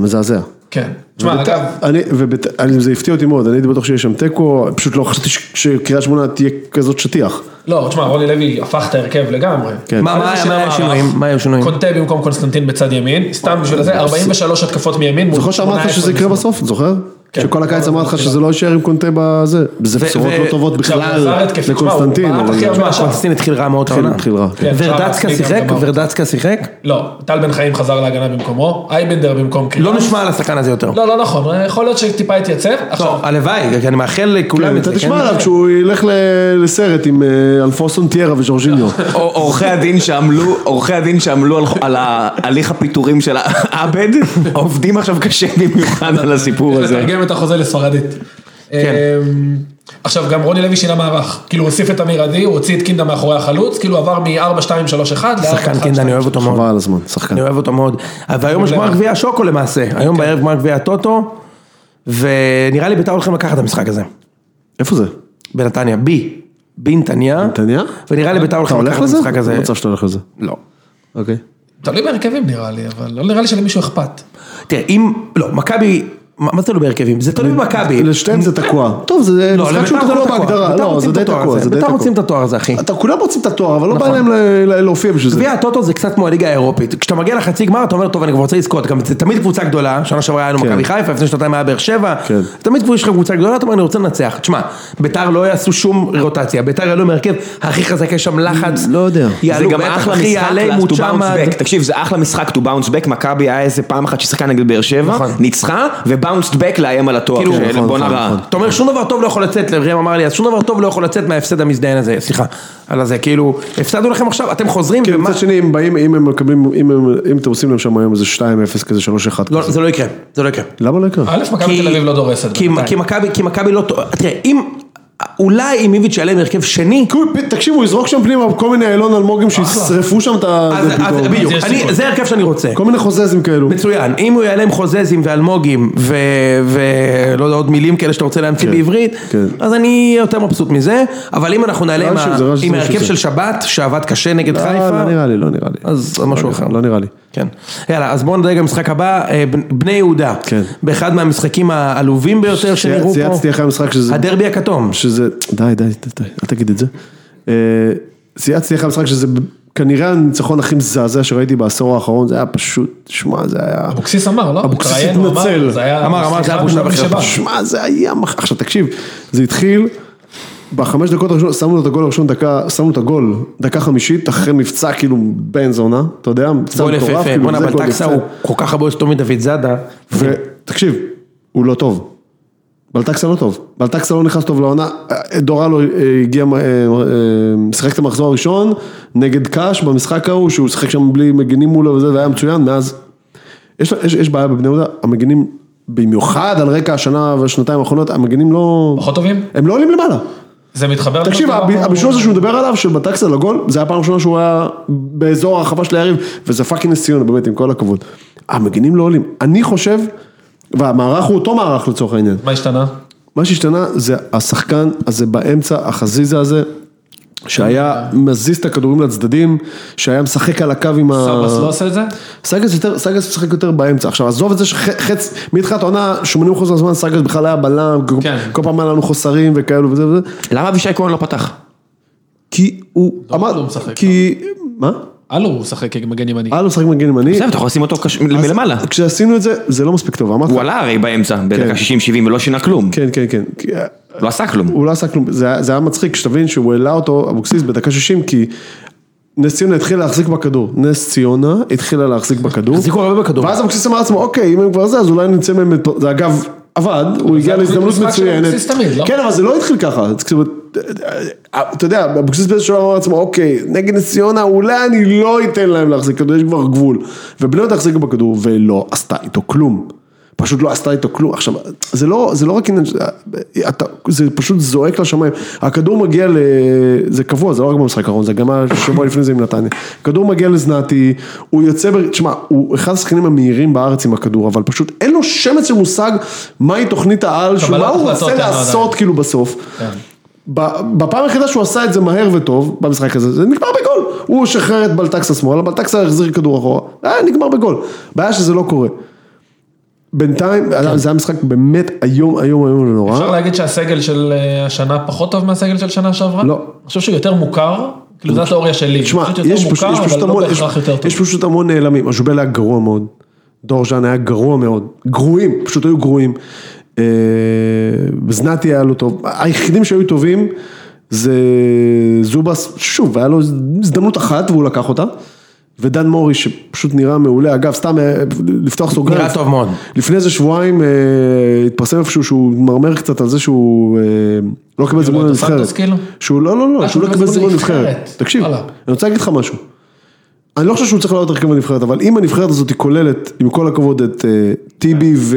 [SPEAKER 3] מזעזע.
[SPEAKER 4] כן. תשמע,
[SPEAKER 3] וביתר-
[SPEAKER 4] אגב,
[SPEAKER 3] אני, ובת- אני- זה הפתיע אותי מאוד, אני הייתי בטוח שיש שם תיקו, פשוט לא חשבתי ש- שקריית שמונה תהיה כזאת שטיח.
[SPEAKER 4] לא, תשמע, רוני לוי הפך את ההרכב לגמרי.
[SPEAKER 3] כן.
[SPEAKER 2] מה- מה-
[SPEAKER 4] איזה
[SPEAKER 2] מה היה
[SPEAKER 4] מערך.
[SPEAKER 2] השינויים? מה היו השינויים? אה,
[SPEAKER 4] קונטה במקום קונסטנטין בצד ימין, סתם בשביל זה, 43 התקפות מימין. מול
[SPEAKER 3] זוכר שאמרת
[SPEAKER 4] 18
[SPEAKER 3] שזה יקרה
[SPEAKER 4] משחק.
[SPEAKER 3] בסוף, זוכר? שכל הקיץ אמרתי לך שזה לא יישאר עם קונטה בזה, זה בשורות
[SPEAKER 2] כן. ו-
[SPEAKER 3] לא טובות
[SPEAKER 4] עכשיו, הוא
[SPEAKER 3] בכלל
[SPEAKER 4] עזר התקפית, שמע, הוא
[SPEAKER 3] לקונסטנטין,
[SPEAKER 4] בעט
[SPEAKER 3] אבל
[SPEAKER 4] הכי הרבה
[SPEAKER 2] תשמע,
[SPEAKER 4] עכשיו.
[SPEAKER 2] קונסטין התחיל רע מאוד את העונה.
[SPEAKER 3] התחיל רע.
[SPEAKER 4] כן,
[SPEAKER 2] ורדצקה
[SPEAKER 4] אפשר
[SPEAKER 2] שיחק?
[SPEAKER 4] להפסיק גם
[SPEAKER 2] ורדצקה שיחק?
[SPEAKER 4] לא, טל בן חיים חזר להגנה במקומו, אייבנדר במקום קריאס.
[SPEAKER 2] לא נשמע על השחקן הזה יותר.
[SPEAKER 4] לא, לא נכון, יכול להיות שטיפה
[SPEAKER 3] לא
[SPEAKER 4] התייצב. עכשיו,
[SPEAKER 2] טוב, הלוואי, כי אני מאחל לכולם
[SPEAKER 3] כן,
[SPEAKER 2] את זה.
[SPEAKER 3] אתה
[SPEAKER 2] כן?
[SPEAKER 3] תשמע עליו כשהוא ילך ל- לסרט עם אה, אלפוסון טיירה וז'ורג'יניו.
[SPEAKER 1] עור- עורכי הדין שעמלו, עורכי הדין שעמלו על- על הליך הפיטורים של העבד, עובדים עכשיו קשה במיוחד על הסיפור
[SPEAKER 4] צריך
[SPEAKER 1] הזה.
[SPEAKER 4] לתרגם את החוזה לספרדית.
[SPEAKER 3] כן.
[SPEAKER 4] אמ, עכשיו גם רוני לוי שינה מערך, כאילו הוא הוסיף את אמיר עדי, הוא הוציא את קינדה מאחורי החלוץ, כאילו עבר מ-4-2-3-1
[SPEAKER 2] שחקן קינדה, אני אוהב אותו מאוד.
[SPEAKER 3] חבל על הזמן, שחקן.
[SPEAKER 2] אני אוהב אותו מאוד. אבל והיום יש גמר גביע השוקו למעשה. היום בערב גמר גביע הטוטו, ונראה לי בית"ר הולכים לקחת את המשחק הזה.
[SPEAKER 3] איפה זה?
[SPEAKER 2] בנתניה, בי. בנתניה.
[SPEAKER 3] נתניה?
[SPEAKER 2] ונראה לי בית"ר
[SPEAKER 3] אתה
[SPEAKER 2] הולכים לקחת
[SPEAKER 3] הולך
[SPEAKER 2] את
[SPEAKER 3] לזה?
[SPEAKER 2] המשחק הזה.
[SPEAKER 3] לא מצב שאתה הולך לזה.
[SPEAKER 2] לא.
[SPEAKER 3] אוקיי.
[SPEAKER 4] תלוי בהרכבים נראה לי, אבל לא נראה לי שלמישהו אכפת.
[SPEAKER 2] תראה, אם... לא, מכבי... מה מה זה תלוי בהרכבים? זה תלוי במכבי.
[SPEAKER 3] לשתיהם זה תקוע. טוב, זה
[SPEAKER 2] לא,
[SPEAKER 3] משחק שהוא
[SPEAKER 2] לבית"ר
[SPEAKER 3] תקוע
[SPEAKER 2] זה תקוע.
[SPEAKER 3] בהגדרה.
[SPEAKER 2] בית"ר
[SPEAKER 3] לא,
[SPEAKER 2] רוצים
[SPEAKER 3] זה
[SPEAKER 2] את
[SPEAKER 3] די
[SPEAKER 2] התואר
[SPEAKER 3] תקוע,
[SPEAKER 2] הזה.
[SPEAKER 3] זה די
[SPEAKER 2] בית"ר
[SPEAKER 3] תקוע.
[SPEAKER 2] רוצים את התואר הזה, אחי.
[SPEAKER 3] אתה כולם רוצים את התואר, אבל לא בא
[SPEAKER 2] נכון.
[SPEAKER 3] להם ל- ל- להופיע בשביל זה.
[SPEAKER 2] גביע הטוטו זה קצת כמו הליגה האירופית. כשאתה מגיע לחצי גמר, אתה אומר, טוב, אני כבר רוצה לזכות. גם זה תמיד קבוצה גדולה, שנה שעברה היה לנו
[SPEAKER 3] כן.
[SPEAKER 2] מכבי חיפה, לפני שנתיים היה באר שבע.
[SPEAKER 3] כן.
[SPEAKER 2] תמיד כבר יש לך קבוצה גדולה, אתה אומר, אני רוצה לנצח. תשמע, ביתר לא יעשו שום רוטציה. ביתר יעלו מהרכב הכי חזק, יש שם לחץ.
[SPEAKER 3] לא יודע.
[SPEAKER 1] זה
[SPEAKER 2] יעלו
[SPEAKER 1] גם
[SPEAKER 2] בטח,
[SPEAKER 1] אחלה
[SPEAKER 2] אחי,
[SPEAKER 1] משחק
[SPEAKER 2] יעלה
[SPEAKER 1] לה- to bounce
[SPEAKER 2] מוצ'אמד.
[SPEAKER 1] back. תקשיב, זה אחלה משחק to bounce back, מכבי היה איזה פעם אחת ששחקה נגד באר שבע,
[SPEAKER 2] נכון.
[SPEAKER 1] ניצחה, ובאונסט back לאיים על התואר,
[SPEAKER 2] כאילו,
[SPEAKER 1] של
[SPEAKER 2] נכון,
[SPEAKER 1] בעונה
[SPEAKER 3] נכון,
[SPEAKER 1] רעה.
[SPEAKER 3] נכון.
[SPEAKER 2] אתה אומר שום דבר טוב לא יכול לצאת, ראם אמר לי, אז שום דבר טוב לא יכול לצאת מההפסד המזדיין הזה, סליחה, על הזה, כאילו, הפסדנו לכם עכשיו, אתם חוזרים,
[SPEAKER 3] כן,
[SPEAKER 2] ומה-
[SPEAKER 3] מצד שני, אם באים, אם הם מקבלים, אם הם- אם אתם עושים להם שם היום איזה 2-0 כזה, 3-1
[SPEAKER 2] לא,
[SPEAKER 3] כזה.
[SPEAKER 2] זה לא יקרה, זה לא יקרה.
[SPEAKER 3] למה לא יקרה?
[SPEAKER 4] א', מכבי
[SPEAKER 2] כי-
[SPEAKER 4] תל אביב לא דורסת.
[SPEAKER 2] כי-
[SPEAKER 4] בינתיים.
[SPEAKER 2] כי מכבי, כי מכבי לא, טוב- תראה, אם, אולי אם איביץ' יעלה מהרכב שני,
[SPEAKER 3] כי הוא- תקשיבו, הוא יזרוק שם פנימה כל מיני אילון אלמוגים שישרפו שם את ה...
[SPEAKER 2] אז
[SPEAKER 3] זה
[SPEAKER 2] אז-
[SPEAKER 3] פתאום.
[SPEAKER 2] בדיוק,
[SPEAKER 4] יש
[SPEAKER 2] אני-
[SPEAKER 4] סיכוי.
[SPEAKER 2] זה ההרכב שאני רוצה.
[SPEAKER 3] כל מיני חוזזים כאלו.
[SPEAKER 2] מצוין, אם הוא יעלה עם חוזזים ואלמוגים ולא יודע עוד מילים כאלה שאתה רוצה להמציא בעברית,
[SPEAKER 3] כן.
[SPEAKER 2] אז אני יותר מבסוט מזה, אבל אם אנחנו נעלה עם
[SPEAKER 3] רש"י,
[SPEAKER 2] ה-
[SPEAKER 3] זה רש"י,
[SPEAKER 2] עם
[SPEAKER 3] זה
[SPEAKER 2] ההרכב
[SPEAKER 3] רש"י.
[SPEAKER 2] של שבת, שעבד קשה נגד
[SPEAKER 3] אה,
[SPEAKER 2] חיפה,
[SPEAKER 3] לא נראה לי, לא נראה לי.
[SPEAKER 2] אז משהו אחר.
[SPEAKER 3] לא נראה לי.
[SPEAKER 2] כן. יאללה, אז בואו נדלג למשחק הבא, אה, בנ- בני יהודה.
[SPEAKER 3] כן.
[SPEAKER 2] באחד מהמשחקים העלובים ביותר שנראו פה.
[SPEAKER 3] צייצתי אחרי המשחק שזה...
[SPEAKER 2] הדרבי הכתום.
[SPEAKER 3] שזה, די, די, די, די, אל תגיד את זה. אה, צייצתי אחרי המשחק שזה כנראה הניצחון הכי מזעזע שראיתי בעשור האחרון, זה היה פשוט, שמע, זה היה...
[SPEAKER 4] אבוקסיס אמר, לא?
[SPEAKER 3] אבוקסיס
[SPEAKER 4] התראיין, הוא אמר,
[SPEAKER 3] התנצל.
[SPEAKER 4] זה היה-
[SPEAKER 2] אמר, אמר, זה היה בושה
[SPEAKER 4] סליחה, לא
[SPEAKER 2] וחרפה.
[SPEAKER 4] שבא.
[SPEAKER 3] שמע, זה היה... מח- עכשיו תקשיב, זה התחיל... בחמש דקות הראשונות, שמנו את הגול הראשון, דקה, שמנו את הגול, דקה חמישית, אחרי מבצע כאילו בן זונה, אתה יודע, מבצע
[SPEAKER 2] גול
[SPEAKER 3] מטורף,
[SPEAKER 2] יפהפה,
[SPEAKER 3] כאילו,
[SPEAKER 2] בואנה,
[SPEAKER 3] זה גול
[SPEAKER 2] בלטקסה
[SPEAKER 3] יפה.
[SPEAKER 2] הוא כל כך הרבה יותר טוב מדוד זאדה.
[SPEAKER 3] ותקשיב, הוא לא טוב. בלטקסה לא טוב, בלטקסה לא נכנס טוב לעונה, דורלו אה, הגיע, אה, אה, שיחק את המחזור הראשון נגד קאש במשחק ההוא, שהוא שיחק שם בלי מגינים מולו וזה, והיה מצוין, מאז, יש, יש, יש בעיה בבני יהודה, המגינים, במיוחד על רקע השנה והשנתיים האחרונות, המגינים לא,
[SPEAKER 4] פחות טובים?
[SPEAKER 3] הם לא עולים למעלה.
[SPEAKER 4] זה מתחבר...
[SPEAKER 3] תקשיב,
[SPEAKER 4] למה
[SPEAKER 3] הב-
[SPEAKER 4] שהוא-
[SPEAKER 3] הבישול הזה שהוא מדבר עליו, של בטקסה לגול, זה היה פעם ראשונה שהוא היה באזור הרחבה של היריב, וזה פאקינג נס ציונה, באמת, עם כל הכבוד. המגינים לא עולים. אני חושב, והמערך הוא אותו מערך לצורך העניין,
[SPEAKER 4] מה השתנה?
[SPEAKER 3] מה שהשתנה זה השחקן הזה באמצע, החזיזה הזה, שהיה מזיז את הכדורים לצדדים, שהיה משחק על הקו עם ה...
[SPEAKER 4] סבס לא עושה את זה?
[SPEAKER 3] סגס יותר, סגס משחק יותר באמצע, עכשיו עזוב את זה שחץ, מתחילת העונה 80% מהזמן סגס בכלל היה בלם, כל-
[SPEAKER 4] כן.
[SPEAKER 3] כל פעם היה לנו חוסרים וכאלו וזה וזה,
[SPEAKER 1] למה אבישי כהן לא פתח?
[SPEAKER 3] כי הוא,
[SPEAKER 4] לא משחק. לא.
[SPEAKER 3] כי, מה?
[SPEAKER 4] הלו, הוא משחק כמגן ימני.
[SPEAKER 3] היה לו משחק מגן ימני.
[SPEAKER 1] בסדר, אתה יכול לשים אותו קש- מלמעלה.
[SPEAKER 3] כשעשינו את זה, זה לא מספיק טוב, אמרתי
[SPEAKER 1] הוא
[SPEAKER 3] לך,
[SPEAKER 1] עלה הרי באמצע, בדקה 60-70 ולא שינה כלום,
[SPEAKER 3] כן, כן, כן, כי, אה,
[SPEAKER 1] לא עשה כלום.
[SPEAKER 3] הוא לא עשה כלום, זה היה- זה היה מצחיק, כשתבין שהוא העלה אותו, אבוקסיס, בדקה 60, כי נס ציונה התחילה להחזיק בכדור, נס ציונה התחילה להחזיק בכדור,
[SPEAKER 2] החזיקו הרבה בכדור.
[SPEAKER 3] ואז אבוקסיס אמר לעצמו, אוקיי, אם הם כבר זה, אז אולי נצא מהם, את- זה אגב, עבד, הוא הגיע
[SPEAKER 4] התוכנית
[SPEAKER 3] להזדמנות
[SPEAKER 4] משחק של
[SPEAKER 3] מצוינת,
[SPEAKER 4] אבוקסיס תמיד, לא?
[SPEAKER 3] כן, אבל זה לא התחיל ככה, זה כאילו, אה, אתה יודע, אבוקסיס באיזשהו שלב אמר לעצמו, אוקיי, נגד נס ציונה, אולי אני לא אתן להם להחזיק כדור, יש כבר גבול, ובני יהודה החזיקה בכדור, ולא עשתה איתו כלום. פשוט לא עשתה איתו כלום, עכשיו, זה לא, זה לא רק עניין, ש- אתה- זה פשוט זועק לשמיים, הכדור מגיע ל... זה קבוע, זה לא רק במשחק האחרון, זה גם היה שבוע לפני זה עם נתניה, הכדור מגיע לזנתי, הוא יוצא, ב... תשמע, הוא אחד השחקנים המהירים בארץ עם הכדור, אבל פשוט אין לו שמץ של מושג מהי תוכנית העל, שהוא- מה
[SPEAKER 4] קבלת
[SPEAKER 3] הוא
[SPEAKER 4] החלטות
[SPEAKER 3] רוצה
[SPEAKER 4] אין לו עדיין.
[SPEAKER 3] לעשות כאילו בסוף. ב- בפעם היחידה שהוא עשה את זה מהר וטוב, במשחק הזה, זה נגמר בגול. הוא שחרר את בלטקסה שמאלה, בלטקסה החזיר כדור אחורה, היה נגמר בגול. בעיה שזה לא קורה. בינתיים, זה היה משחק באמת איום, איום, איום ונורא.
[SPEAKER 4] אפשר להגיד שהסגל של אה, השנה פחות טוב מהסגל של שנה שעברה?
[SPEAKER 3] לא.
[SPEAKER 4] אני חושב שהוא יותר מוכר, כאילו זו התיאוריה שלי.
[SPEAKER 3] תשמע,
[SPEAKER 4] פשוט יותר
[SPEAKER 3] יש פשוט- יש
[SPEAKER 4] מוכר,
[SPEAKER 3] פשוט
[SPEAKER 4] אבל לא
[SPEAKER 3] המון- יש-
[SPEAKER 4] בהכרח יותר טוב.
[SPEAKER 3] יש פשוט המון נעלמים, אז'ובל היה גרוע מאוד, דור ז'אן היה גרוע מאוד, גרועים, פשוט היו גרועים. אה, זנתי היה לו טוב, היחידים שהיו טובים זה זובס, שוב, היה לו הזדמנות אחת והוא לקח אותה. ודן מורי שפשוט נראה מעולה, אגב סתם אה, לפתוח סוגריים.
[SPEAKER 2] נראה טוב מאוד.
[SPEAKER 3] לפני איזה שבועיים אה, התפרסם איפשהו שהוא מרמר קצת על זה שהוא אה, לא קיבל זימון
[SPEAKER 4] את
[SPEAKER 3] לנבחרת.
[SPEAKER 4] הסנטוס, כאילו?
[SPEAKER 3] שהוא לא, לא, לא,
[SPEAKER 4] אה,
[SPEAKER 3] שהוא לא
[SPEAKER 4] שהוא
[SPEAKER 3] קיבל
[SPEAKER 4] לא
[SPEAKER 3] זימון
[SPEAKER 4] זימון
[SPEAKER 3] לנבחרת.
[SPEAKER 4] לנבחרת.
[SPEAKER 3] תקשיב, אני
[SPEAKER 4] וואלה.
[SPEAKER 3] רוצה להגיד לך משהו. אני לא חושב שהוא צריך לעלות הרכב הנבחרת, אבל אם הנבחרת הזאת היא כוללת, עם כל הכבוד, את אה, טיבי
[SPEAKER 2] כן.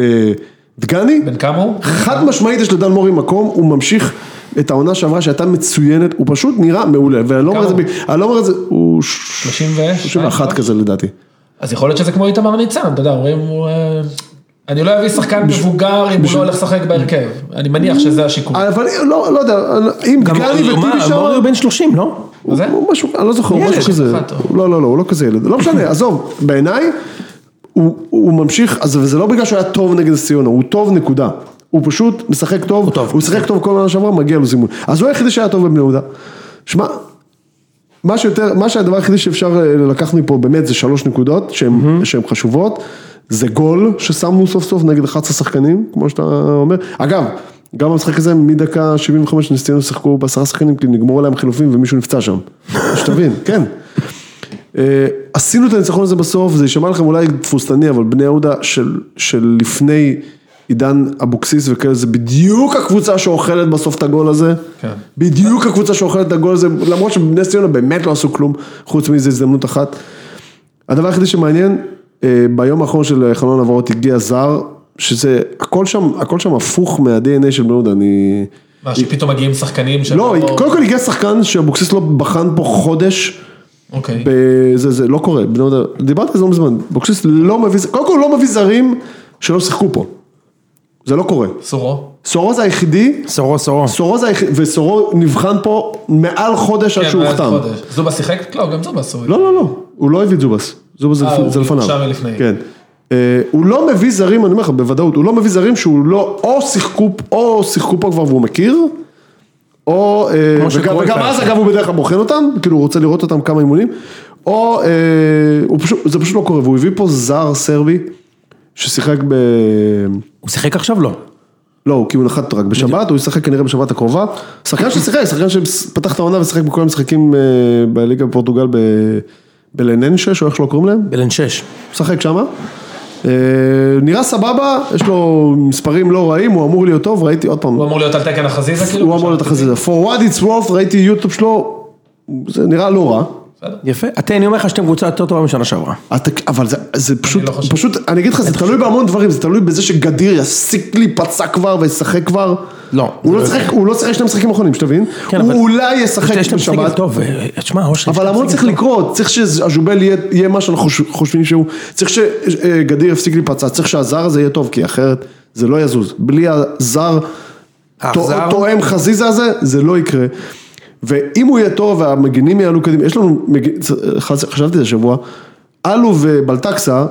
[SPEAKER 3] ודגני,
[SPEAKER 4] בן כמה הוא?
[SPEAKER 3] חד משמעית יש לדן מורי מקום, הוא ממשיך את העונה שעברה שהייתה מצוינת, הוא פשוט נראה מעולה, ואני לא אומר את זה, ב- אני לא אומר את זה, הוא
[SPEAKER 4] 32?
[SPEAKER 2] אה?
[SPEAKER 3] 31 כזה לדעתי.
[SPEAKER 4] אז יכול להיות שזה כמו איתמר ניצן, אתה יודע, אומרים, הוא, אה, אני לא אביא שחקן מבוגר אם הוא לא הולך לשחק בהרכב. אני מניח שזה השיקול.
[SPEAKER 3] אבל לא, לא יודע, אם
[SPEAKER 2] גם
[SPEAKER 3] דגני
[SPEAKER 2] מה,
[SPEAKER 3] וטיבי שם...
[SPEAKER 2] מורי הוא בן 30, לא?
[SPEAKER 3] הוא
[SPEAKER 4] זה?
[SPEAKER 3] הוא משהו, אני לא זוכר, הוא
[SPEAKER 2] ילד,
[SPEAKER 3] משהו כזה,
[SPEAKER 4] אחד, או-
[SPEAKER 3] לא, לא, לא, הוא לא כזה ילד, לא משנה, עזוב, בעיניי, הוא הוא ממשיך, אז זה לא בגלל שהוא היה טוב נגד נס ציונה, הוא טוב נקודה, הוא פשוט משחק טוב,
[SPEAKER 2] טוב.
[SPEAKER 3] הוא שיחק טוב כל העונה שעברה, מגיע לו זימון, אז הוא היחידי שהיה טוב בבני יהודה, שמע, מה שיותר, מה שהדבר היחידי שאפשר אה, לקחת מפה באמת זה שלוש נקודות שהן שהן חשובות, זה גול ששמנו סוף סוף נגד 11 שחקנים, כמו שאתה אומר, אגב, גם המשחק הזה מדקה 75 נס ציונה שיחקו בעשרה שחקנים כי נגמרו להם חילופים ומישהו נפצע שם, שתבין, כן. אה, עשינו את הניצחון הזה בסוף, זה יישמע לכם אולי תבוסתני, אבל בני יהודה של, של לפני עידן אבוקסיס וכאלה, זה בדיוק הקבוצה שאוכלת בסוף את הגול הזה.
[SPEAKER 4] כן.
[SPEAKER 3] בדיוק הקבוצה שאוכלת את הגול הזה, למרות שבנס ציונה באמת לא עשו כלום, חוץ מאיזו הזדמנות אחת. הדבר היחידי שמעניין, אה, ביום האחרון של חלון העברות הגיע זר, שזה, הכל שם, הכל שם הפוך מה-DNA של בני יהודה, אני...
[SPEAKER 4] מה, שפתאום מגיעים שחקנים שלא...
[SPEAKER 3] לא, קודם כל הגיע שחקן שאבוקסיס לא בחן פה חודש.
[SPEAKER 4] אוקיי.
[SPEAKER 3] ב- זה, זה לא קורה, בני יהודה, דיברתי על זה לא מזמן, אבוקסיס לא מביא, קודם כל הוא לא מביא זרים שלא שיחקו פה, זה לא קורה,
[SPEAKER 4] סורו.
[SPEAKER 3] סורו זה היחידי,
[SPEAKER 2] סורו סורו.
[SPEAKER 3] סורו זה היחיד, וסורו נבחן פה מעל חודש עד
[SPEAKER 4] כן,
[SPEAKER 3] לא שהוא
[SPEAKER 4] מאז
[SPEAKER 3] הוחתם,
[SPEAKER 4] חודש. זובה שיחק? לא, גם זובה סורי.
[SPEAKER 3] לא לא לא, הוא לא הביא את זובס, זובס זה
[SPEAKER 4] אה,
[SPEAKER 3] לפ-
[SPEAKER 4] הוא
[SPEAKER 3] זה לפניו,
[SPEAKER 4] הורשע מלפני.
[SPEAKER 3] כן. אה, הוא לא מביא זרים, אני אומר לך בוודאות, הוא לא מביא זרים שהוא לא, או שיחקו, או שיחקו פה כבר והוא מכיר, או, אה, וגם,
[SPEAKER 2] שקרויף
[SPEAKER 3] וגם
[SPEAKER 2] היה
[SPEAKER 3] אז
[SPEAKER 2] עושה.
[SPEAKER 3] אגב הוא בדרך כלל בוחן אותם, כאילו הוא רוצה לראות אותם כמה אימונים, או אה, הוא פשוט, זה פשוט לא קורה, והוא הביא פה זר סרבי, ששיחק ב...
[SPEAKER 2] הוא שיחק עכשיו לא.
[SPEAKER 3] לא, כי הוא נחת רק בשבת, הוא ישחק כנראה בשבת הקרובה, שחקן ששיחק, שחקן שפתח את העונה ושיחק בכל המשחקים אה, בליגה בפורטוגל ב... בלננשש, או איך שלא קוראים להם,
[SPEAKER 2] בן 6.
[SPEAKER 3] משחק שמה. אה, נראה סבבה, יש לו מספרים לא רעים, הוא אמור להיות טוב, ראיתי עוד פעם,
[SPEAKER 4] הוא אמור להיות על תקן החזיזה כאילו?
[SPEAKER 3] הוא אמור להיות החזיזה. For what it's worth, ראיתי יוטיוב שלו, זה נראה לא רע.
[SPEAKER 2] יפה. אתם, אני אומר לך שאתם קבוצה יותר טובה משנה שעברה.
[SPEAKER 3] אתה, אבל זה, זה פשוט,
[SPEAKER 4] לא חושב.
[SPEAKER 3] פשוט, אני אגיד לך, זה תלוי בהמון דברים, זה תלוי בזה שגדיר יפסיק להיפצע כבר וישחק כבר.
[SPEAKER 2] לא.
[SPEAKER 3] הוא לא שיחק, הוא לא שיחק שני משחקים אחרונים, שתבין?
[SPEAKER 2] כן,
[SPEAKER 3] הוא
[SPEAKER 2] אבל-
[SPEAKER 3] אולי ישחק
[SPEAKER 2] יש להם סגל
[SPEAKER 3] בשבת.
[SPEAKER 2] טוב, אה, תשמע, אושר. יש
[SPEAKER 3] אבל
[SPEAKER 2] להם
[SPEAKER 3] המון
[SPEAKER 2] סגל
[SPEAKER 3] צריך
[SPEAKER 2] טוב.
[SPEAKER 3] לקרות, צריך שהז'ובל יהיה, יהיה מה שאנחנו חוש- חושבים שהוא, צריך שגדיר יפסיק להיפצע, צריך שהזר הזה יהיה טוב, כי אחרת זה לא יזוז. בלי הזר
[SPEAKER 2] האכזר?
[SPEAKER 3] תואם חזיזה הזה, זה לא יקרה. ואם הוא יהיה טוב והמגינים יעלו קדימה, יש לנו, מג- חש- חשבתי את השבוע, אלו ובלטקסה,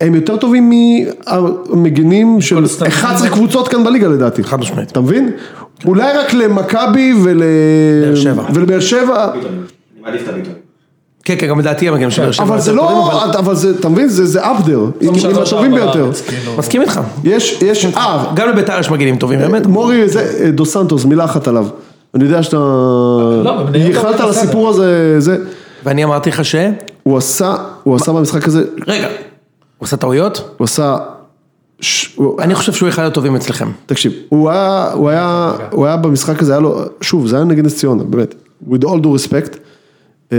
[SPEAKER 3] הם יותר טובים מהמגינים של
[SPEAKER 4] קונסטנטין.
[SPEAKER 3] 11 קבוצות כאן בליגה לדעתי.
[SPEAKER 2] חד משמעית.
[SPEAKER 3] אתה מבין? אולי רק למכבי ול...
[SPEAKER 2] שבע.
[SPEAKER 3] ולבאר שבע.
[SPEAKER 1] אני מעדיף את הביטוי.
[SPEAKER 2] כן, כן, גם לדעתי הם גם של באר שבע.
[SPEAKER 3] אבל זה
[SPEAKER 2] יותר
[SPEAKER 3] לא,
[SPEAKER 2] טובים, אבל-
[SPEAKER 3] אבל זה, אתה מבין? זה up
[SPEAKER 4] לא
[SPEAKER 3] there, עם עם הטובים ביותר.
[SPEAKER 4] כאילו.
[SPEAKER 2] מסכים איתך.
[SPEAKER 3] יש, יש,
[SPEAKER 4] כן.
[SPEAKER 3] אה,
[SPEAKER 2] גם לביתר יש מגנים טובים, באמת.
[SPEAKER 3] מורי זה, אה, דו סנטוס, מילה אחת עליו. אני יודע שאתה...
[SPEAKER 4] לא, בבני יהודה
[SPEAKER 3] ייחלת
[SPEAKER 4] הוא
[SPEAKER 3] על
[SPEAKER 4] בסדר.
[SPEAKER 3] הסיפור הזה, זה.
[SPEAKER 2] ואני אמרתי לך ש...
[SPEAKER 3] הוא עשה, הוא עשה במשחק הזה,
[SPEAKER 2] רגע. הוא עושה טעויות?
[SPEAKER 3] הוא עשה... ש- הוא-
[SPEAKER 2] אני חושב שהוא אחד הטובים אצלכם.
[SPEAKER 3] תקשיב, הוא היה, הוא היה, הוא היה במשחק הזה, היה לו, שוב, זה היה נגד נס ציונה, באמת, with all due respect, אה,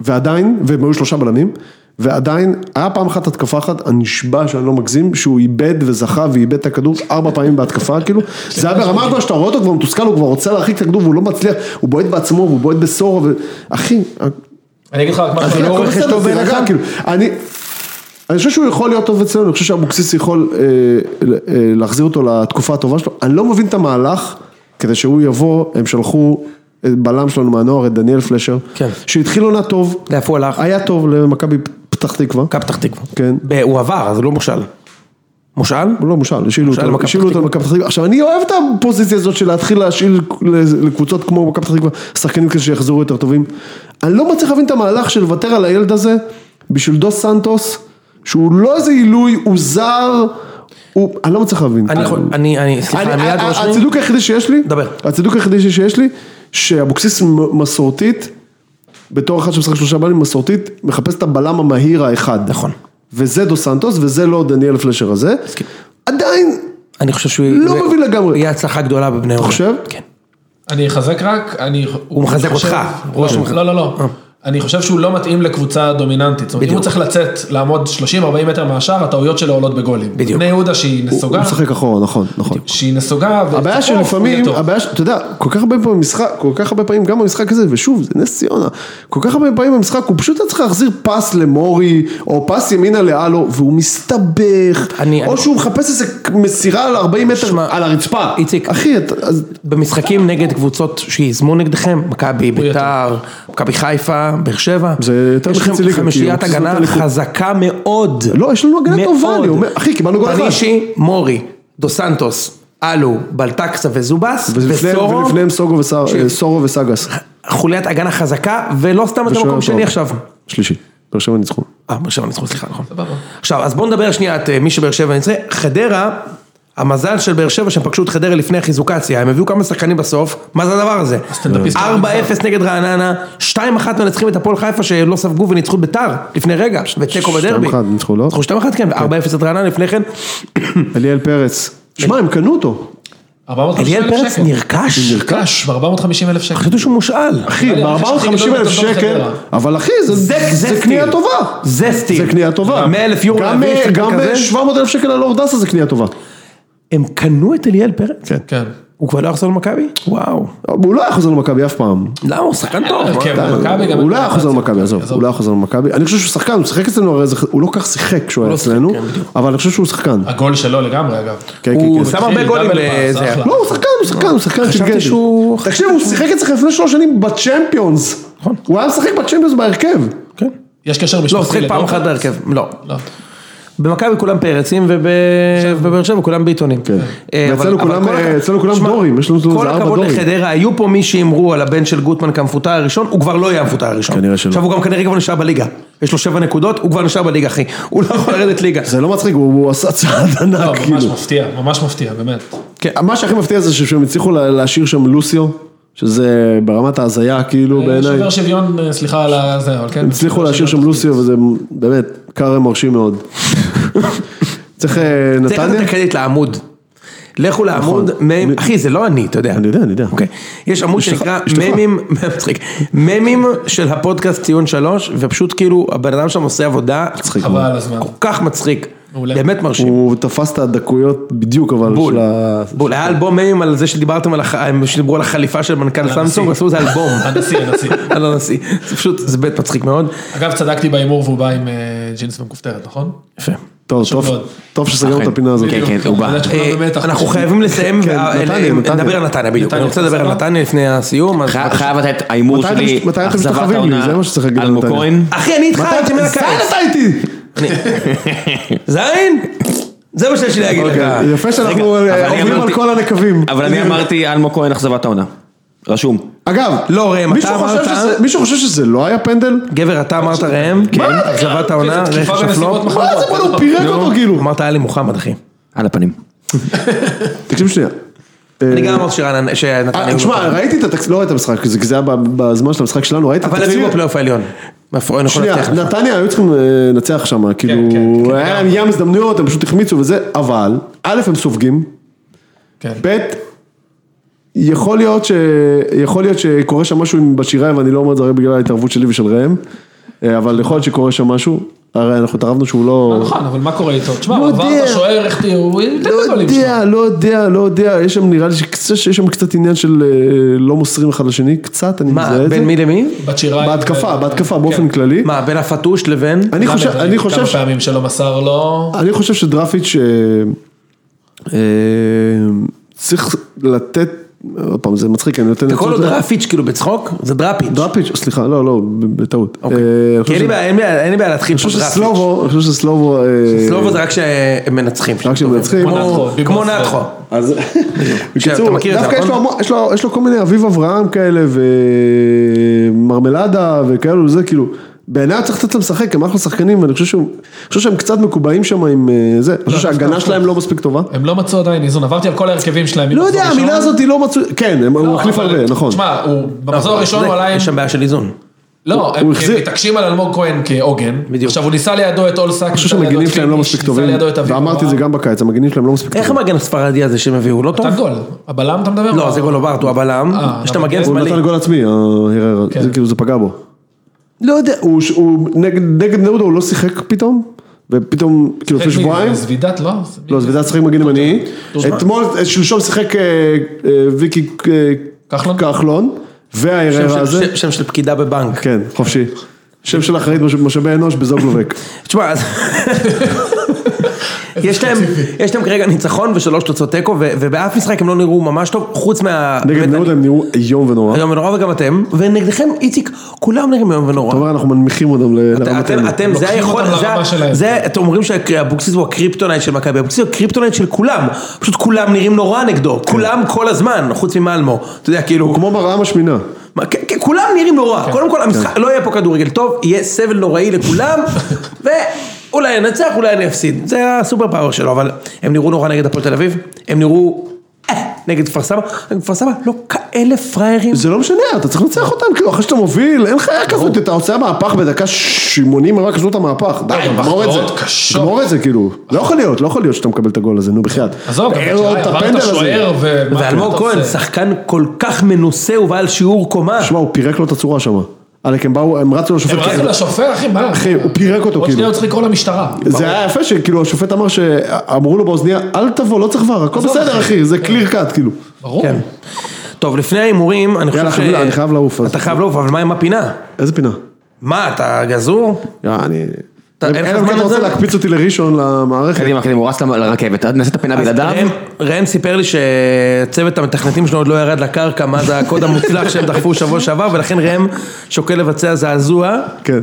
[SPEAKER 3] ועדיין, והם היו שלושה בלמים, ועדיין, היה פעם אחת התקפה אחת, אני נשבע שאני לא מגזים, שהוא איבד וזכה ואיבד את הכדור ארבע פעמים בהתקפה, כאילו, זה היה ברמה כבר שאתה רואה אותו כבר מתוסכל, הוא כבר רוצה להרחיק את הכדור והוא לא מצליח, הוא בועט בעצמו והוא בועט בסורו, ו- אחי,
[SPEAKER 4] אני אגיד לך רק משהו.
[SPEAKER 3] אחי,
[SPEAKER 2] לא
[SPEAKER 3] הכל
[SPEAKER 2] רכש
[SPEAKER 3] בסדר,
[SPEAKER 2] טוב
[SPEAKER 3] תירגע,
[SPEAKER 2] בעיניך?
[SPEAKER 3] כאילו, אני... אני חושב שהוא יכול להיות טוב אצלנו, אני חושב שאבוקסיס יכול אה, ל- אה, להחזיר אותו לתקופה הטובה שלו. אני לא מבין את המהלך, כדי שהוא יבוא, הם שלחו את בלם שלנו מהנוער, את דניאל פלשר,
[SPEAKER 2] כן.
[SPEAKER 3] שהתחיל עונה טוב,
[SPEAKER 2] לאיפה הוא הלך?
[SPEAKER 3] היה טוב למכבי פתח תקווה,
[SPEAKER 2] מכבי פתח תקווה.
[SPEAKER 3] כן.
[SPEAKER 2] ב- הוא עבר, אז הוא לא מושל. מושל?
[SPEAKER 3] הוא לא מושל, השאילו
[SPEAKER 2] מושל
[SPEAKER 3] אותו,
[SPEAKER 2] למכבי
[SPEAKER 3] השאילו
[SPEAKER 2] פתח
[SPEAKER 3] אותו למכבי פתח תקווה. עכשיו אני אוהב את הפוזיציה הזאת של להתחיל להשאיל לקבוצות כמו מכבי פתח תקווה, שחקנים כאלה שיחזרו יותר טובים. אני לא מצליח להבין את המהלך של לוותר על הילד הזה בשביל דוס סנטוס, שהוא לא איזה עילוי, הוא זר, הוא, אני לא מצליח להבין.
[SPEAKER 2] אני יכול, אני, אני, סליחה,
[SPEAKER 3] אני- אה,
[SPEAKER 2] מיד
[SPEAKER 3] ה- ה-
[SPEAKER 2] ראש שני.
[SPEAKER 3] הצידוק היחידי שיש לי,
[SPEAKER 2] דבר.
[SPEAKER 3] הצידוק היחידי שיש לי, שאבוקסיס מ- מסורתית, בתור אחד שמשחק שלושה בלמים מסורתית, מחפש את הבלם המהיר האחד.
[SPEAKER 2] נכון.
[SPEAKER 3] וזה דו סנטוס, וזה לא דניאל פלשר הזה. עדיין,
[SPEAKER 2] אני חושב שהוא...
[SPEAKER 3] לא
[SPEAKER 2] זה-
[SPEAKER 3] מבין לגמרי.
[SPEAKER 2] יהיה הצלחה גדולה בבני יהודה.
[SPEAKER 3] חושב?
[SPEAKER 2] כן.
[SPEAKER 4] אני אחזק רק, אני... הוא
[SPEAKER 2] מחזק
[SPEAKER 4] חושב-
[SPEAKER 2] אותך,
[SPEAKER 4] לא,
[SPEAKER 2] ראש
[SPEAKER 3] כן.
[SPEAKER 2] מח-
[SPEAKER 4] לא, לא,
[SPEAKER 3] אה.
[SPEAKER 4] לא. אני חושב שהוא לא מתאים לקבוצה דומיננטית. זאת אומרת, אם
[SPEAKER 2] בדיוק.
[SPEAKER 4] הוא צריך לצאת, לעמוד 30-40 מטר מהשער, הטעויות שלו עולות בגולים.
[SPEAKER 2] בדיוק.
[SPEAKER 4] בני יהודה שהיא
[SPEAKER 3] הוא
[SPEAKER 4] נסוגה,
[SPEAKER 3] משחק אחורה, נכון, נכון.
[SPEAKER 4] שהיא נסוגה,
[SPEAKER 3] הבעיה
[SPEAKER 4] וצפוף, הוא יהיה
[SPEAKER 3] שלפעמים,
[SPEAKER 4] טוב.
[SPEAKER 3] הבעיה, ש- אתה יודע, כל כך הרבה פעמים במשחק, כל כך הרבה פעמים גם במשחק הזה, ושוב, זה נס ציונה, כל כך הרבה פעמים במשחק, הוא פשוט היה צריך להחזיר פס למורי, או פס ימינה לאלו, והוא מסתבך,
[SPEAKER 2] אני-
[SPEAKER 3] או
[SPEAKER 2] אני-
[SPEAKER 3] שהוא מחפש איזה מסירה על 40 מטר
[SPEAKER 2] שמע,
[SPEAKER 3] על הרצפה.
[SPEAKER 2] איציק.
[SPEAKER 3] אחי, אתה- אז
[SPEAKER 2] במשחקים נגד קבוצות שיזמו נגדכם, מכבי, ביתר, מכבי חיפה, באר שבע,
[SPEAKER 3] זה יותר
[SPEAKER 2] יש לכם
[SPEAKER 3] מחצי ליגה, כי
[SPEAKER 2] חמישיית
[SPEAKER 3] אבוקסיס
[SPEAKER 2] הגנה
[SPEAKER 3] נותן לכו-
[SPEAKER 2] חזקה מאוד.
[SPEAKER 3] לא, יש לנו הגנה
[SPEAKER 2] מאוד.
[SPEAKER 3] טובה, אני אומר, אחי, קיבלנו גול אחד.
[SPEAKER 2] פנישי, מורי, דו סנטוס, אלו, בלטקסה וזובס,
[SPEAKER 3] ולפני-
[SPEAKER 2] וסורו,
[SPEAKER 3] ולפניהם סוגו וסר-
[SPEAKER 2] תקשיב.
[SPEAKER 3] אה, סורו וסגס.
[SPEAKER 2] חוליית הגנה חזקה, ולא סתם אתם
[SPEAKER 3] ושוער
[SPEAKER 2] מקום
[SPEAKER 3] טוב.
[SPEAKER 2] שני עכשיו.
[SPEAKER 3] שלישי, באר שבע ניצחו.
[SPEAKER 2] אה, באר שבע ניצחו, סליחה, נכון. עכשיו, אז בואו נדבר שנייה את אה, מי שבאר שבע ניצחה. חדרה, המזל של באר שבע שהם פגשו את חדרה לפני החיזוקציה, הם הביאו כמה שחקנים בסוף, מה זה הדבר הזה?
[SPEAKER 4] הסטנדאפיסט.
[SPEAKER 2] 4-0 נגד רעננה, 2-1 מנצחים את הפועל חיפה שלא ספגו וניצחו את ביתר לפני רגע, ותיקו בדרבי.
[SPEAKER 3] 2-1 ניצחו, לא?
[SPEAKER 2] ניצחו 2-1, כן, 4-0 את רעננה לפני
[SPEAKER 4] לא,
[SPEAKER 2] כן.
[SPEAKER 3] אליאל פרץ. שמע, הם קנו אותו.
[SPEAKER 4] 450
[SPEAKER 2] אליאל
[SPEAKER 4] אלף
[SPEAKER 2] פרץ
[SPEAKER 4] שקל.
[SPEAKER 2] נרכש?
[SPEAKER 4] נרכש ב-450 אלף שקל.
[SPEAKER 2] חשבתי שהוא מושאל.
[SPEAKER 3] אחי,
[SPEAKER 4] אליאל, הכי
[SPEAKER 3] ב-450
[SPEAKER 4] גדול
[SPEAKER 3] אלף
[SPEAKER 4] בתולדות
[SPEAKER 3] שקל,
[SPEAKER 4] חדרה.
[SPEAKER 3] אבל אחי, זה- זה
[SPEAKER 2] סטיל.
[SPEAKER 3] קנייה טובה.
[SPEAKER 2] זה סטיל.
[SPEAKER 3] זה קנייה טובה.
[SPEAKER 2] 100 אלף יורו
[SPEAKER 3] גם
[SPEAKER 2] להביא שחקן כזה?
[SPEAKER 3] ב-700 אלף שקל על אורדסה זה קנייה טובה.
[SPEAKER 2] הם קנו את אליאל פרץ?
[SPEAKER 4] כן.
[SPEAKER 2] הוא כבר לא יחזור למכבי? וואו.
[SPEAKER 3] הוא לא היה חוזר למכבי אף פעם.
[SPEAKER 2] למה? הוא שחקן טוב. מה?
[SPEAKER 4] כן, במכבי גם...
[SPEAKER 3] הוא לא היה חוזר למכבי, עזוב. הוא לא היה חוזר למכבי. אני חושב שהוא שחקן, הוא שיחק אצלנו, הרי זה- הוא לא כל כך שיחק כשהוא היה אצלנו, אבל אני חושב שהוא שחקן.
[SPEAKER 4] הגול שלו לגמרי, אגב.
[SPEAKER 3] כן, כן,
[SPEAKER 2] הוא
[SPEAKER 3] כן.
[SPEAKER 2] שם
[SPEAKER 4] התחיל
[SPEAKER 2] הרבה גולים
[SPEAKER 4] דאבל פאס,
[SPEAKER 2] לזה.
[SPEAKER 4] אחלה.
[SPEAKER 3] לא, הוא שחקן, הוא שחקן, הוא שחקן
[SPEAKER 2] חשבתי
[SPEAKER 3] אינטליגנטי.
[SPEAKER 2] שהוא-
[SPEAKER 3] תקשיב, הוא שיחק אצלך לפני שלוש שנים בצ'מפיונס. הוא היה משחק בצ'מפיונס בהרכב.
[SPEAKER 2] כן.
[SPEAKER 4] יש קשר משפחתי
[SPEAKER 2] לא, הוא שיחק פעם
[SPEAKER 4] לגול?
[SPEAKER 2] אחת בהרכב, לא.
[SPEAKER 4] לא.
[SPEAKER 2] במכבי כולם פרצים ובבאר שבע כולם ביטונים. אה, אבל-
[SPEAKER 3] כן. ואצלנו
[SPEAKER 2] אבל
[SPEAKER 3] כולם,
[SPEAKER 2] כל הכ-
[SPEAKER 3] אה, אצלנו כולם
[SPEAKER 2] שמע,
[SPEAKER 3] דורים, יש לנו איזה
[SPEAKER 2] כל
[SPEAKER 3] ארבע
[SPEAKER 2] הכבוד
[SPEAKER 3] דורים.
[SPEAKER 2] לחדרה, היו פה מי שהימרו על הבן של גוטמן כמפוטר הראשון, הוא כבר לא יהיה המפוטר הראשון.
[SPEAKER 3] כנראה שלא.
[SPEAKER 2] עכשיו הוא גם כנראה כבר נשאר בליגה. יש לו שבע נקודות, הוא כבר נשאר בליגה אחי. הוא לא יכול לרדת ליגה.
[SPEAKER 3] זה לא מצחיק, הוא הוא עשה צעד
[SPEAKER 4] לא,
[SPEAKER 3] ענק,
[SPEAKER 4] ממש
[SPEAKER 3] כאילו.
[SPEAKER 4] מפתיע, ממש מפתיע, באמת.
[SPEAKER 3] כן, מה שהכי מפתיע זה שהם הצליחו לה- להשאיר שם לוסיו, שזה ברמת ההזיה,
[SPEAKER 2] אה,
[SPEAKER 3] כאילו, בעיניי.
[SPEAKER 4] שובר שוויון, אה, סליחה על הזה, אבל כן.
[SPEAKER 3] הם הצליחו להשאיר שם לוסיו, וזה באמת, קארם מרשים מאוד. צריך אה,
[SPEAKER 2] צריך לתת את
[SPEAKER 3] נתניה? נכון.
[SPEAKER 2] הקרדיט לעמוד. לכו לעמוד, מ"מים- אחי זה לא אני, אתה יודע.
[SPEAKER 3] אני יודע, אני יודע.
[SPEAKER 2] אוקיי. יש עמוד שנקרא
[SPEAKER 3] יש לך.
[SPEAKER 2] ממים, מצחיק, ממים של הפודקאסט ציון שלוש, ופשוט כאילו הבן אדם שם עושה עבודה, מצחיק,
[SPEAKER 4] חבל על הזמן.
[SPEAKER 2] כל כך מצחיק,
[SPEAKER 4] מעולה.
[SPEAKER 2] באמת מרשים.
[SPEAKER 3] הוא תפס את הדקויות בדיוק, אבל
[SPEAKER 2] בול,
[SPEAKER 3] של ה...
[SPEAKER 2] בול, היה אלבום ממים על זה שדיברתם על, הח- שדיברו על החליפה של מנכ"ל סמסונג, עשו איזה אלבום,
[SPEAKER 4] הנשיא, הנשיא.
[SPEAKER 2] על הנשיא, זה פשוט, זה באמת מצחיק מאוד,
[SPEAKER 4] אגב, צדקתי בהימור והוא בא עם אה, ג'ינס ומכופתרת, נכון?
[SPEAKER 2] יפה.
[SPEAKER 3] טוב,
[SPEAKER 4] חשוב
[SPEAKER 3] טוב,
[SPEAKER 4] מאוד.
[SPEAKER 3] טוב שסגרנו את הפינה הזאת.
[SPEAKER 1] אוקיי.
[SPEAKER 5] כן, כן, הוא בא.
[SPEAKER 4] אני יודע שכולם
[SPEAKER 2] אה,
[SPEAKER 4] במתח.
[SPEAKER 2] אנחנו חייבים לסיים,
[SPEAKER 3] כן,
[SPEAKER 2] אה,
[SPEAKER 3] נתניה, נתניה.
[SPEAKER 2] נדבר על נתניה בדיוק,
[SPEAKER 4] נתניה,
[SPEAKER 2] אני רוצה לדבר על
[SPEAKER 4] סבבה?
[SPEAKER 2] נתניה לפני הסיום, אז
[SPEAKER 1] חי- חייב לתת ההימור
[SPEAKER 3] מתי אתם-
[SPEAKER 1] שלי,
[SPEAKER 3] מתי אתם משתחווים לי? זה מה שצריך להגיד על
[SPEAKER 1] אלמוג
[SPEAKER 3] נתניה.
[SPEAKER 1] כהן.
[SPEAKER 2] אחי, אני איתך, הייתי
[SPEAKER 3] זין
[SPEAKER 2] מהקיץ.
[SPEAKER 3] אתה איתי!
[SPEAKER 2] זין? זה מה שיש לי להגיד לך.
[SPEAKER 3] אוקיי, יפה שאנחנו
[SPEAKER 1] רגע,
[SPEAKER 3] אה,
[SPEAKER 1] אבל אני
[SPEAKER 3] עוברים על
[SPEAKER 1] אמרתי-
[SPEAKER 3] כל הנקבים.
[SPEAKER 1] אבל אני אמרתי אלמוג כהן אכזבת העונה. רשום.
[SPEAKER 3] אגב,
[SPEAKER 2] לא, ראם, אתה
[SPEAKER 3] מישהו
[SPEAKER 2] אמרת-
[SPEAKER 3] חושב שזה- מישהו חושב שזה לא היה פנדל?
[SPEAKER 2] גבר, אתה אמרת ראם, כן, אכזבת העונה,
[SPEAKER 4] זה תקיפה
[SPEAKER 2] רכש
[SPEAKER 4] בנסיבות
[SPEAKER 2] הפלופ.
[SPEAKER 4] מחמירות.
[SPEAKER 3] מה זה בוא'נה,
[SPEAKER 2] נכון.
[SPEAKER 3] הוא פירק אותו כאילו.
[SPEAKER 2] אמרת עלי מוחמד, אחי.
[SPEAKER 1] על הפנים.
[SPEAKER 3] תקשיב שנייה.
[SPEAKER 2] אני גם אמרתי שרענן, שנתן
[SPEAKER 3] אה, תשמע, ראיתי את התקציב, לא ראיתי את המשחק, כי זה כי זה היה ב- בזמן של המשחק שלנו, ראיתי את
[SPEAKER 2] אבל הם
[SPEAKER 3] התקציב.
[SPEAKER 2] היו בפלייאוף העליון. מאפרון יכול
[SPEAKER 3] שנייה,
[SPEAKER 2] להבטיח. לך.
[SPEAKER 3] נתניה היו צריכים אה, לנצח שם, כאילו,
[SPEAKER 4] כן, כן,
[SPEAKER 3] היה
[SPEAKER 4] גם.
[SPEAKER 3] להם ים הזדמנויות, הם פשוט החמיצו וזה, אבל, א', הם סופגים,
[SPEAKER 4] כן.
[SPEAKER 3] ב', יכול להיות ש... יכול להיות שקורה שם משהו עם בשיריים, ואני לא אומר את זה רק בגלל ההתערבות שלי ושל ראם, אה, אבל יכול להיות שקורה שם משהו, הרי אנחנו התערבנו שהוא לא...
[SPEAKER 4] נכון, אבל מה קורה איתו? תשמע,
[SPEAKER 3] לא
[SPEAKER 4] הוא עבר
[SPEAKER 3] יודע.
[SPEAKER 4] את השוער, איך תהיה, הוא ייתן את
[SPEAKER 3] לא
[SPEAKER 4] הגולים שלו.
[SPEAKER 3] יודע, לא יודע, לא יודע, יש שם נראה לי שקצת- שיש שם קצת עניין של אה, לא מוסרים אחד לשני, קצת, אני מזהה
[SPEAKER 2] מה,
[SPEAKER 3] את זה.
[SPEAKER 2] בין מי למי?
[SPEAKER 4] בת שירה.
[SPEAKER 3] בהתקפה,
[SPEAKER 4] ו-
[SPEAKER 3] בהתקפה
[SPEAKER 4] כן.
[SPEAKER 3] באופן כללי.
[SPEAKER 2] מה, בין הפטוש לבין?
[SPEAKER 3] אני
[SPEAKER 4] גם
[SPEAKER 3] חושב,
[SPEAKER 4] הבנתי
[SPEAKER 3] אני חושב,
[SPEAKER 4] כמה פעמים לא- שלא מסר לו.
[SPEAKER 3] אני חושב שדרפיץ' אה, אה, צריך לתת, עוד פעם זה מצחיק, אני נותן
[SPEAKER 2] אתה
[SPEAKER 3] את
[SPEAKER 2] קורא לו
[SPEAKER 3] זה-
[SPEAKER 2] דראפיץ' כאילו בצחוק? זה דראפיץ'.
[SPEAKER 3] דרפיץ', סליחה, לא, לא, ב- בטעות.
[SPEAKER 2] אוקיי.
[SPEAKER 3] אה, אני
[SPEAKER 2] כי
[SPEAKER 3] חושב
[SPEAKER 2] אין לי
[SPEAKER 3] ש-
[SPEAKER 2] בעיה, אין לי בעיה- אין לי בעיה להתחיל
[SPEAKER 3] אני
[SPEAKER 2] פה
[SPEAKER 3] חושב
[SPEAKER 2] דראפיץ'.
[SPEAKER 3] שסלובו, אני חושב שסלובו, אה,
[SPEAKER 2] סלובו זה רק שהם מנצחים.
[SPEAKER 3] רק שהם מנצחים. אה,
[SPEAKER 4] כמו אה,
[SPEAKER 3] הוא-
[SPEAKER 4] נתחו.
[SPEAKER 2] כמו נתחו.
[SPEAKER 3] אז
[SPEAKER 2] אתה
[SPEAKER 3] בקיצור,
[SPEAKER 2] מכיר את זה,
[SPEAKER 3] דווקא יש לו
[SPEAKER 2] נכון?
[SPEAKER 3] המון- יש לו- יש לו כל מיני אביב אברהם כאלה ומרמלדה וכאלו, זה כאילו, בעיניי הוא צריך לתת להם לשחק, הם אחלה שחקנים, ואני חושב שהוא- אני חושב שהם קצת מקובעים שם עם אה, זה, אני חושב שההגנה שלהם לא מספיק טובה.
[SPEAKER 4] הם לא מצאו עדיין איזון, עברתי על כל ההרכבים שלהם.
[SPEAKER 3] לא יודע,
[SPEAKER 4] ממחזור
[SPEAKER 3] המילה
[SPEAKER 4] ראשון.
[SPEAKER 3] הזאת היא לא מצוי, כן, הם-
[SPEAKER 4] לא,
[SPEAKER 3] הוא החליף
[SPEAKER 4] אבל-
[SPEAKER 3] הרבה, נכון. לא,
[SPEAKER 4] תשמע, הוא- במחזור הראשון הוא עלה עם...
[SPEAKER 2] יש שם בעיה של איזון.
[SPEAKER 4] לא, הם
[SPEAKER 3] הוא
[SPEAKER 4] הם
[SPEAKER 3] החזיר-
[SPEAKER 4] מתעקשים על אלמוג כהן כעוגן.
[SPEAKER 2] בדיוק.
[SPEAKER 4] עכשיו הוא ניסה לידו את אולסק.
[SPEAKER 3] אני חושב שהמגינים שלהם לא מספיק טובים, ואמרתי את זה גם בקיץ, המגינים שלהם לא מספיק
[SPEAKER 2] איך
[SPEAKER 3] טובים.
[SPEAKER 2] המגן הספרדי הזה שהם הביאו, לא טוב?
[SPEAKER 4] נתן גול. הבלם אתה מדבר?
[SPEAKER 2] לא, זה גול אוברט, הוא הבלם.
[SPEAKER 4] אה,
[SPEAKER 2] יש את
[SPEAKER 4] אבל
[SPEAKER 2] המגן
[SPEAKER 3] הוא
[SPEAKER 2] השמאלי.
[SPEAKER 3] נתן גול עצמי, אה, הררה,
[SPEAKER 4] כן.
[SPEAKER 3] זה כאילו זה פגע בו. לא יודע, הוא- הוא נגד נגד נאודו הוא לא שיחק פתאום, ופתאום, כאילו לפני שבועיים,
[SPEAKER 4] זבידת, לא? זה מי-
[SPEAKER 3] לא, זוודא שיחק מגן ימני,
[SPEAKER 4] תשמע.
[SPEAKER 3] אתמול, שלשום שיחק אה, אה, ויקי אה,
[SPEAKER 4] כחלון?
[SPEAKER 3] כחלון,
[SPEAKER 2] שם
[SPEAKER 3] וההררה
[SPEAKER 2] של-
[SPEAKER 3] הזה,
[SPEAKER 2] שם- שם של פקידה בבנק.
[SPEAKER 3] כן, חופשי. שם של אחראית מש- משאבי אנוש בזוגלובק.
[SPEAKER 2] תשמע, אז- יש להם, יש להם כרגע ניצחון ושלוש תוצאות תיקו, ו- ובאף משחק הם לא נראו ממש טוב, חוץ מה...
[SPEAKER 3] נגד
[SPEAKER 2] באמת,
[SPEAKER 3] בני יהודה הם נראו איום ונורא.
[SPEAKER 4] לא.
[SPEAKER 2] איום ונורא וגם אתם, ונגדכם, איציק, כולם נראים איום ונורא.
[SPEAKER 3] אתה אומר אנחנו מנמיכים אותם ל-
[SPEAKER 2] אתם,
[SPEAKER 3] לרמתנו.
[SPEAKER 2] אתם, זה
[SPEAKER 4] לוקחים
[SPEAKER 2] היכול,
[SPEAKER 4] אותם
[SPEAKER 2] זה,
[SPEAKER 4] לרמה שלהם.
[SPEAKER 2] זה, אתם אומרים שאבוקסיס הוא הקריפטונייט של מכבי, אבוקסיס הוא הקריפטונייט של כולם, פשוט כולם נראים נורא נגדו,
[SPEAKER 3] כן.
[SPEAKER 2] כולם כל הזמן, חוץ ממלמו, אתה יודע, כאילו,
[SPEAKER 3] הוא כמו ברעה משמינה.
[SPEAKER 2] מה, כן, כן, כולם נראים נורא, קודם כל המשחק,
[SPEAKER 3] כן.
[SPEAKER 2] לא יהיה פה כדורגל טוב, יהיה סבל נוראי לכולם, ואולי ננצח, אולי אני אפסיד, זה הסופר פאוור שלו, אבל הם נראו נורא נגד הפועל תל אביב, הם נראו אה, נגד כפר סבא, נגד כפר סבא לא כאלה פראיירים,
[SPEAKER 3] זה לא משנה, אתה צריך לנצח אותם, כאילו, אחרי שאתה מוביל, אין חיה כזאת, אתה עושה מהפך בדקה 80, רק עשו את המהפך, די,
[SPEAKER 4] גם
[SPEAKER 3] גמור את זה,
[SPEAKER 4] הכרעות לא, קשות.
[SPEAKER 3] גמור את זה, כאילו, לא יכול להיות, לא יכול להיות שאתה מקבל את הגול הזה, נו בחייאת,
[SPEAKER 4] עזוב, גם
[SPEAKER 3] אין לו את
[SPEAKER 4] עברת
[SPEAKER 3] הפנדל הזה,
[SPEAKER 4] שוער ו... מה
[SPEAKER 2] ואלמוג
[SPEAKER 4] אתה
[SPEAKER 2] כהן,
[SPEAKER 4] עושה?
[SPEAKER 2] שחקן כל כך מנוסה ובעל שיעור קומה,
[SPEAKER 3] שמע, הוא פירק לו את הצורה שם, עלק, הם באו, הם רצו לשופט,
[SPEAKER 4] הם רצו לשופט, אחי, מה?
[SPEAKER 3] כן. אחי, הוא פירק אותו,
[SPEAKER 4] עוד
[SPEAKER 3] כאילו. כן,
[SPEAKER 4] שנייה הוא צריך לקרוא למשטרה.
[SPEAKER 3] זה היה יפה שכאילו השופט אמר שאמרו לו באוזניה אל תבוא לא צריך כבר הכל
[SPEAKER 4] עזוב,
[SPEAKER 3] בסדר
[SPEAKER 4] אחי.
[SPEAKER 3] אחי זה קליר קאט כאילו
[SPEAKER 4] ברור.
[SPEAKER 2] כן. טוב, לפני ההימורים, אני חושב
[SPEAKER 3] יאללה,
[SPEAKER 2] ש...
[SPEAKER 3] חבילה, אני חייב לעוף, אז-
[SPEAKER 2] אתה חייב לעוף, אבל מה עם הפינה?
[SPEAKER 3] איזה פינה.
[SPEAKER 2] מה, אתה גזור?
[SPEAKER 3] יא, אני...
[SPEAKER 2] אתה- אין לך
[SPEAKER 3] אלא אם
[SPEAKER 2] זמן
[SPEAKER 3] כן אתה רוצה
[SPEAKER 2] לזה?
[SPEAKER 3] להקפיץ אותי לראשון למערכת
[SPEAKER 1] קדימה, קדימה, הוא רץ לרכבת, נעשה את הפינה
[SPEAKER 2] אז
[SPEAKER 1] בלעדיו.
[SPEAKER 2] ראם- ראם סיפר לי שצוות המתכנתים שלו עוד לא ירד לקרקע, מה זה הקוד המוצלח שהם דחפו שבוע שעבר, ולכן ראם שוקל לבצע זעזוע,
[SPEAKER 3] כן.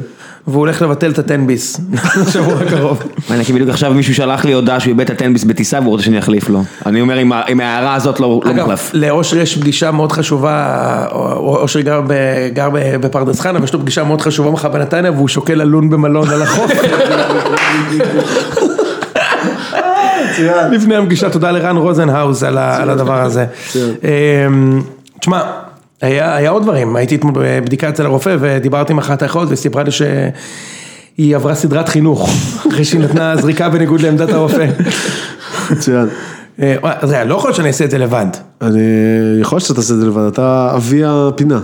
[SPEAKER 2] והוא הולך לבטל את הטן ביס, לשבוע הקרוב.
[SPEAKER 1] ואני כי בדיוק עכשיו מישהו שלח לי הודעה שהוא איבד את הטנביס בטיסה והוא רוצה שאני אחליף לו. אני אומר, עם ה- עם ההערה הזאת לא לא
[SPEAKER 2] אגב,
[SPEAKER 1] מוחלף.
[SPEAKER 2] לאושר יש פגישה מאוד חשובה, או- אושר גר ב- גר ב- בפרדס חנה, ויש לו פגישה מאוד חשובה מחר בנתניה, והוא שוקל ללון במלון על החוף. לפני הפגישה, תודה לרן רוזנהאוז על ה- על הדבר הזה. אמ, תשמע, היה היה עוד דברים, הייתי אתמול בבדיקה אצל הרופא ודיברתי עם אחת האחות והיא סיפרה לי ש... היא עברה סדרת חינוך, אחרי שהיא נתנה זריקה בניגוד לעמדת הרופא.
[SPEAKER 3] מצוין.
[SPEAKER 2] אה, אז רגע, לא יכול להיות שאני אעשה את זה לבד.
[SPEAKER 3] אני יכול שאתה תעשה את זה לבד אתה אבי הפינה.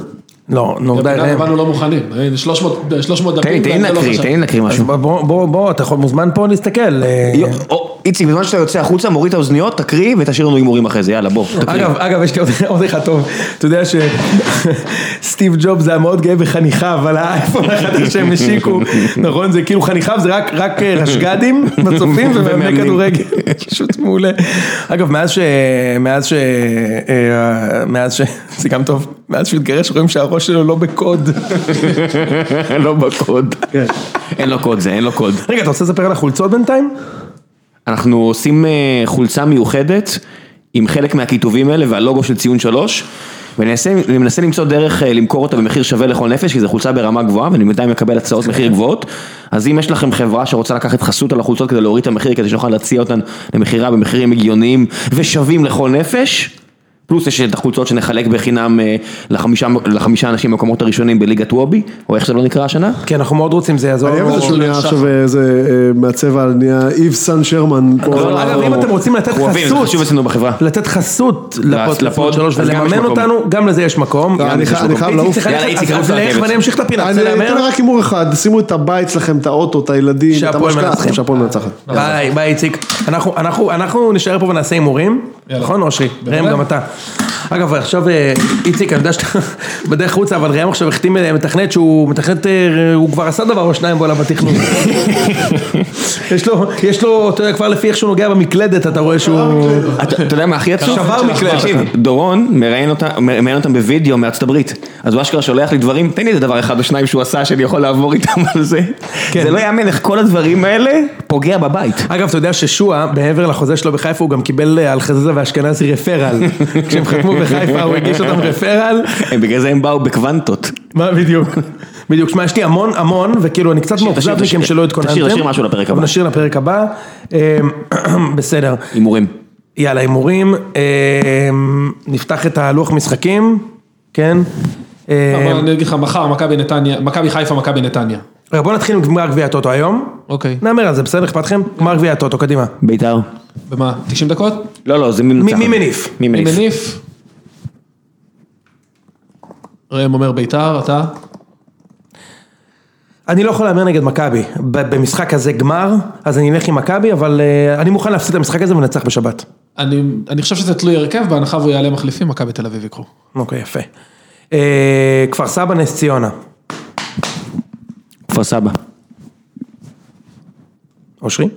[SPEAKER 2] לא, נו די
[SPEAKER 4] אנחנו
[SPEAKER 2] ראם.
[SPEAKER 4] באנו לא מוכנים. הנה, 300 300
[SPEAKER 1] תן לי,
[SPEAKER 4] דפים.
[SPEAKER 1] תן לי
[SPEAKER 4] ואתה לא
[SPEAKER 1] להקריא,
[SPEAKER 4] חשב.
[SPEAKER 1] תן לי להקריא
[SPEAKER 2] אז
[SPEAKER 1] משהו. לא,
[SPEAKER 2] בוא, בוא, בוא, בוא, אתה יכול מוזמן פה להסתכל. אה,
[SPEAKER 1] יו, או, איציק, בזמן שאתה יוצא החוצה, מוריד את האוזניות, תקריא ותשאיר לנו הימורים אחרי זה, יאללה, בוא, תקריא.
[SPEAKER 2] אגב, אגב, יש לי עוד- עוד אחד טוב. אתה יודע שסטיב ג'ובס היה מאוד גאה בחניכיו, על האייפון החדש שהם השיקו. נכון, זה כאילו חניכיו זה רק- רק אה, רשג"דים, מצופים ומאמני
[SPEAKER 1] ומאמנים.
[SPEAKER 2] כדורגל. פשוט מעולה. אגב, מאז ש... מאז ש... אה, מאז ש... זה גם טוב. מאז שהוא התגרש רואים שהראש שלו לא בקוד.
[SPEAKER 1] לא בקוד. אין לו קוד זה, אין לו קוד.
[SPEAKER 2] רגע, אתה רוצה לספר על החולצות בינתיים?
[SPEAKER 1] אנחנו עושים אה, חולצה מיוחדת עם חלק מהכיתובים האלה והלוגו של ציון שלוש. ואני אעשה- אני מנסה למצוא דרך אה, למכור אותה במחיר שווה לכל נפש, כי זו חולצה ברמה גבוהה, ואני בינתיים מקבל הצעות מחיר גבוהות. אז אם יש לכם חברה שרוצה לקחת חסות על החולצות כדי להוריד את המחיר, כדי שנוכל להציע אותן למכירה במחירים הגיוניים ושווים לכל נפש, פלוס יש את החולצות שנחלק בחינם אה, לחמישה, לחמישה אנשים במקומות הראשונים בליגת וובי, או איך שזה לא נקרא השנה.
[SPEAKER 2] כי אנחנו מאוד רוצים, זה יעזור.
[SPEAKER 3] אני אוהב את זה
[SPEAKER 2] לנו.
[SPEAKER 3] שהוא נהיה עכשיו איזה אה, מהצבע נהיה איב סן שרמן. פה.
[SPEAKER 1] לא, לא,
[SPEAKER 2] אגב,
[SPEAKER 1] לא,
[SPEAKER 2] אם
[SPEAKER 1] לא.
[SPEAKER 2] אתם רוצים לתת
[SPEAKER 1] אנחנו אוהבים, זה
[SPEAKER 2] חסות-
[SPEAKER 1] חשוב אצלנו בחברה.
[SPEAKER 2] לתת חסות לפוד- לפוד
[SPEAKER 1] לפוד,
[SPEAKER 2] שלוש
[SPEAKER 1] אז גם יש
[SPEAKER 2] ולממן
[SPEAKER 1] מקום.
[SPEAKER 2] אותנו, גם לזה יש מקום.
[SPEAKER 3] לא, אני
[SPEAKER 2] איציק,
[SPEAKER 3] חי- אני חייב
[SPEAKER 2] איציק,
[SPEAKER 3] לעוף.
[SPEAKER 2] צריך
[SPEAKER 1] יאללה,
[SPEAKER 2] ללכת-
[SPEAKER 1] איציק,
[SPEAKER 2] אז
[SPEAKER 1] רץ
[SPEAKER 2] לך
[SPEAKER 1] לרכבת.
[SPEAKER 2] ואני אמשיך את הפינה, אתה
[SPEAKER 3] אני
[SPEAKER 2] רוצה
[SPEAKER 3] אתן
[SPEAKER 2] להמר?
[SPEAKER 3] רק הימור אחד שימו את הבית שלכם את האוטו את הילדים את
[SPEAKER 2] שהפועל מנצחים.
[SPEAKER 3] המשקעה. שהפועל מנצחת.
[SPEAKER 2] ביי, ביי איציק. אנחנו- אנחנו- אנחנו נשאר פה ונעשה הימורים,
[SPEAKER 4] יאללה.
[SPEAKER 2] נכון אושרי?
[SPEAKER 4] בוודאי.
[SPEAKER 2] ראם גם אתה. אגב עכשיו אה, איציק אני יודע שאתה בדרך חוצה אבל ראם עכשיו החתים אה, מתכנת שהוא מתכנת אה, הוא כבר עשה דבר או שניים בעולם התכנון. יש לו, יש לו, אתה יודע כבר לפי איך שהוא נוגע במקלדת אתה רואה
[SPEAKER 3] אה,
[SPEAKER 2] שהוא...
[SPEAKER 1] אתה אתה יודע מה הכי עצוב?
[SPEAKER 2] שבר מקלדת.
[SPEAKER 1] תקשיב, דורון מראיין אותה- מראיין אותם בווידאו מארצות הברית. אז הוא אשכרה שולח לי דברים, תן לי איזה דבר אחד או שניים שהוא עשה שאני יכול לעבור איתם על זה.
[SPEAKER 2] כן.
[SPEAKER 1] זה לא יאמן איך כל הדברים האלה פוגע בבית.
[SPEAKER 2] אגב, אתה יודע ששועה, מעבר לחוזה שלו בחיפה, הוא גם קיבל אה, על חזיזה ואשכנזי רפרל. כשהם חתמו בחיפה, הוא הגיש אותם רפרל.
[SPEAKER 1] הם בגלל זה הם באו בקוונטות.
[SPEAKER 2] מה בדיוק? בדיוק, שמע, יש לי המון המון, וכאילו אני קצת מאוכזב
[SPEAKER 1] תשאיר,
[SPEAKER 2] מכם
[SPEAKER 1] תשאיר.
[SPEAKER 2] שלא התכוננתם.
[SPEAKER 1] תשאיר, תשאיר משהו לפרק
[SPEAKER 2] אבל
[SPEAKER 1] הבא.
[SPEAKER 2] נשאיר לפרק הבא. אמ, בסדר.
[SPEAKER 1] הימורים.
[SPEAKER 2] יאללה, הימורים. אמ, נפתח את הלוח משחקים, כן?
[SPEAKER 4] אבל
[SPEAKER 2] אמ,
[SPEAKER 4] אני אגיד לך, מחר מכבי נתניה, מכבי חיפה, מכבי נתניה.
[SPEAKER 2] רגע, בוא נתחיל עם גמר גביע הטוטו היום.
[SPEAKER 4] אוקיי.
[SPEAKER 2] נאמר על זה, בסדר? אכפת לכם? גמר גביע הטוטו, קדימה.
[SPEAKER 1] ביתר.
[SPEAKER 4] במה, 90 דקות?
[SPEAKER 1] לא, לא, זה מי מנצח.
[SPEAKER 2] מי מניף?
[SPEAKER 1] מי
[SPEAKER 4] מי
[SPEAKER 1] מניף.
[SPEAKER 4] מניף? ראם אומר ביתר, אתה?
[SPEAKER 2] אני לא יכול להמר נגד מכבי. ב- במשחק הזה גמר, אז אני אלך עם מכבי, אבל אה, אני מוכן להפסיד את המשחק הזה ולנצח בשבת.
[SPEAKER 4] אני, אני חושב שזה תלוי הרכב, בהנחה והוא יעלה מחליפים, מכבי תל אביב יקחו.
[SPEAKER 2] אוקיי, יפה. אה, כפר סבא, נס ציונה.
[SPEAKER 1] כפר סבא.
[SPEAKER 2] אושרי?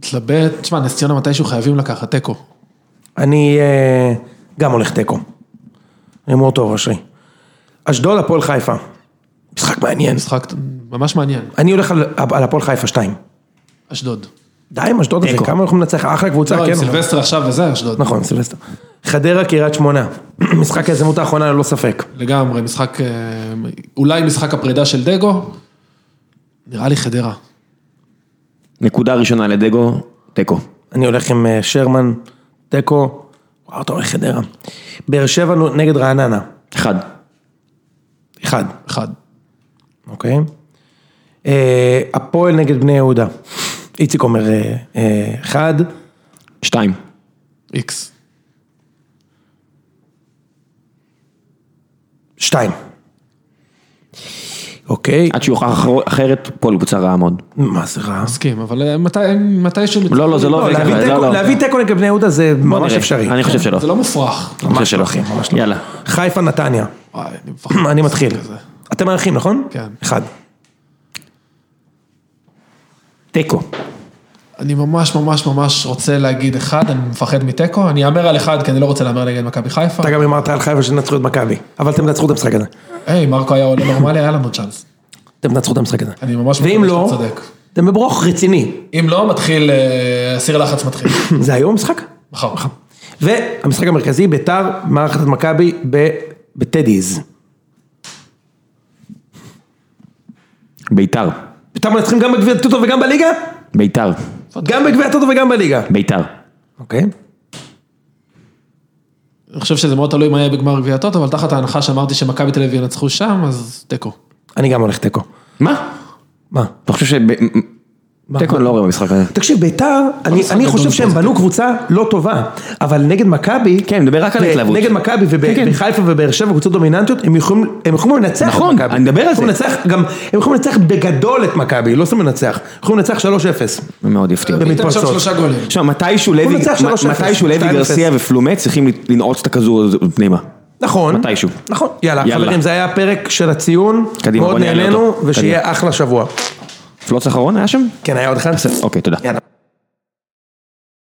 [SPEAKER 4] תלבט, תשמע, נס ציונה מתישהו חייבים לקחת, תיקו.
[SPEAKER 2] אני אה, גם הולך תיקו. הימור טוב, אושרי. אשדוד, הפועל חיפה. משחק מעניין.
[SPEAKER 4] משחק ממש מעניין,
[SPEAKER 2] אני הולך על על הפועל חיפה 2.
[SPEAKER 4] אשדוד.
[SPEAKER 2] די עם אשדוד הזה,
[SPEAKER 1] תיקו.
[SPEAKER 2] כמה אנחנו ננצח? אחלה קבוצה,
[SPEAKER 4] לא,
[SPEAKER 2] כן.
[SPEAKER 4] עם
[SPEAKER 2] אבל-
[SPEAKER 4] סילבסטר עכשיו וזה, אשדוד.
[SPEAKER 2] נכון, סילבסטר. חדרה, קריית שמונה. משחק ההזדמנות האחרונה ללא ספק.
[SPEAKER 4] לגמרי, משחק, אה, אולי משחק הפרידה של דגו, נראה לי חדרה.
[SPEAKER 1] נקודה ראשונה לדגו, תיקו.
[SPEAKER 2] אני הולך עם אה, שרמן, תיקו, וואו, אתה הולך חדרה. באר שבע נו- נגד רעננה,
[SPEAKER 1] אחד.
[SPEAKER 2] אחד,
[SPEAKER 4] אחד.
[SPEAKER 2] אוקיי? אה, הפועל נגד בני יהודה. איציק אומר אה, אה, אחד,
[SPEAKER 1] שתיים.
[SPEAKER 4] איקס.
[SPEAKER 2] שתיים. אוקיי,
[SPEAKER 1] עד שיוכח אחר- אחרת, פה לקבוצה רעה מאוד.
[SPEAKER 2] מה זה רע?
[SPEAKER 4] מסכים, אבל אה, מתי, מתישהו...
[SPEAKER 1] לא, לא, זה לא
[SPEAKER 2] לא,
[SPEAKER 1] עובד
[SPEAKER 2] להביא
[SPEAKER 1] ככה, זה
[SPEAKER 2] תיקו-
[SPEAKER 1] לא.
[SPEAKER 2] להביא תיקו נגד בני יהודה זה
[SPEAKER 1] בוא
[SPEAKER 2] ממש
[SPEAKER 1] נראה.
[SPEAKER 2] אפשרי.
[SPEAKER 1] אני חושב שלא.
[SPEAKER 4] זה לא מופרך.
[SPEAKER 1] אני חושב שלא.
[SPEAKER 2] אחי, ממש לא.
[SPEAKER 1] יאללה.
[SPEAKER 2] חיפה נתניה,
[SPEAKER 4] וואי, אני מפחד.
[SPEAKER 2] אני מתחיל.
[SPEAKER 4] כזה.
[SPEAKER 2] אתם מארחים, נכון?
[SPEAKER 4] כן.
[SPEAKER 2] אחד.
[SPEAKER 1] תיקו.
[SPEAKER 4] אני ממש ממש ממש רוצה להגיד אחד, אני מפחד מתיקו, אני אאמר על אחד כי אני לא רוצה להמר נגד מכבי חיפה.
[SPEAKER 2] אתה גם אמרת על חיפה שתנצחו את מכבי, אבל אתם תנצחו את המשחק הזה.
[SPEAKER 4] היי, מרקו היה עולה נורמלי, היה לנו צ'אנס.
[SPEAKER 2] אתם תנצחו את המשחק הזה.
[SPEAKER 4] אני ממש
[SPEAKER 2] ואם
[SPEAKER 4] מקווה
[SPEAKER 2] לא,
[SPEAKER 4] שאתה צודק.
[SPEAKER 2] אתם בברוך רציני.
[SPEAKER 4] אם לא, מתחיל, אה, הסיר לחץ מתחיל.
[SPEAKER 2] זה היום המשחק?
[SPEAKER 4] מחר.
[SPEAKER 2] והמשחק המרכזי, ביתר, מערכת את מכבי ב- בטדיז.
[SPEAKER 1] ביתר.
[SPEAKER 2] ביתר מנצחים גם בגביע הטוטו וגם בליגה?
[SPEAKER 1] ביתר.
[SPEAKER 2] גם בגביע הטוטו וגם בליגה.
[SPEAKER 1] ביתר.
[SPEAKER 2] אוקיי.
[SPEAKER 4] אני חושב שזה מאוד תלוי מה יהיה בגמר גביע הטוטו, אבל תחת ההנחה שאמרתי שמכבי תל אביב ינצחו שם, אז תיקו.
[SPEAKER 2] אני גם הולך תיקו.
[SPEAKER 1] מה?
[SPEAKER 2] מה?
[SPEAKER 1] אתה חושב ש... תיקו אני לא רואה במשחק הזה.
[SPEAKER 2] תקשיב, ביתר, אני,
[SPEAKER 4] משחק
[SPEAKER 2] אני
[SPEAKER 4] גדול
[SPEAKER 2] חושב שהם
[SPEAKER 4] כזה.
[SPEAKER 2] בנו קבוצה לא טובה, אבל נגד מכבי,
[SPEAKER 1] כן, מדבר רק על
[SPEAKER 2] ו-
[SPEAKER 1] ההתלהבות.
[SPEAKER 2] נגד מכבי
[SPEAKER 1] כן, כן.
[SPEAKER 2] ובחיפה ובאר שבע, קבוצות דומיננטיות, הם יכולים, הם יכולים לנצח
[SPEAKER 1] נכון,
[SPEAKER 2] את מכבי.
[SPEAKER 1] אני מדבר על
[SPEAKER 2] יכולים
[SPEAKER 1] זה.
[SPEAKER 2] לנצח, גם, הם יכולים לנצח בגדול את מכבי, לא סתם לנצח, יכולים לנצח 3-0.
[SPEAKER 1] מאוד יפתיע. אותי.
[SPEAKER 4] ניתן שם
[SPEAKER 2] מתפרצות.
[SPEAKER 4] שלושה גולים.
[SPEAKER 1] עכשיו, מתישהו לוי,
[SPEAKER 2] נצח
[SPEAKER 1] מ-
[SPEAKER 2] 3-0,
[SPEAKER 1] מתישהו לוי
[SPEAKER 2] 2-0.
[SPEAKER 1] גרסיה ופלומה צריכים לנעוץ את הכדור הזה פנימה.
[SPEAKER 2] נכון.
[SPEAKER 1] מתישהו.
[SPEAKER 2] נכון. יאללה,
[SPEAKER 1] יאללה.
[SPEAKER 2] חברים, זה היה הפרק של הציון.
[SPEAKER 1] קדימה,
[SPEAKER 2] מאוד
[SPEAKER 1] בוא נעלה
[SPEAKER 2] נהנינו,
[SPEAKER 1] אותו.
[SPEAKER 2] ושיהיה אחלה שבוע.
[SPEAKER 1] פלוץ אחרון היה שם?
[SPEAKER 2] כן, היה עוד אחד?
[SPEAKER 1] אוקיי, תודה.
[SPEAKER 2] יאללה.